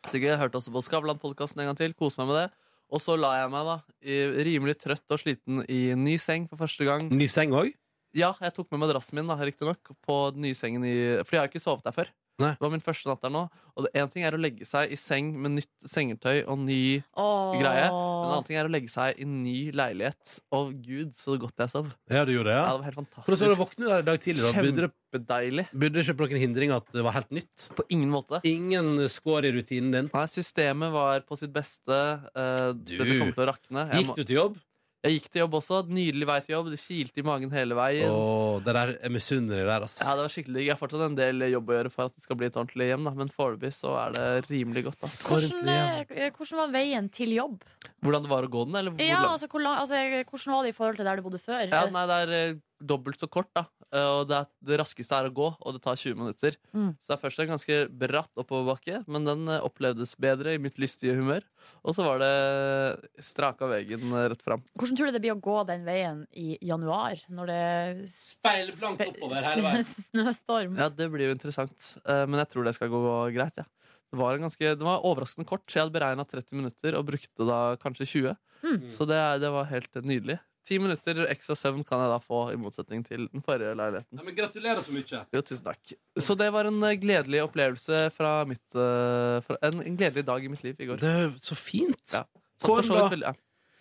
Sikkert jeg hørte også på Skavlan-podkasten en gang til. Kose meg med det. Og så la jeg meg, da, i, rimelig trøtt og sliten, i en ny seng for første gang.
Ny seng òg?
Ja, jeg tok med madrassen min, da, riktignok, på den nye sengen i Fordi jeg har ikke sovet der før.
Nei.
Det var min første natt der nå. Og én ting er å legge seg i seng med nytt sengetøy og ny
Åh.
greie. Men en annen ting er å legge seg i ny leilighet. Å gud, så godt jeg sov.
Ja, du gjorde det?
Ja,
ja
det var helt
Hvordan var det å
fantastisk.
våkne der i dag tidlig? da? Burde det,
Kjempedeilig.
burde det ikke på noen hindring at det var helt nytt?
På ingen måte.
Ingen skår i rutinen din.
Nei, systemet var på sitt beste. Eh,
Du.
Dette kom til å rakne. Jeg,
Gikk
må,
du til jobb?
jeg gikk til jobb også. Nydelig vei til jobb. Det kilte i magen hele veien.
Åh, det der er misunnelig der, ass.
Ja, det var skikkelig digg. Jeg har fortsatt en del jobb å gjøre for at det skal bli et ordentlig hjem, da. men foreløpig så er det rimelig godt. Ass.
Hvordan, eh, hvordan var veien til jobb?
Hvordan det var å gå den? Eller hvor
Ja,
lang-
altså, hvor lang, altså, hvordan var det i forhold til der du bodde før?
ja, nei, det er eh, dobbelt så kort, da. Eh, Og det, er, det raskeste er å gå, og det tar 20 minutter.
Mm.
Så det er først en ganske bratt oppoverbakke, men den eh, opplevdes bedre i mitt lystige humør. Og så var det straka veien eh, rett fram.
Hvordan tror du det blir å gå den veien i januar, når det s-
Speilblankt
spe-
oppover hele veien.
Snøstorm.
Ja, det blir jo interessant. Eh, Men jeg tror det skal gå greit, ja. Det var, en ganske, det var overraskende kort. så Jeg hadde beregna 30 minutter og brukte da kanskje 20.
Mm.
Så det, er- det var helt nydelig. Ti minutter ekstra søvn kan jeg da få, i motsetning til den forrige leiligheten.
Ja, men gratulerer så mye.
Jo, tusen takk. Så det var en eh, gledelig opplevelse fra mitt eh, fra, en, en gledelig dag i mitt liv i går.
Det er så fint.
Ja. Så for
Kåren
så vidt
da?
veldig- ja.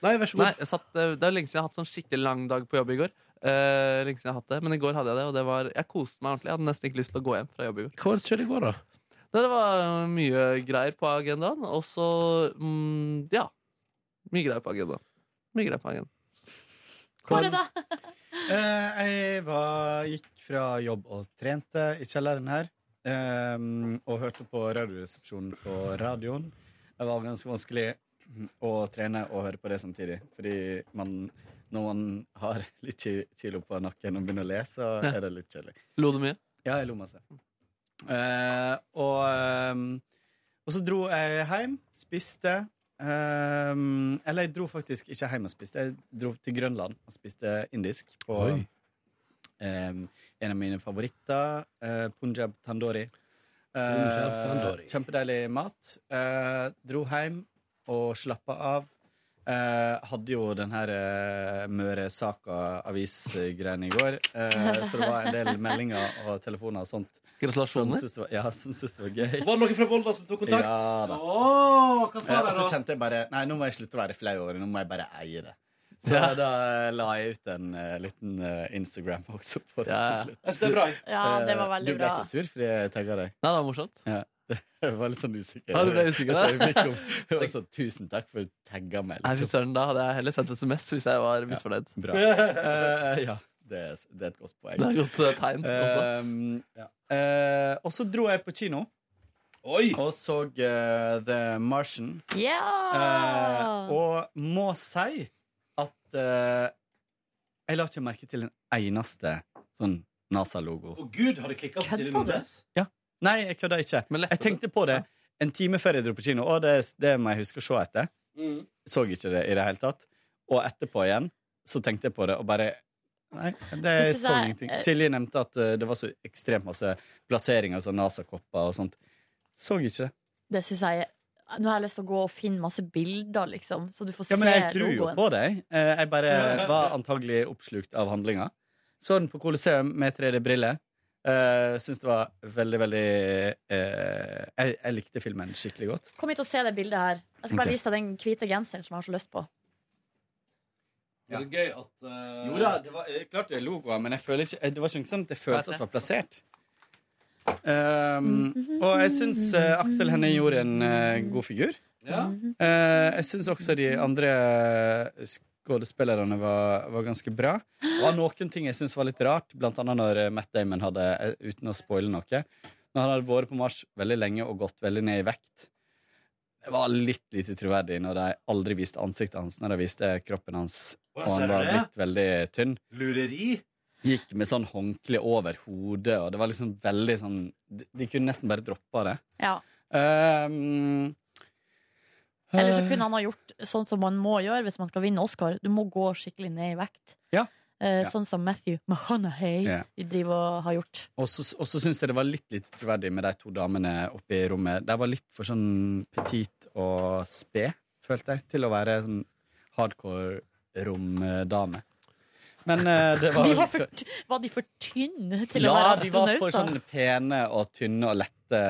Nei, vær så
Nei,
god.
jeg satt, eh, det er lenge siden jeg har hatt sånn skikkelig lang dag på jobb i går. Eh, lenge siden jeg har hatt det, Men i går hadde jeg det, og det var, jeg koste meg ordentlig. Jeg hadde nesten ikke lyst til å gå hjem fra jobb i går.
Hva var det som skjedde i går, da?
Nei, Det var eh, mye greier på agendaen, og så mm, Ja. Mye greier på agendaen. Mye greier på agendaen.
Hvor er det?
Eh, jeg var, gikk fra jobb og trente i kjelleren her. ehm, og hørte på Radioresepsjonen på radioen. Det var ganske vanskelig mm, å trene og høre på det samtidig. Fordi man, når man har litt ki- kilo på nakken og begynner å le, så
Ja.
er det litt kjedelig.
Lo du mye?
Ja, jeg lo masse. Eh, og, ehm, og så dro jeg hjem, spiste. ehm, eller jeg dro faktisk ikke hjem og spiste, jeg dro til Grønland og spiste indisk. På
Oi.
ehm, en av mine favoritter, eh, punjab tandori. Eh,
Punjab tandoori.
kjempedeilig mat. Eh, dro hjem og slappa av. Eh, hadde jo den her eh, Møre-saka-avisgreiene i går, eh, så det var en del meldinger og telefoner og sånt som
Gratulasjoner.
syntes det var, ja, som syntes det var gøy.
Var det noen fra Volda som tok kontakt?
Ja da.
Åh, hva
Eh,
sa
og
de
så
da?
kjente jeg bare Nei, nå må jeg slutte å være flau over det. Nå må jeg bare eie det. Så
Ja.
da la jeg ut en eh, liten eh, Instagram også på det
Ja.
til slutt.
Jeg synes det er bra.
Ja, det var
Eh,
veldig
du ble
bra.
ikke sur fordi jeg tagga deg?
Nei, det var morsomt.
Jeg var litt sånn usikker.
Ja, du ble usikker,
Et
ja.
øyeblikk om- Jeg var sånn, Tusen takk for at du tagga meg.
Nei, fy
Liksom.
søren, da hadde jeg heller sendt SMS hvis jeg var misfornøyd.
Bra. Eh, ja, det er, det er et godt
Det er
poeng.
et godt eh, tegn også.
Um, ja. Eh, og så dro jeg på kino
Oi!
og så eh, The Martian. Eh,
Ja!
og må si at eh, jeg la ikke merke til en eneste sånn NASA-logo.
Å gud, har det klikket på Silje
Kødder du?
Nordnes?
Nei, jeg kødder ikke.
Men lette
Jeg tenkte på det en time før jeg dro på kino, og det, det må jeg huske å se etter.
Mm.
Så ikke det i det hele tatt. Og etterpå igjen så tenkte jeg på det og bare Nei, det
Det synes
så
jeg-
ingenting. Silje nevnte at eh, det var så ekstremt masse plasseringer, sånn NASA-kopper og sånt. Så ikke det.
Det syns jeg Nå har jeg lyst til å gå og finne masse bilder, liksom, så du får
Ja,
se
men jeg tror jo
logoen.
på deg. Eh, Jeg bare var antagelig oppslukt av handlinga. Så den på Colosseum med 3D-briller. Uh, Syns det var veldig, veldig eh, jeg, jeg likte filmen skikkelig godt.
Kom hit og se det bildet her. Jeg skal bare
Ok.
vise deg den hvite genseren som jeg har så lyst på.
Det er så gøy at eh,
Jo da, det var eh, klart det er logoer, men jeg føler ikke, eh, det var ikke sånn at jeg følte at det var plassert. Um, og jeg syns eh, Aksel Hennie gjorde en eh, god figur.
Ja.
Eh, jeg syns også de andre eh, skuespillerne var, var ganske bra. Det var noen ting jeg syns var litt rart, blant annet når eh, Matt Damon hadde, eh, uten å spoile noe Når han hadde vært på Mars veldig lenge og gått veldig ned i vekt. Det var litt lite troverdig når de aldri viste ansiktet hans, når de viste kroppen hans,
Å,
og
jeg ser
han var
det.
blitt veldig tynn
Lureri?
gikk med sånn håndkle over hodet, og det var liksom veldig sånn De, de kunne nesten bare droppa det.
Ja.
Um, Eh.
Eller så kunne han ha gjort sånn som man må gjøre hvis man skal vinne Oscar. Du må gå skikkelig ned i vekt.
Ja.
Eh,
Ja.
Sånn som Matthew McConaughey
Ja.
driver og har gjort.
Og så og så syns jeg det var litt litt troverdig med de to damene oppe i rommet. De var litt for sånn petit og sped, følte jeg, til å være sånn hardcore romdame. Men eh, det var
De var, for, var de for tynne til
ja,
å være
de var for
astronauter?
sånn pene og tynne og lette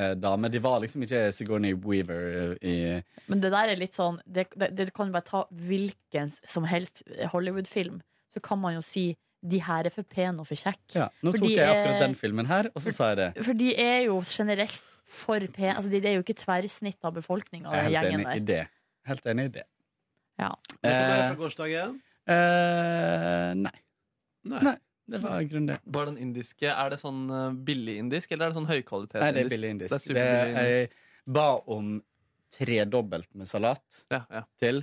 eh, damer. De var liksom ikke Sigourney Weaver eh, i
Men det der er litt sånn Det, det, det kan bare ta hvilken som helst Hollywood-film. Så kan man jo si 'de her er for pene og for kjekke'.
Ja, nå
Fordi,
tok jeg akkurat
eh,
den filmen her, og så sa jeg det.
For de er jo generelt for pene. Altså, de, det er jo ikke tverrsnitt av befolkninga,
Jeg er
den
helt
gjengen
enig i
der.
det. Helt enig i det.
Ja.
Noe mer
Eh,
fra gårsdagen?
eh, nei.
Nei.
Nei. Det var i grunnen det.
Bare den indiske, er det sånn eh, billig indisk, eller er det sånn høykvalitet
Nei, det er
indisk?
billig
Det
indisk.
er
Det
superbillig
jeg ba om tredobbelt med salat
Ja, ja.
til,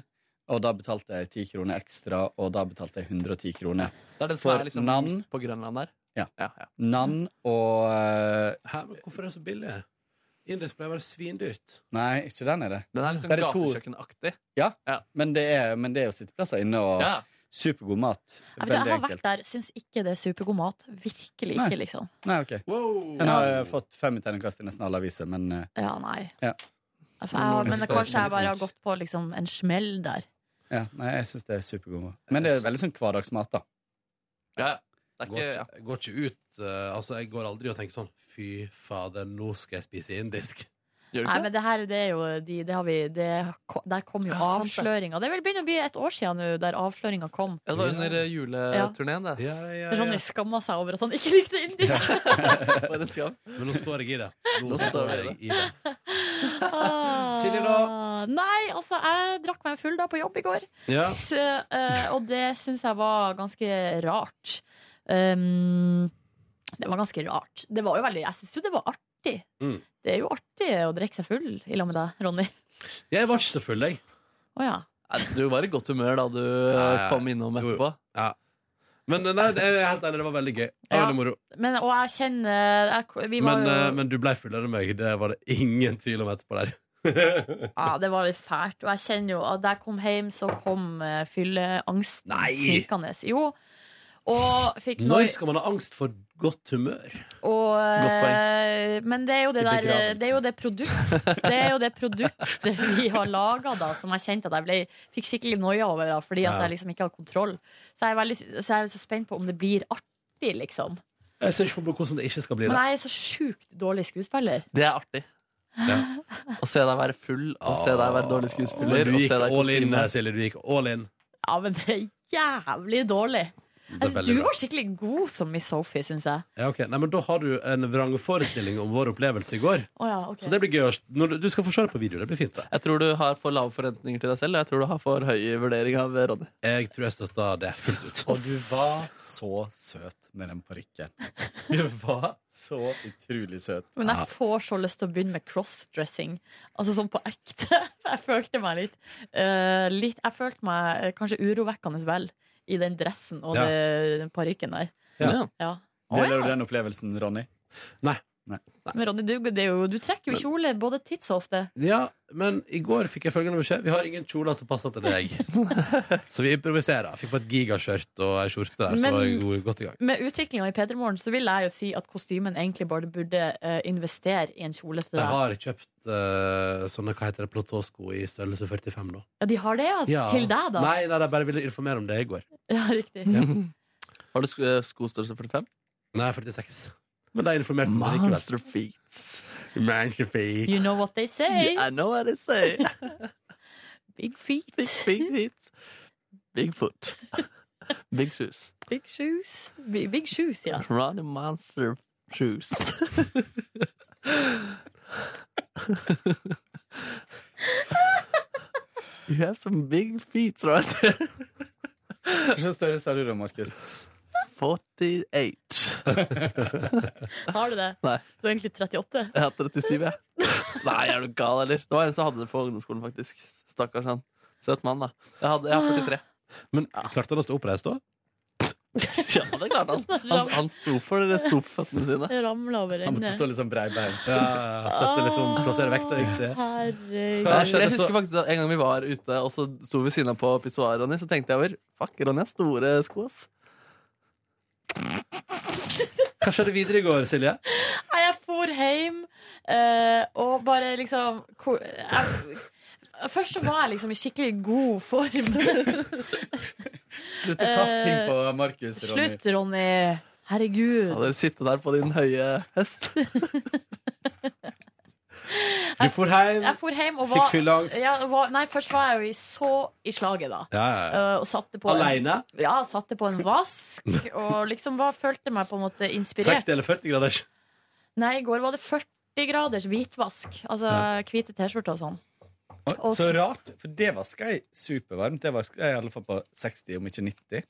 og da betalte jeg 10 kroner ekstra, og da betalte jeg 110 kroner.
Det er den som
For
er liksom
navn-
på Grønland der.
Ja.
ja, ja.
Nan og eh,
Hæ, men hvorfor er det så billig? Indisk pleier å være svindyrt.
Nei, ikke den er det.
Den er liksom
Der er to-
gatekjøkkenaktig.
Men det er, men det er jo sitteplasser inne, og
Ja.
supergod mat.
Jeg, vet, du, jeg
Veldig
har vært
enkelt.
der, syns ikke det er supergod mat. Virkelig
Nei.
ikke, liksom.
Nei, ok.
Wow.
Den har eh, fått fem i terningkast i nesten alle aviser, men eh,
Ja, nei.
Ja.
For Jeg, har- men
Nordnes-
kanskje jeg bare har gått på liksom, en smell der.
Ja, nei, jeg syns det er supergod mat. Men det er veldig sånn hverdagsmat, da.
ja. Det er
Går
ikke, ja.
ikke, går ikke ut eh, Altså, jeg går aldri og tenker sånn Fy fader, nå skal jeg spise indisk.
Gjør du
Nei,
ikke det?
men det her det er jo de, det har vi, det, ko- Der kom jo
Ja, sant det.
avsløringa. Det vil begynne å bli et år siden nå, der avsløringa kom.
Ja, det var under eh, juleturneen, det.
Ja, ja, ja.
Ronny skamma seg over at han ikke likte indisk.
For en skam.
Men nå står jeg i det. Nå
Nå
står
står
jeg i det.
Ah.
Silje, da?
Nei, altså, jeg drakk meg full da på jobb i går.
Ja.
Så, eh, og det syns jeg var ganske rart. Um, Det var ganske rart. Det var jo veldig, jeg syns jo det var artig.
Mm.
Det er jo artig å drikke seg full i lag med deg, Ronny.
Jeg var ikke så full, jeg.
Å ja.
Nei, Du var i godt humør da du
ja, ja.
kom innom etterpå.
Ja. Men eh, nei, det er helt enig, det var veldig gøy. Det var
Ja.
veldig moro.
Men, og jeg kjenner jeg, Vi var
Men,
jo
eh, men du ble fullere enn meg. Det var det ingen tvil om etterpå der.
Ja, det var litt fælt. Og jeg kjenner jo at da jeg kom hjem, så kom uh, fylleangsten
Nei!
snikende. Jo. Og fikk noi-
Når skal man ha angst for godt humør?
og,
Godt
eh, men det er jo det
I
der eh,
begravelse.
Det er jo det produkt Det er jo det produktet vi har laga, da, som jeg kjente at jeg ble, fikk skikkelig noia over, da, fordi at
Ja.
jeg liksom ikke hadde kontroll. Så jeg er veldig så, jeg er så spent på om det blir artig, liksom.
Jeg ser ikke for meg hvordan det ikke skal bli
Men
det.
jeg er så sjukt dårlig skuespiller.
Det er artig. Å se deg være full, og se deg være dårlig
Men
skuespiller.
du
Og
gikk
se deg i
all in
kostyme.
her, Silje. Du gikk all in.
Ja, men det er jævlig dårlig.
Det er
Altså,
veldig
du
bra.
var skikkelig god som Miss Sophie, syns jeg.
Ja, ok. Nei, men Da har du en vrangforestilling om vår opplevelse i går.
Å ja, ok.
Så det blir gøy. å s- Når du- du skal få se det på video. Det blir fint. det
Jeg tror du har for lave forventninger til deg selv, og jeg tror du har for høy vurdering av Ronny.
Jeg tror jeg støtter det fullt ut.
Og du var så søt med den parykken. Du var så utrolig søt.
Men jeg får så lyst til å begynne med crossdressing. Altså sånn på ekte. Jeg følte meg litt, eh, litt Jeg følte meg eh, kanskje urovekkende vel i den dressen og
Ja.
det- den parykken der.
Ja.
Ja.
Ja.
Deler du den opplevelsen, Ronny?
Men Ronny, du, det er jo, du trekker jo kjole både tids og ofte.
Ja, men i går fikk jeg følgende beskjed. Vi har ingen kjoler som passer til deg. Så vi improviserer. Fikk på et gigaskjørt og ei skjorte der, så
Men-
var jeg god- godt i gang.
Med utviklinga i P3 Morgen så vil jeg jo si at kostymen egentlig bare burde eh, investere i en kjole til
Jeg
deg.
har kjøpt eh, sånne hva heter det, platåsko i størrelse 45 nå.
Ja, de har det, ja?
Ja.
Til deg, da?
Nei, nei, jeg bare ville informere om det i går.
Ja, riktig.
Har du sk eh, skostørrelse 45?
Nei, 46. Men de informerte meg likevel.
Monster feet.
Manchester Fake.
You know what they say.
I know what I say.
Big feet,
Big, big feet. Big foot. Big shoes.
big shoes. Big, big shoes, ja.
Ronny Monster shoes. You have some big feet right there.
Hvilken størrelse har du da, Markus?
48.
Har du det?
Nei.
Du er egentlig 38?
Jeg har 37, jeg. Nei, er du gal, eller? Det var en som hadde det på ungdomsskolen, faktisk. Stakkars han. Søt mann, da. Jeg, hadde, jeg har 43.
Men klarte han å stå oppreist da?
Ja, det klarte han. Han, han sto for det, sto for føttene sine.
Jeg ramla over
Han
ende.
måtte stå litt sånn breibeint.
Ja, Sette liksom, plassere vekta riktig.
Herregud.
Ja,
Jeg,
jeg skjønner,
jeg husker
så-
faktisk at En gang vi var ute, og så sto vi ved siden av på pissoaret, Ronny, så tenkte jeg over Fuck, Ronny har store sko, ass.
Hva skjedde videre i går, Silje?
Nei, jeg for hjem eh, og bare liksom ko- jeg, Først så var jeg liksom i skikkelig god form.
Slutt å kaste ting på
Eh,
Markus, Ronny.
Slutt, Ronny. Herregud.
Hadde dere sittet der på din høye hest?
Du for hjem.
Jeg for hjem og var,
Fikk fylleangst.
Ja, var, nei, først var jeg jo i så i slaget, da.
Ja, ja, ja.
Eh, og satte på, en,
Aleine.
ja, satte på en vask og liksom var, følte meg på en måte inspirert.
60 eller 40 graders.
Nei, i går var det 40 graders hvitvask. Altså hvite T-skjorter og sånn.
Og Så rart, for det vaska jeg supervarmt. Det vaska jeg i alle fall på 60, om ikke 90.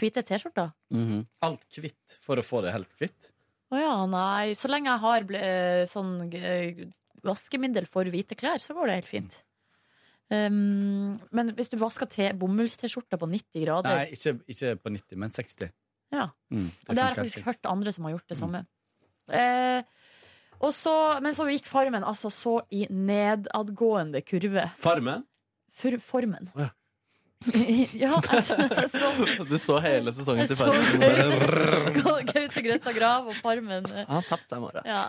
Hvite T-skjorter?
Alt hvitt for å få det helt hvitt.
Å ja, nei. Så lenge jeg har ble, eh, sånn eh, vaskemiddel for hvite klær, så går det helt fint. Um, men hvis du vasker te- bomulls-T-skjorta på 90 grader
Nei, ikke, ikke på 90, men 60.
Ja.
Mm,
Og det har jeg
funker
faktisk
helt fint.
hørt andre som har gjort det samme. Eh, og så, men så gikk farmen altså så i nedadgående kurve.
Farmen.
For formen.
Å ja.
ja, altså, så,
Du så hele sesongen til
så
Farmen.
Gaute Grøtta Grav og Farmen. eh,
Han har tapt seg i morgen.
Ja.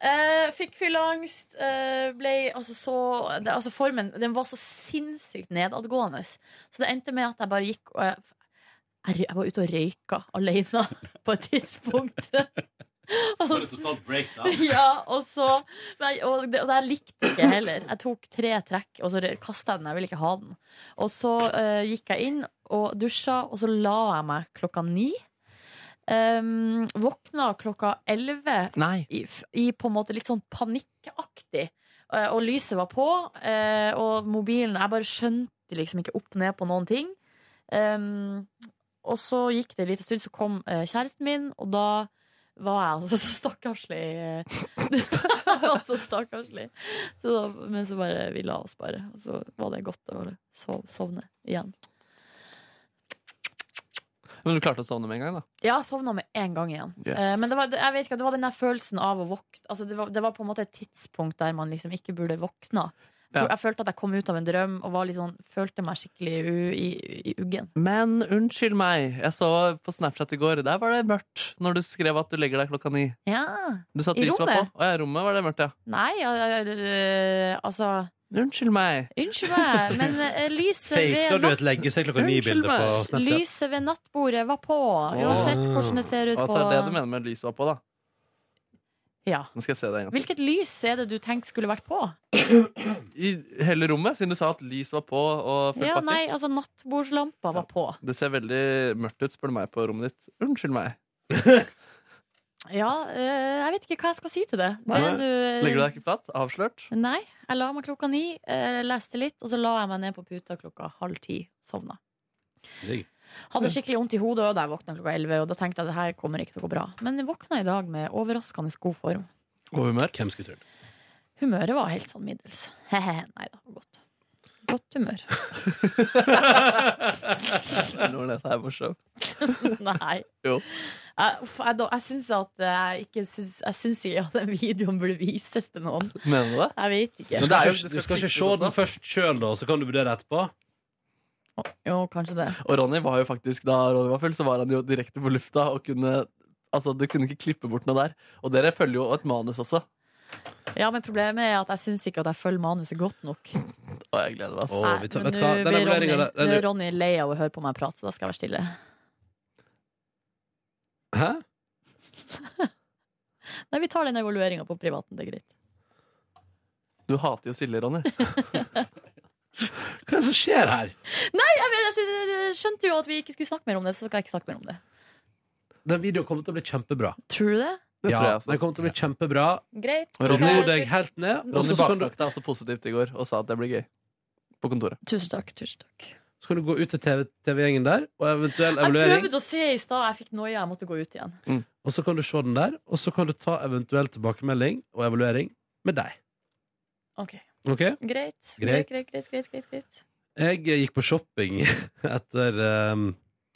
Eh, fikk fylleangst. Eh, ble altså så det, Altså, formen den var så sinnssykt nedadgående. Så det endte med at jeg bare gikk og jeg, jeg, rø- jeg var ute og røyka alene på et tidspunkt. og, så- ja, og så nei, og, det, og det her likte jeg ikke heller. Jeg tok tre trekk, og så kasta jeg den. Jeg ville ikke ha den. Og så eh, gikk jeg inn og dusja, og så la jeg meg klokka ni. Um, våkna klokka elleve
Nei.
i, f- i på en måte litt sånn panikkaktig. Eh, Og lyset var på, eh, og mobilen Jeg bare skjønte liksom ikke opp ned på noen ting. Um, og så gikk det en liten stund, så kom eh, kjæresten min, og da var jeg altså så stakkarslig. Jeg var så stakkarslig. Så da, men så bare vi la oss bare, og så var det godt å sov, sovne igjen.
Men du klarte å sovne med en gang, da?
Ja, jeg sovna med en gang igjen.
Yes.
Eh, men det var, jeg vet ikke, det var den der følelsen av å våkne altså det, var, det var på en måte et tidspunkt der man liksom ikke burde våkna.
Ja.
Jeg følte at jeg kom ut av en drøm og var litt sånn, følte meg skikkelig u, i, i uggen.
Men unnskyld meg, jeg så på Snapchat i går, der var det mørkt når du skrev at du legger deg klokka ni.
Ja.
Du sa at
I
lyset var på.
rommet?
Å ja, i rommet var det mørkt, ja.
Nei, ja, ja, øh, altså
Unnskyld meg.
Unnskyld meg, men eh, lyset
Faker
ved
du et legge seg klokka ni-bilde på Snapchat?
Lyset ved nattbordet var på, uansett hvordan det ser ut
Og
på
så er det du mener med at lyset var på, da.
Ja.
Nå skal jeg se det en gang.
Hvilket lys er det du tenker skulle vært på?
I hele rommet, siden du sa at lys var på og full
Ja,
pakke.
nei, altså Nattbordslampa var på.
Det ser veldig mørkt ut, spør du meg, på rommet ditt. Unnskyld meg.
Ja, eh, jeg vet ikke hva jeg skal si til det. det
Nei.
du, eh,
Legger du deg ikke flatt? Avslørt?
Nei. Jeg la meg klokka ni, eh, leste litt, og så la jeg meg ned på puta klokka halv ti. Sovna.
Digg.
Hadde skikkelig vondt i hodet, og da jeg våkna klokka elleve. Og da tenkte jeg at det her kommer ikke til å gå bra. Men jeg våkna i dag med overraskende god form.
Og humør?
Hvem skulle trodd?
Humøret var helt sånn middels. Nei da, godt. Godt humør.
Når dette er morsomt.
Nei.
Jo.
Jeg, uff, jeg, da- jeg syns at jeg ikke syns, jeg syns ikke at den videoen burde vises til noen.
Mener du det?
Jeg vet ikke.
Du
Men det er
skal,
jo- det
ikke- du
skal
skal ikke
klippes
se den
også.
først sjøl, da, så kan du vurdere etterpå?
Jo, kanskje det.
Og Ronny var jo faktisk, da Ronny var full, så var han jo direkte på lufta og kunne Altså, Du kunne ikke klippe bort noe der. Og dere følger jo et manus også.
Ja, men problemet er at jeg syns ikke at jeg følger manuset godt nok.
Og jeg gleder meg. ass.
Åh,
Nei,
vi tar-
men
vet du
nå
hva? Den
blir
evalueringen
Ronny,
der-
nå
den-
er Ronny lei av å høre på meg prate, så da skal jeg være stille.
Hæ?
Nei, vi tar den evalueringa på privaten, det er greit.
Du hater jo Silje, Ronny.
Hva er det som skjer her?
Jeg, vet- jeg skjønte- jeg altså, skjønte jo at vi ikke skulle snakke mer om det, så skal jeg ikke snakke mer om det.
Den videoen kommer til å bli kjempebra.
Tror du det?
Det tror jeg også.
den kommer til å bli kjempebra.
Greit.
Og
Ro
Ronny,
deg helt ned. og
Ronny
så kan du-
baksnakket deg også positivt i går og sa at det blir gøy. På kontoret.
Tusen takk. tusen takk
Så kan du gå ut til TV TV-gjengen der, og eventuell
Jeg
evaluering.
prøvde å se i stad, jeg fikk noia, jeg måtte gå ut igjen.
Og så kan du se den der, og så kan du ta eventuell tilbakemelding og evaluering med deg.
Ok,
Ok?
Greit.
Greit.
Greit, greit, greit, greit, greit, greit.
Jeg gikk på shopping etter, ehm,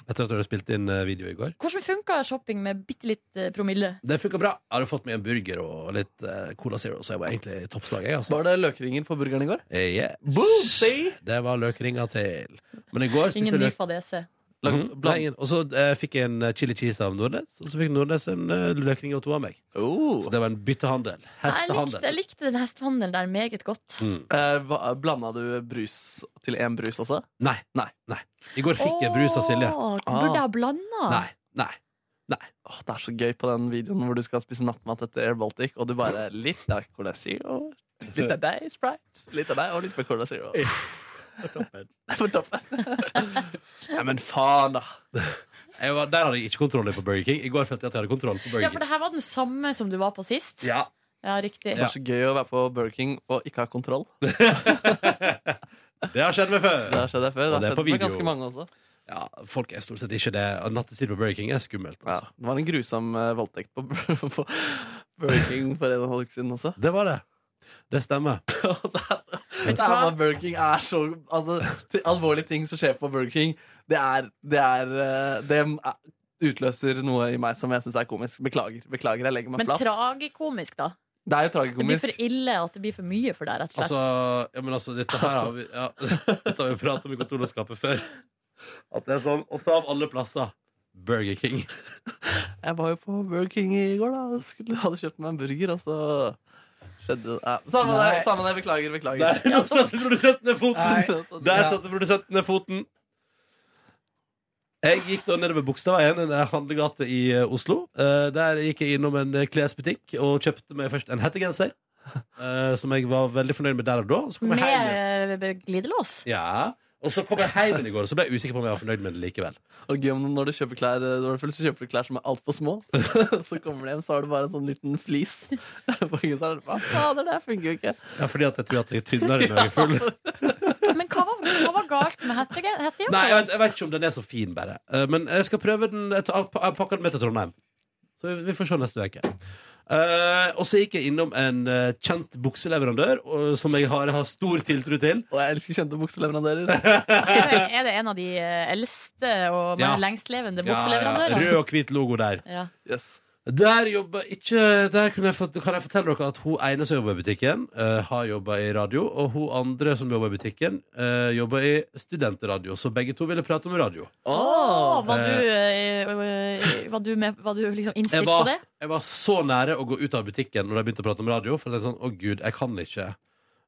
etter at du hadde spilt inn eh, video i går.
Hvordan funka shopping med bitte litt eh, promille?
Det funka bra. Jeg hadde fått meg en burger og litt eh, Cola Zero, så jeg var egentlig i toppslag, jeg, altså.
Var det løkringer på burgeren i går?
Eh, yeah.
Boom, see?
Det var løkringa til. Men i går spiste
Ingen
jeg
ny
løk.
fadese.
Lagd
Mhm. Nei,
blanding.
ingen. Og så eh, fikk jeg en eh, chili cheese av Nordnes, og så fikk Nordnes en eh, løkring og to av meg.
Oh.
Så det var en byttehandel.
Jeg likte, jeg
Hestehandel.
likte den hestehandelen der meget godt.
Mm.
Eh, hva- Blanda du brus til én brus også?
Nei.
Nei.
Nei. I går fikk jeg brus av Silje.
Åh,
Ah.
Burde jeg ha blanda?
Nei. Nei.
Åh, det er så gøy på den videoen hvor du skal spise nattmat etter Air Baltic, og du bare litt av Cola Zero, litt av deg, Sprite, litt av deg og litt av Cola Zero. Det er på toppen. Ja, men faen, da.
Jeg var, der hadde jeg ikke kontroll på Burger King. I går følte jeg at jeg hadde kontroll på Burger
Ja, for
King.
det her var den samme som du var på sist?
Ja,
Ja, riktig.
Det er så gøy å være på Burger King og ikke ha kontroll. Det
det har skjedd meg før.
har skjedd deg før.
Og
Det
det er
har skjedd
på
med
video.
ganske mange også.
Ja, folk er stort sett ikke det. Nattestid på Burger King er skummelt.
Ja,
Altså.
det var en grusom eh, voldtekt på, på Burger King for en og en halv uke siden også.
Det var det. Det stemmer.
Og der-
Vet du
der
hva?
var Burger King er så altså, til Alvorlige ting som skjer på Burger King, det er Det, er, eh, det er- utløser noe i meg som jeg syns er komisk. Beklager, beklager, jeg legger meg
Men
flat.
tragikomisk, da.
det er jo
Det blir
tragikomisk.
for ille at det blir for mye for deg, rett og slett.
Altså, ja, men altså, dette her har vi, ja, dette har vi pratet om i kontorlandskapet før. At det er sånn, Og så av alle plasser Burger King.
Jeg var jo på Burger King i går, da. Skulle, hadde kjøpt meg en burger, og så skjedde ja. Samme det, samme det. Beklager,
Der
beklager.
satte produsenten ned foten!
Så det-
Der satte produsenten ned foten. Jeg gikk da nedover Bogstadveien, en handlegate i eh, Oslo. Eh, Der gikk jeg innom en eh, klesbutikk og kjøpte meg først en hettegenser. eh, Som jeg var veldig fornøyd med der og da. Så kom jeg hjem igjen.
Med eh, glidelås.
Ja. Og så kom jeg hjem igjen i går, og så ble jeg usikker på om jeg var fornøyd med det likevel.
Og gøy om når du kjøper klær eh, når du er full, så kjøper du klær som er altfor små. Så kommer du hjem, så har du bare en sånn liten flis. På ryggen, så er det, Hva fader, det her funker jo ikke.
Ja, fordi at jeg tror at jeg er tynnere når jeg er full.
Men hva var, hva var galt med hette-
Nei,
hettejakka?
jeg vet, jeg vet ikke om den er så fin, bare. Eh, Men jeg skal prøve den. Jeg tar- jeg pakker den med til Trondheim. Så Så vi- vi får se neste uke. Eh, og så gikk jeg innom en eh, kjent bukseleverandør og, som jeg har, har stor tiltro til.
Og jeg elsker kjente bukseleverandører.
Er det, er det en av de eh, eldste og
Ja.
mer lengstlevende
Ja, ja. Rød
bukseleverandørene?
og hvit logo der.
Ja.
Yes.
Der jobber ikke Der kunne jeg fått, kan jeg fortelle dere at hun ene som jobber i butikken, eh, har jobba i radio, og hun andre som jobber i butikken, uh, jobber i studentradio. Så begge to ville prate om radio.
Åh, var,
Eh.
du, eh, eh, var, du med, var du liksom
Jeg
innstilt på
var,
det?
jeg var så nære å gå ut av butikken når de begynte å prate om radio, for jeg tenkte sånn Å, gud, jeg kan ikke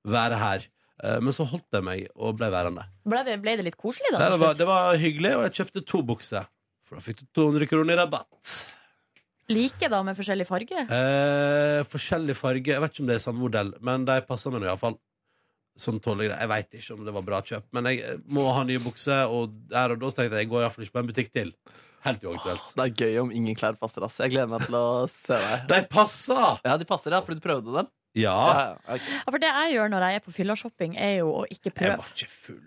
være her. Eh, Men så holdt jeg meg og ble værende.
Ble det, ble det litt koselig, da?
Nei, det,
til
var,
slutt?
det var hyggelig, og jeg kjøpte to bukser. For da fikk du 200 kroner i rabatt.
Like, da, med forskjellig farge?
Eh, forskjellig farge. Jeg vet ikke om det er samme modell, men de passer meg nå iallfall. Sånn tåler jeg det. Jeg veit ikke om det var bra kjøp, men jeg eh, må ha nye bukser, og der og da så tenkte jeg jeg går iallfall ikke på en butikk til. Helt uaktuelt.
Det er gøy om ingen klær passer. Ass. Jeg gleder meg til å se deg.
De passer!
Ja, de passer, ja, fordi du prøvde den.
Ja.
Ja, ja, ok.
Ja, for det jeg gjør når jeg er på fylla-shopping, er jo å ikke
Jeg
prøve.
var ikke full.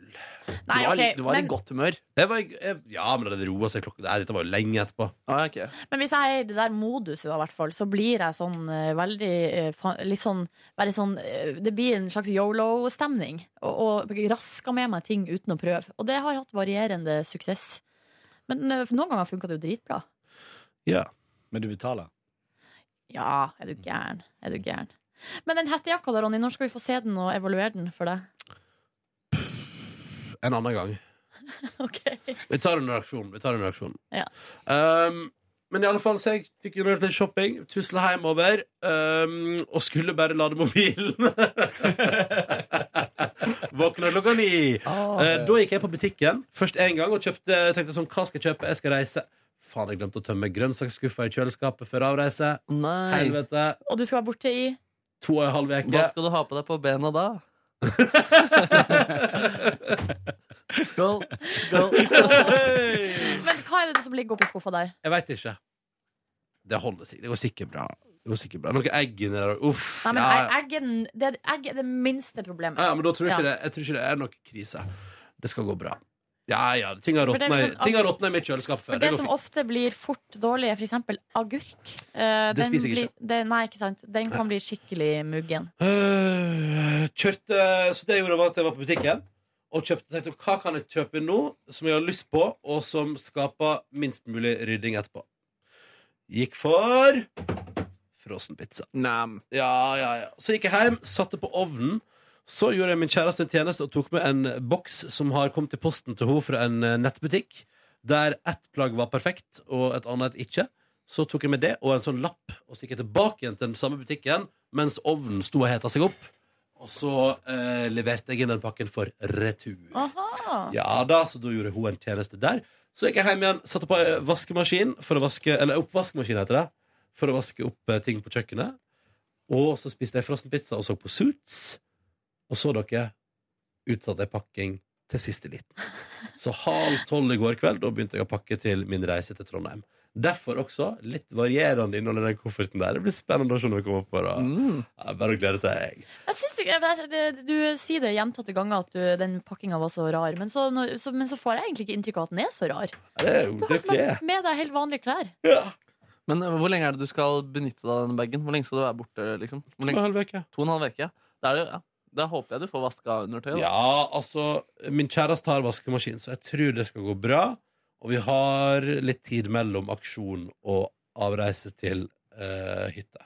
Du
Nei,
var,
ok,
litt- du var i
men,
godt humør.
Jeg var, jeg, ja, men det hadde roa seg klokka Nei, Dette var jo lenge etterpå.
Ah, ja, ok.
men hvis jeg er i det der moduset, da, i hvert fall, så blir jeg sånn eh, veldig eh, fa- Litt sånn, veldig sånn eh, Det blir en slags yolo-stemning. Og, og rasker med meg ting uten å prøve. Og det har hatt varierende suksess. Men eh, for noen ganger funka det jo dritbra.
Ja.
Men du betaler.
Ja, er du gæren? Er du gæren? Men den hettejakka da, Ronny, når skal vi få se den og evaluere den for deg?
En annen gang.
Ok
Vi tar en reaksjon. Vi tar en reaksjon.
Ja.
Um, men i alle fall, så jeg fikk jo gjort litt shopping, tusla hjemover um, og skulle bare lade mobilen. Våkna klokka ni. Eh, da gikk jeg på butikken først én gang og kjøpte, tenkte sånn Hva skal jeg kjøpe? Jeg skal reise. Faen, jeg glemte å tømme grønnsaksskuffa i kjøleskapet før avreise.
Nei.
Helvete.
Og du skal være borte i
To og en halv uke.
Hva skal du ha på deg på bena da? Skål. Skål.
Men hva er det som ligger oppi skuffa der?
Jeg veit ikke. Det holder sikkert. Det går sikkert bra. Det går sikkert bra. Noen egg inni der. Uff.
Nei, men
ja, ja.
egg- eggen, det, egg er det minste problemet.
Ja, men da tror jeg, ikke
Ja.
det, jeg tror ikke det er noe krise. Det skal gå bra. Ja, ja, ting har
For det er
råtna i-
liksom-
ting har råtna i mitt kjøleskap før.
For
Det
det
går
som
fint.
ofte blir fort dårlig, er f.eks. agurk. Eh,
Det
den
spiser jeg ikke.
blir- det- nei, ikke sant. Den kan bli skikkelig muggen.
Øh, Kjørte Så det jeg gjorde, var at jeg var på butikken og kjøpte, tenkte hva kan jeg kjøpe nå som jeg har lyst på, og som skaper minst mulig rydding etterpå. Gikk for frossen pizza.
Nam.
Ja, ja, ja. Så gikk jeg hjem, satte på ovnen. Så gjorde jeg min kjæreste en tjeneste og tok med en boks som har kommet i posten til henne fra en eh, nettbutikk, der ett plagg var perfekt og et annet ikke. Så tok jeg med det og en sånn lapp og stikket tilbake igjen til den samme butikken mens ovnen sto og heta seg opp. Og så eh, leverte jeg inn den pakken for retur.
Aha.
Ja da, så da gjorde hun en tjeneste der. Så gikk jeg hjem igjen, satte på eh, vaskemaskin for å vaske, Eller oppvaskmaskin heter det. For å vaske opp eh, ting på kjøkkenet. Og så spiste jeg frossen pizza og så på Suits. Og så dere utsatte jeg pakking til siste liten. Så halv tolv i går kveld, da begynte jeg å pakke til min reise til Trondheim. Derfor også litt varierende innhold i den kofferten der. Det blir spennende å se når vi kommer opp på det.
Mm.
Ja, Bare å glede seg.
Jeg synes, ikke- det er- det- du sier det gjentatte ganger at du, den pakkinga var så rar, men så, når, så, men så får jeg egentlig ikke inntrykk av at den er så rar.
Det er jo
Du har
det vi er.
som- med deg helt vanlige klær.
Ja.
Men eh, hvor lenge er det du skal benytte deg av denne bagen? Hvor lenge skal du være borte? liksom? Hvor lenge? To og en halv uke, ja. Da, er det, ja. da håper jeg du får vaska undertøyet. da.
Ja, altså Min kjæreste har vaskemaskin, så jeg tror det skal gå bra. Og vi har litt tid mellom aksjon og avreise til uh, hytte.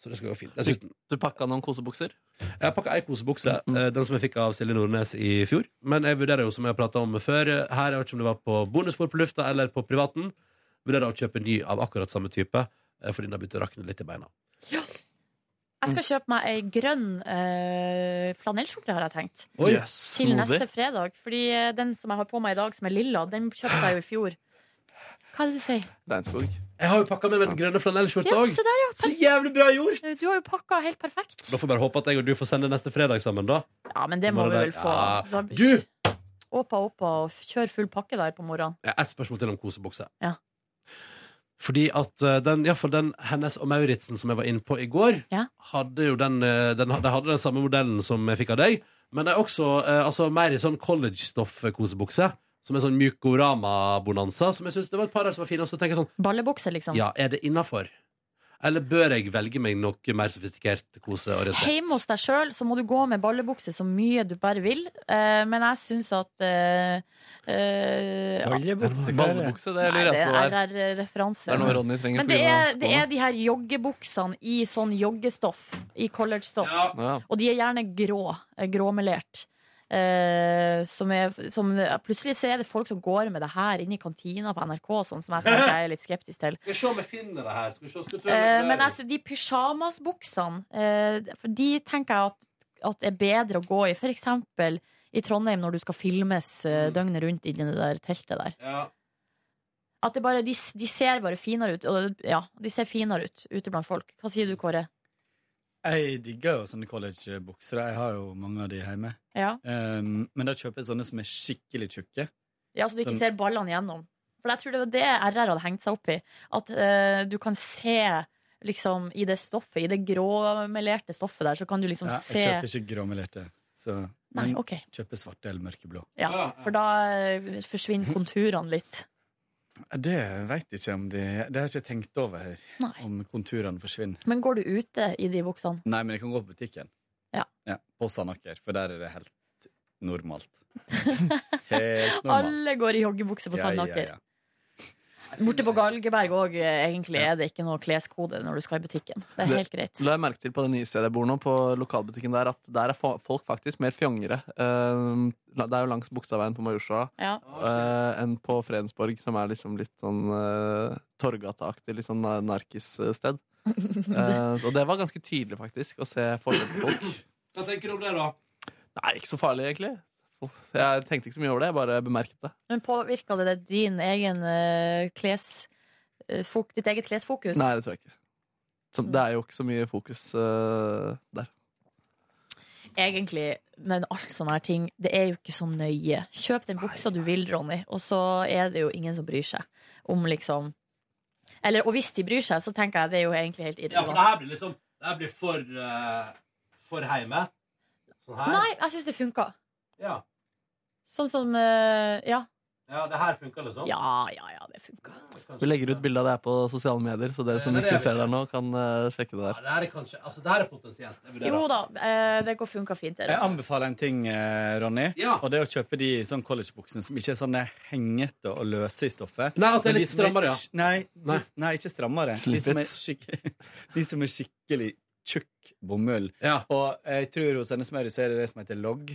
Så det skal gå fint. Dessuten,
Du pakka noen kosebukser?
jeg har pakka ei kosebukse, eh, den som jeg fikk av Silje Nordnes i fjor. Men jeg vurderer jo, som jeg har prata om før, eh, her, jeg vet ikke om det var på bonusbord på lufta eller på privaten, vurderer å kjøpe ny av akkurat samme type, eh, fordi den har begynt å rakne litt i beina.
Jeg
Mm.
skal kjøpe meg ei grønn eh, flanellskjorte, har jeg tenkt.
Oi,
Til neste fredag. Fordi eh, den som jeg har på meg i dag, som er lilla, den kjøpte jeg jo i fjor. Hva er det du sier?
Steinsburg.
Jeg har jo pakka med meg den grønne flanellskjorta
Ja,
òg!
se der, ja.
Så jævlig bra gjort!
Du har jo pakka helt perfekt.
Da får vi bare håpe at jeg og du får sende neste fredag sammen, da.
Ja, men det
Bare
må vi
der.
vel få.
Ja.
Da-
Du!
Åpa, åpa, og kjør full pakke der på morgenen.
Ja, Et spørsmål til om kosebukse.
Ja.
Fordi at eh, den, ja, for den hennes og Mauritzen som jeg var inne på i går,
Ja.
hadde jo den, eh, den, de hadde den samme modellen som jeg fikk av deg. Men det er også eh, altså, mer i sånn college-stoff-kosebukse. Som er sånn Mykorama-bonanza. Som jeg synes det var et par her som var fine. Og så tenker jeg sånn
Ballebukse, liksom.
Ja, er det innafor? Eller bør jeg velge meg noe mer sofistikert koseorientert?
Hjemme hos deg sjøl så må du gå med ballebukse så mye du bare vil, eh, men jeg syns at eh, eh, ja.
Ballebukse, Ballebukse, det
Nei,
lurer
det
jeg på
er
der.
RR-referanse.
Det er noe Ronny trenger
Men
på
det
grunn av
er, det er
skoene.
de her joggebuksene i sånn joggestoff, i collegestoff.
Ja.
Og de er gjerne grå, eh, gråmelert. Eh, som er, som, plutselig så er det folk som går med det her inne i kantina på NRK, og sånn, som jeg tenker jeg er litt skeptisk til.
Skal vi se om jeg finner det her. Skal vi se, skal vi ta en
Eh,
vurdering?
men altså, de pysjamasbuksene, eh, for de tenker jeg at, at er bedre å gå i. For eksempel i Trondheim når du skal filmes eh, døgnet rundt i det der teltet der.
ja.
At det bare, de, de ser bare finere ut. Og, ja, de ser finere ut ute blant folk. Hva sier du, Kåre?
Jeg digger jo sånne collegebukser. Jeg har jo mange av de hjemme.
Ja.
Um, men da kjøper jeg sånne som er skikkelig tjukke.
Ja, så du ikke
Sånn.
ser ballene gjennom. For jeg tror det var det RR hadde hengt seg opp i. At eh, du kan se liksom i det stoffet, i det gråmelerte stoffet der, så kan du liksom
Ja,
se
jeg kjøper ikke gråmelerte. Så,
Nei,
men
ok.
kjøper svarte eller mørkeblå.
Ja, for da eh, forsvinner konturene litt.
Det veit jeg ikke om de Det har jeg ikke tenkt over her.
Nei.
Om konturene forsvinner.
Men går du ute i de buksene?
Nei, men jeg kan gå på butikken.
Ja.
på Sandaker, for der er det helt normalt. Helt normalt.
Alle går i joggebukse på
Ja, ja,
Sandaker.
ja.
Borte på Galgeberg òg, egentlig er det ikke noe kleskode når du skal i butikken. Det er helt greit.
La jeg merke til på det nye stedet jeg bor nå, på lokalbutikken der, at der er fa- folk faktisk mer fjongere. Eh, la- det er jo langs Bogstadveien på Majorstua
Ja.
eh, enn på Fredensborg, som er liksom litt sånn uh, Torgata-aktig, litt sånn eh, narkissted. Eh, og det var ganske tydelig, faktisk, å se forskjell på folk.
Hva tenker du om det, da?
Nei, ikke så farlig, egentlig. Jeg tenkte ikke så mye over det, jeg bare bemerket det.
Men påvirka det deg din egen eh, kles... eh, fok- ditt eget klesfokus?
Nei, det tror jeg ikke. Som, det er jo ikke så mye fokus eh, der.
Egentlig, men alt sånne her ting, det er jo ikke så nøye. Kjøp den buksa du vil, Ronny, og så er det jo ingen som bryr seg om liksom Eller, og hvis de bryr seg, så tenker jeg det er jo egentlig helt
Ja, for det
irrelevant.
her blir liksom Det her blir for eh, For heime. Sånn her.
Nei, jeg syns det funka.
Ja.
Sånn som eh, Ja.
ja, det her funker liksom.
Ja, ja, ja, det funka.
Vi legger ut bilde av det her på sosiale medier, så dere som
Det er det
ikke
jeg
ser
vil.
det nå, kan eh, sjekke det
Ja,
der.
det her er kanskje Altså, det her er potensielt. Jeg vurderer.
Jo da, eh, det går funka fint.
Jeg
Dere.
anbefaler en ting, eh, Ronny.
Ja.
Og det er å kjøpe de sånn collegebuksene som ikke er sånne hengete og løse i stoffet.
Nei, at det er
Men de
litt
som
strammere, ja.
sk- Nei,
Nei.
de, nei, ikke strammere. De
Slip
som,
it.
er skikk- de som er skikkelig tjukk bomull.
Ja.
Og jeg tror hos Hennes Møyre så er det det som heter logg.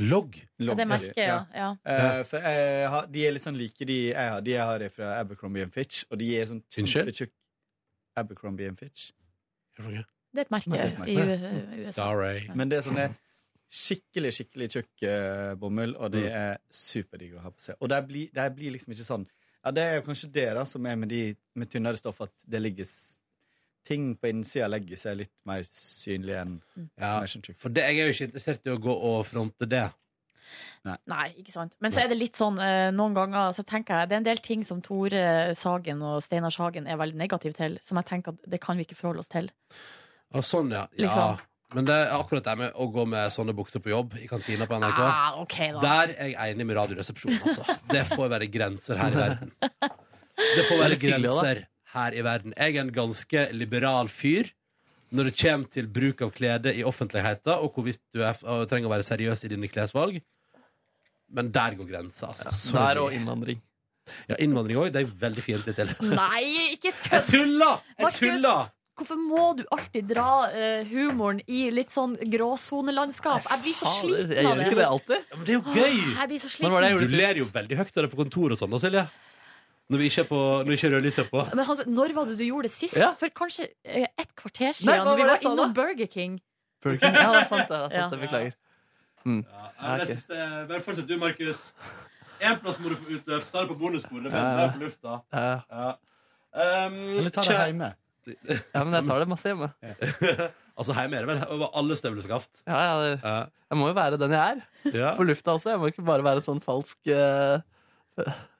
Logg.
Logg.
Det merker jeg, ja. ja.
Eh, for jeg har, de er litt sånn like de jeg har. De jeg har er fra Abercrombie Fitch, og de er sånn
Unnskyld?
kjempetjukk. Abercrombie Fitch.
Det er et merke
Det er et merke.
i U- USA.
Sorry.
Men det er sånne skikkelig, skikkelig tjukk eh, bomull, og det
Mm.
er superdigg å ha på seg. Og det blir, det blir liksom ikke sånn Ja, det er jo kanskje det da som er med de med tynnere stoff, at det ligger s- Ting på innsida legger seg litt mer synlig enn
Ja.
mer sånn tjukk.
For det, jeg er jo ikke interessert i å gå og fronte det.
Nei, ikke sant. Men så er det litt sånn eh, noen ganger så tenker jeg det er en del ting som Tore Sagen og Steinar Sagen er veldig negative til, som jeg tenker at det kan vi ikke forholde oss til.
Og sånn, ja. ja.
Liksom.
Men det er akkurat det med å gå med sånne bukser på jobb i kantina på NRK.
Ah, ok da.
Der er jeg enig med Radioresepsjonen, altså. Det får være grenser her i verden. Det får være
Det er litt hyggelig, da.
grenser her i verden. Jeg er en ganske liberal fyr når det kommer til bruk av klede i offentligheten, og hvor hvis du er, og trenger å være seriøs i dine klesvalg. Men der går grensa, altså. Sorry.
Der og innvandring.
Ja, innvandring òg. Det er veldig fiendtlig til.
Nei, ikke
Jeg
kødd!
tulla! Jeg
Markus!
tulla!
Hvorfor må du alltid dra eh, humoren i litt sånn gråsonelandskap? Jeg blir så
Fader,
sliten
jeg
av
gjør ikke det alltid.
Ja, men det er jo
Åh,
gøy!
Jeg blir så
Når var det jeg gjorde
sliten.
Du
det sist?
ler jo veldig høyt av det på kontoret og sånn, da, Silje. Når vi ikke er på, når ikke rødlyset er på.
Men Hans, når var det du gjorde det sist?
Ja.
For kanskje eh, et kvarter
Nei,
siden,
hva
når vi
var det
var
jeg sa da?
innom Burger King.
Burger King. Ja, det er sant, det. det, er sant, det
Ja.
beklager.
Ja, men jeg
Ok.
synes det er- eh, Bare fortsett du, Markus. Én plass må du få utløp. Ta det på bonussporet. Det er
Ja,
bedre
ja.
på lufta.
Eh,
Ja. Um,
Eller ta det
kjø-
hjemme.
ja, men jeg tar det masse hjemme.
Altså, hjemme er det vel over alle støvleskaft.
Ja, ja, det-
Ja.
jeg må jo være den jeg er.
Ja.
På lufta også. Jeg må ikke bare være sånn falsk eh,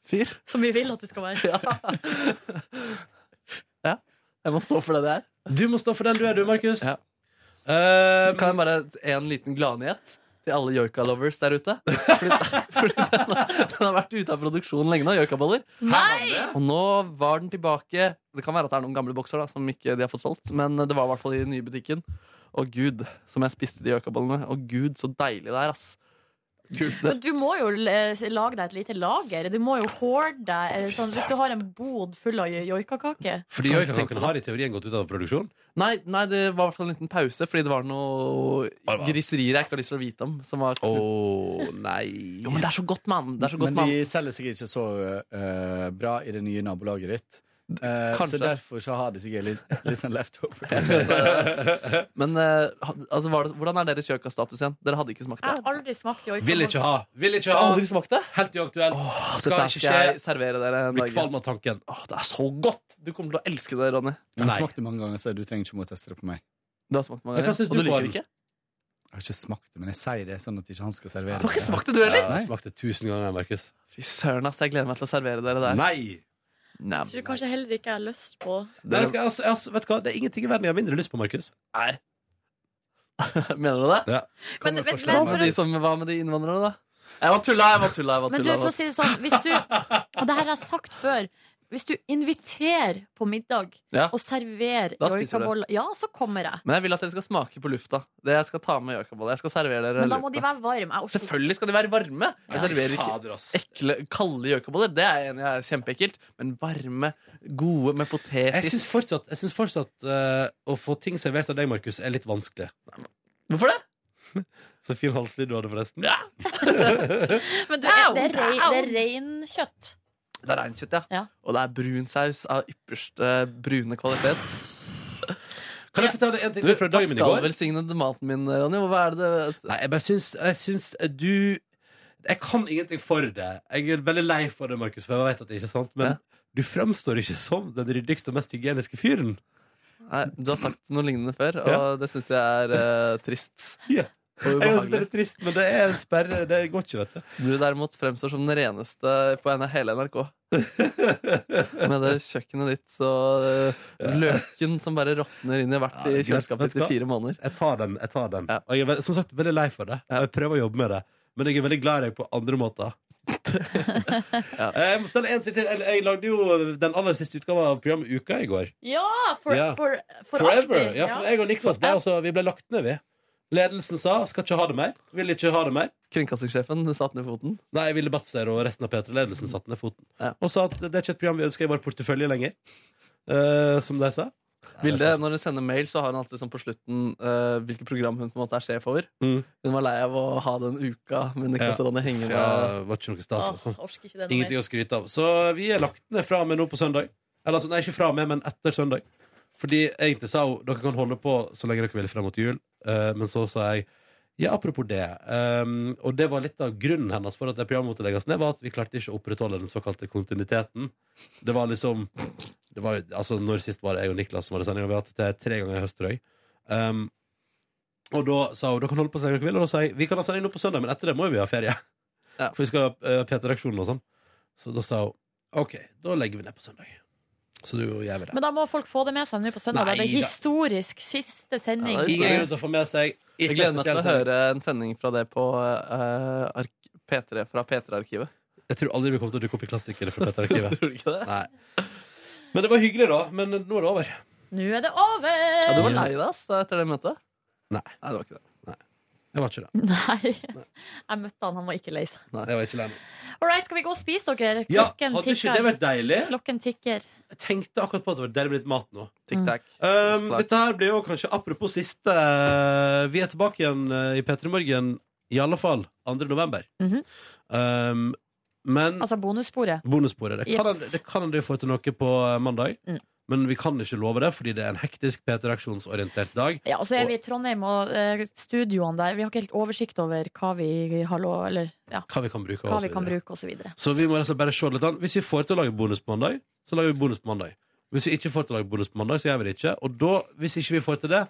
fyr.
Som vi vil at du skal være.
Ja. ja. Jeg må stå for det det er.
Du må stå for den du er, du, Markus.
Ja.
Um,
Kan jeg bare en liten gladnyhet? til alle joika-lovers der ute. Fordi, fordi den, har, den har vært ute av produksjon lenge nå, joikaboller.
Nei!
Og nå var den tilbake. Det kan være at det er noen gamle bokser da, som ikke de har fått solgt, men det var i hvert fall i den nye butikken. Og gud, som jeg spiste de joikabollene. Og gud, så deilig det er, ass. Kult.
Så du må jo eh, lage deg et lite lager. Du må jo hoarde deg eh, sånn, hvis du har en bod full av jo- joikakaker.
Fordi joikakakene har i teorien gått ut av produksjon.
Nei, nei, det var i hvert fall en liten pause, fordi det var noe griserier jeg ikke har lyst til å vite om. Som var
nei
Jo, men det er så godt, mann! Det er så godt,
Men
mann.
de selger sikkert ikke så eh, bra i det nye nabolaget ditt. Eh,
kanskje.
så derfor så har de sikkert litt, litt sånn leftover.
Men eh, had- altså, var det, hvordan er deres joikastatus igjen? Dere hadde ikke smakt
Jeg
det?
har aldri smakt joika.
Vil ikke ha! Vil ikke ha!
Aldri smakt det?
Helt uaktuelt.
Skal
Skal
dette
ikke
skal
skje.
jeg servere dere en
Blir
dag.
kvalm av tanken.
Åh, det er så godt! Du kommer til å elske det, Ronny.
Jeg har
Nei.
smakt det mange ganger, så du trenger ikke å teste det på meg.
Du har smakt mange
Ja, hva
ganger,
synes
og du
du,
liker
Bård?
det ikke?
Jeg har ikke smakt det, men jeg sier det sånn at ikke han skal servere
Du har ikke smakt det, du heller?
Ja, jeg smakte tusen ganger, Markus.
Fy søren, ass. Jeg gleder meg til å servere dere der.
Nei!
Nei.
Jeg tror kanskje heller ikke jeg har lyst på.
Nei, vet, du hva, altså, altså, vet du hva, Det er ingenting i verden jeg har mindre lyst på, Markus.
Nei. Mener du det?
Ja.
Men, men, men,
Hva
for
med
å-
de som var med de innvandrerne, da? Jeg var tulla, jeg var tulla. Jeg var
men du,
tulla,
for å si det sånn, hvis du Og det her har jeg sagt før. Hvis du inviterer på middag
Ja.
og serverer
Da spiser du.
joikaboller, ja, så kommer jeg.
Men jeg vil at dere skal smake på lufta. Det jeg skal ta med joikaboller. Jeg skal servere dere
Men da må de være varme. Jeg orker ikke.
Selvfølgelig skal de være varme. Jeg
Ja,
serverer
fy
ikke
fader, ass.
ekle, kalde gjøkaboller. Det er jeg enig i er kjempeekkelt. Men varme, gode med
Jeg
potetis.
syns fortsatt, jeg synes fortsatt eh, å få ting servert av deg, Markus, er litt vanskelig.
Hvorfor det?
Så fin halslyd du hadde, forresten.
Ja.
Men du, det er, rei, det er reinkjøtt.
Det er reinkjøtt, ja.
Ja.
Og det er brun saus av ypperste brune kvalitet.
Kan jeg fortelle deg en ting
Du,
fra dagen min i
skal
går?
velsignede maten min, Ronny. Hva er det
Nei, jeg bare syns, jeg syns du Jeg kan ingenting for det. Jeg er veldig lei for det, Markus, for jeg vet at det ikke er sant. Men
Ja.
du framstår ikke som den ryddigste og mest hygieniske fyren.
Nei, Du har sagt noe lignende før, og
Ja.
det syns jeg er eh, trist.
Ja.
Og
Jeg synes det er
ubehagelig.
litt trist, men det er en sperre. Det går ikke, vet du.
Du derimot fremstår som den reneste på en- hele NRK. Med det kjøkkenet ditt og eh, løken som bare råtner inn i hvert
Ja,
i
det er greit. Vet
kjøleskapet
du
ditt
hva?
i fire måneder.
Jeg tar den. jeg tar den
Ja.
Og jeg er veld- som sagt veldig lei for det. Og jeg prøver å jobbe med det. Men jeg er veldig glad i deg på andre måter. Eh,
Ja.
Jeg må stelle en ting til Jeg- Jeg lagde jo den aller siste utgava av programmet Uka i går.
Ja! For,
Ja.
For, for
Forever!
alltid.
Ja, for jeg og Niklas ble, altså, vi ble lagt ned, vi. Ledelsen sa 'skal ikke ha det mer'. Ville ikke ha det mer.
Kringkastingssjefen satte ned foten.
Nei, Ville Batzer og resten av P3-ledelsen satte ned foten.
Ja.
Og sa at det er ikke et program vi ønsker i vår portefølje lenger. Eh, som de sa. Eh,
Vilde, når hun sender mail, så har hun alltid sånn på slutten uh, hvilket program hun på en måte er sjef over.
Mm.
Hun var lei av å ha den uka med Niklas
Ja.
Ronny hengende.
Ja, var ikke noe stas,
Åh,
altså.
orker ikke det noe
Ingenting å skryte av. Så vi er lagt ned fra og med nå på søndag. Eller altså, nei, ikke fra og med, men etter søndag. Fordi egentlig sa hun dere kan holde på så lenge dere vil frem mot jul. Eh, men så sa jeg ja, apropos det. ehm, og det var litt av grunnen hennes for at det programmet måtte legges ned, var at vi klarte ikke å opprettholde den såkalte kontinuiteten. Det var liksom det var, jo- Altså, når sist var det jeg og Niklas som hadde sending, og vi har hatt det tre ganger i høst, tror jeg. Ehm, og da sa hun dere kan holde på så lenge dere vil, og da sa jeg vi kan ha sending nå på søndag, men etter det må jo vi ha ferie.
Ja.
For vi skal ha eh, P3-aksjonen og sånn. Så da sa hun OK, da legger vi ned på søndag. Så du og jeg vil det.
Men da må folk få det med seg nå på søndag.
Nei,
da. Det er
da.
historisk siste sending.
Ja, det er
Ingen grunn til å få med seg
Jeg
ikke
gleder
sånn.
meg til
spesiell
å
sending.
høre en sending fra det på eh, ark- P3, fra P3-arkivet.
Jeg tror aldri vi kommer til å dukke opp i klassikere fra P3-arkivet.
Tror du ikke det?
Nei. Men det var hyggelig, da. Men nå er det over.
Nå er det over!
Ja, du var lei deg ass, da, etter det møtet?
Nei.
det var ikke det.
Jeg var ikke det.
Nei. Jeg møtte han, han var ikke lei seg.
Jeg var ikke lei meg.
All right, skal vi gå og spise, dere?
Ja,
Klokken
hadde ikke det
tikker.
vært deilig?
Klokken tikker.
Jeg tenkte akkurat på at det var deilig med litt mat nå.
Tic-tac.
Um,
Klart.
dette her blir jo kanskje apropos siste Vi er tilbake igjen eh, i P3 Morgen, i alle fall 2. november.
Mhm.
um, men
Altså bonussporet.
bonussporet Det kan
Jeps.
en- det kan en del få til noe på eh, mandag.
Mm.
Men vi kan ikke love det, fordi det er en hektisk P3-aksjonsorientert dag.
Ja, og så er vi i Trondheim og eh, studioene der. Vi har ikke helt oversikt over hva vi har lov Eller ja,
Hva vi kan bruke. og
hva
så
vi kan
videre.
bruke, og så videre.
Så vi må rett og slett bare se litt an. Hvis vi får til å lage bonus på mandag, så lager vi bonus på mandag. Hvis vi ikke får til å lage bonus på mandag, så gjør vi det ikke. Og da, hvis ikke vi får til det,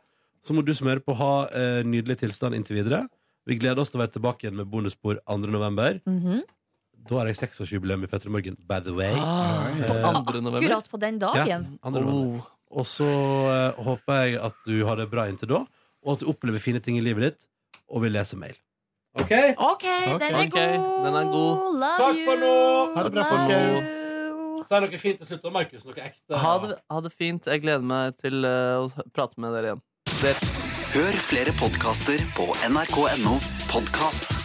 så må du som hører på ha eh, nydelig tilstand inntil videre. Vi gleder oss til å være tilbake igjen med bonusspor 2. november.
Mhm.
Da har jeg seksårsjubileum i P3 Morgen, by the way.
Ah, på 2. november.
Akkurat på den dagen.
2. november.
Oh.
Og så eh, håper jeg at du har det bra inntil da, og at du opplever fine ting i livet ditt, og vil lese mail. OK?
OK, den er
Ok, den er god.
god. Love
Takk for nå!
you,
Ha det bra,
love
folkens.
you.
Si noe fint til slutt da, Markus. Noe ekte.
Ha det, ha det fint. Jeg gleder meg til eh, å prate med dere igjen. Dere.
Hør flere podkaster på nrk.no podkast.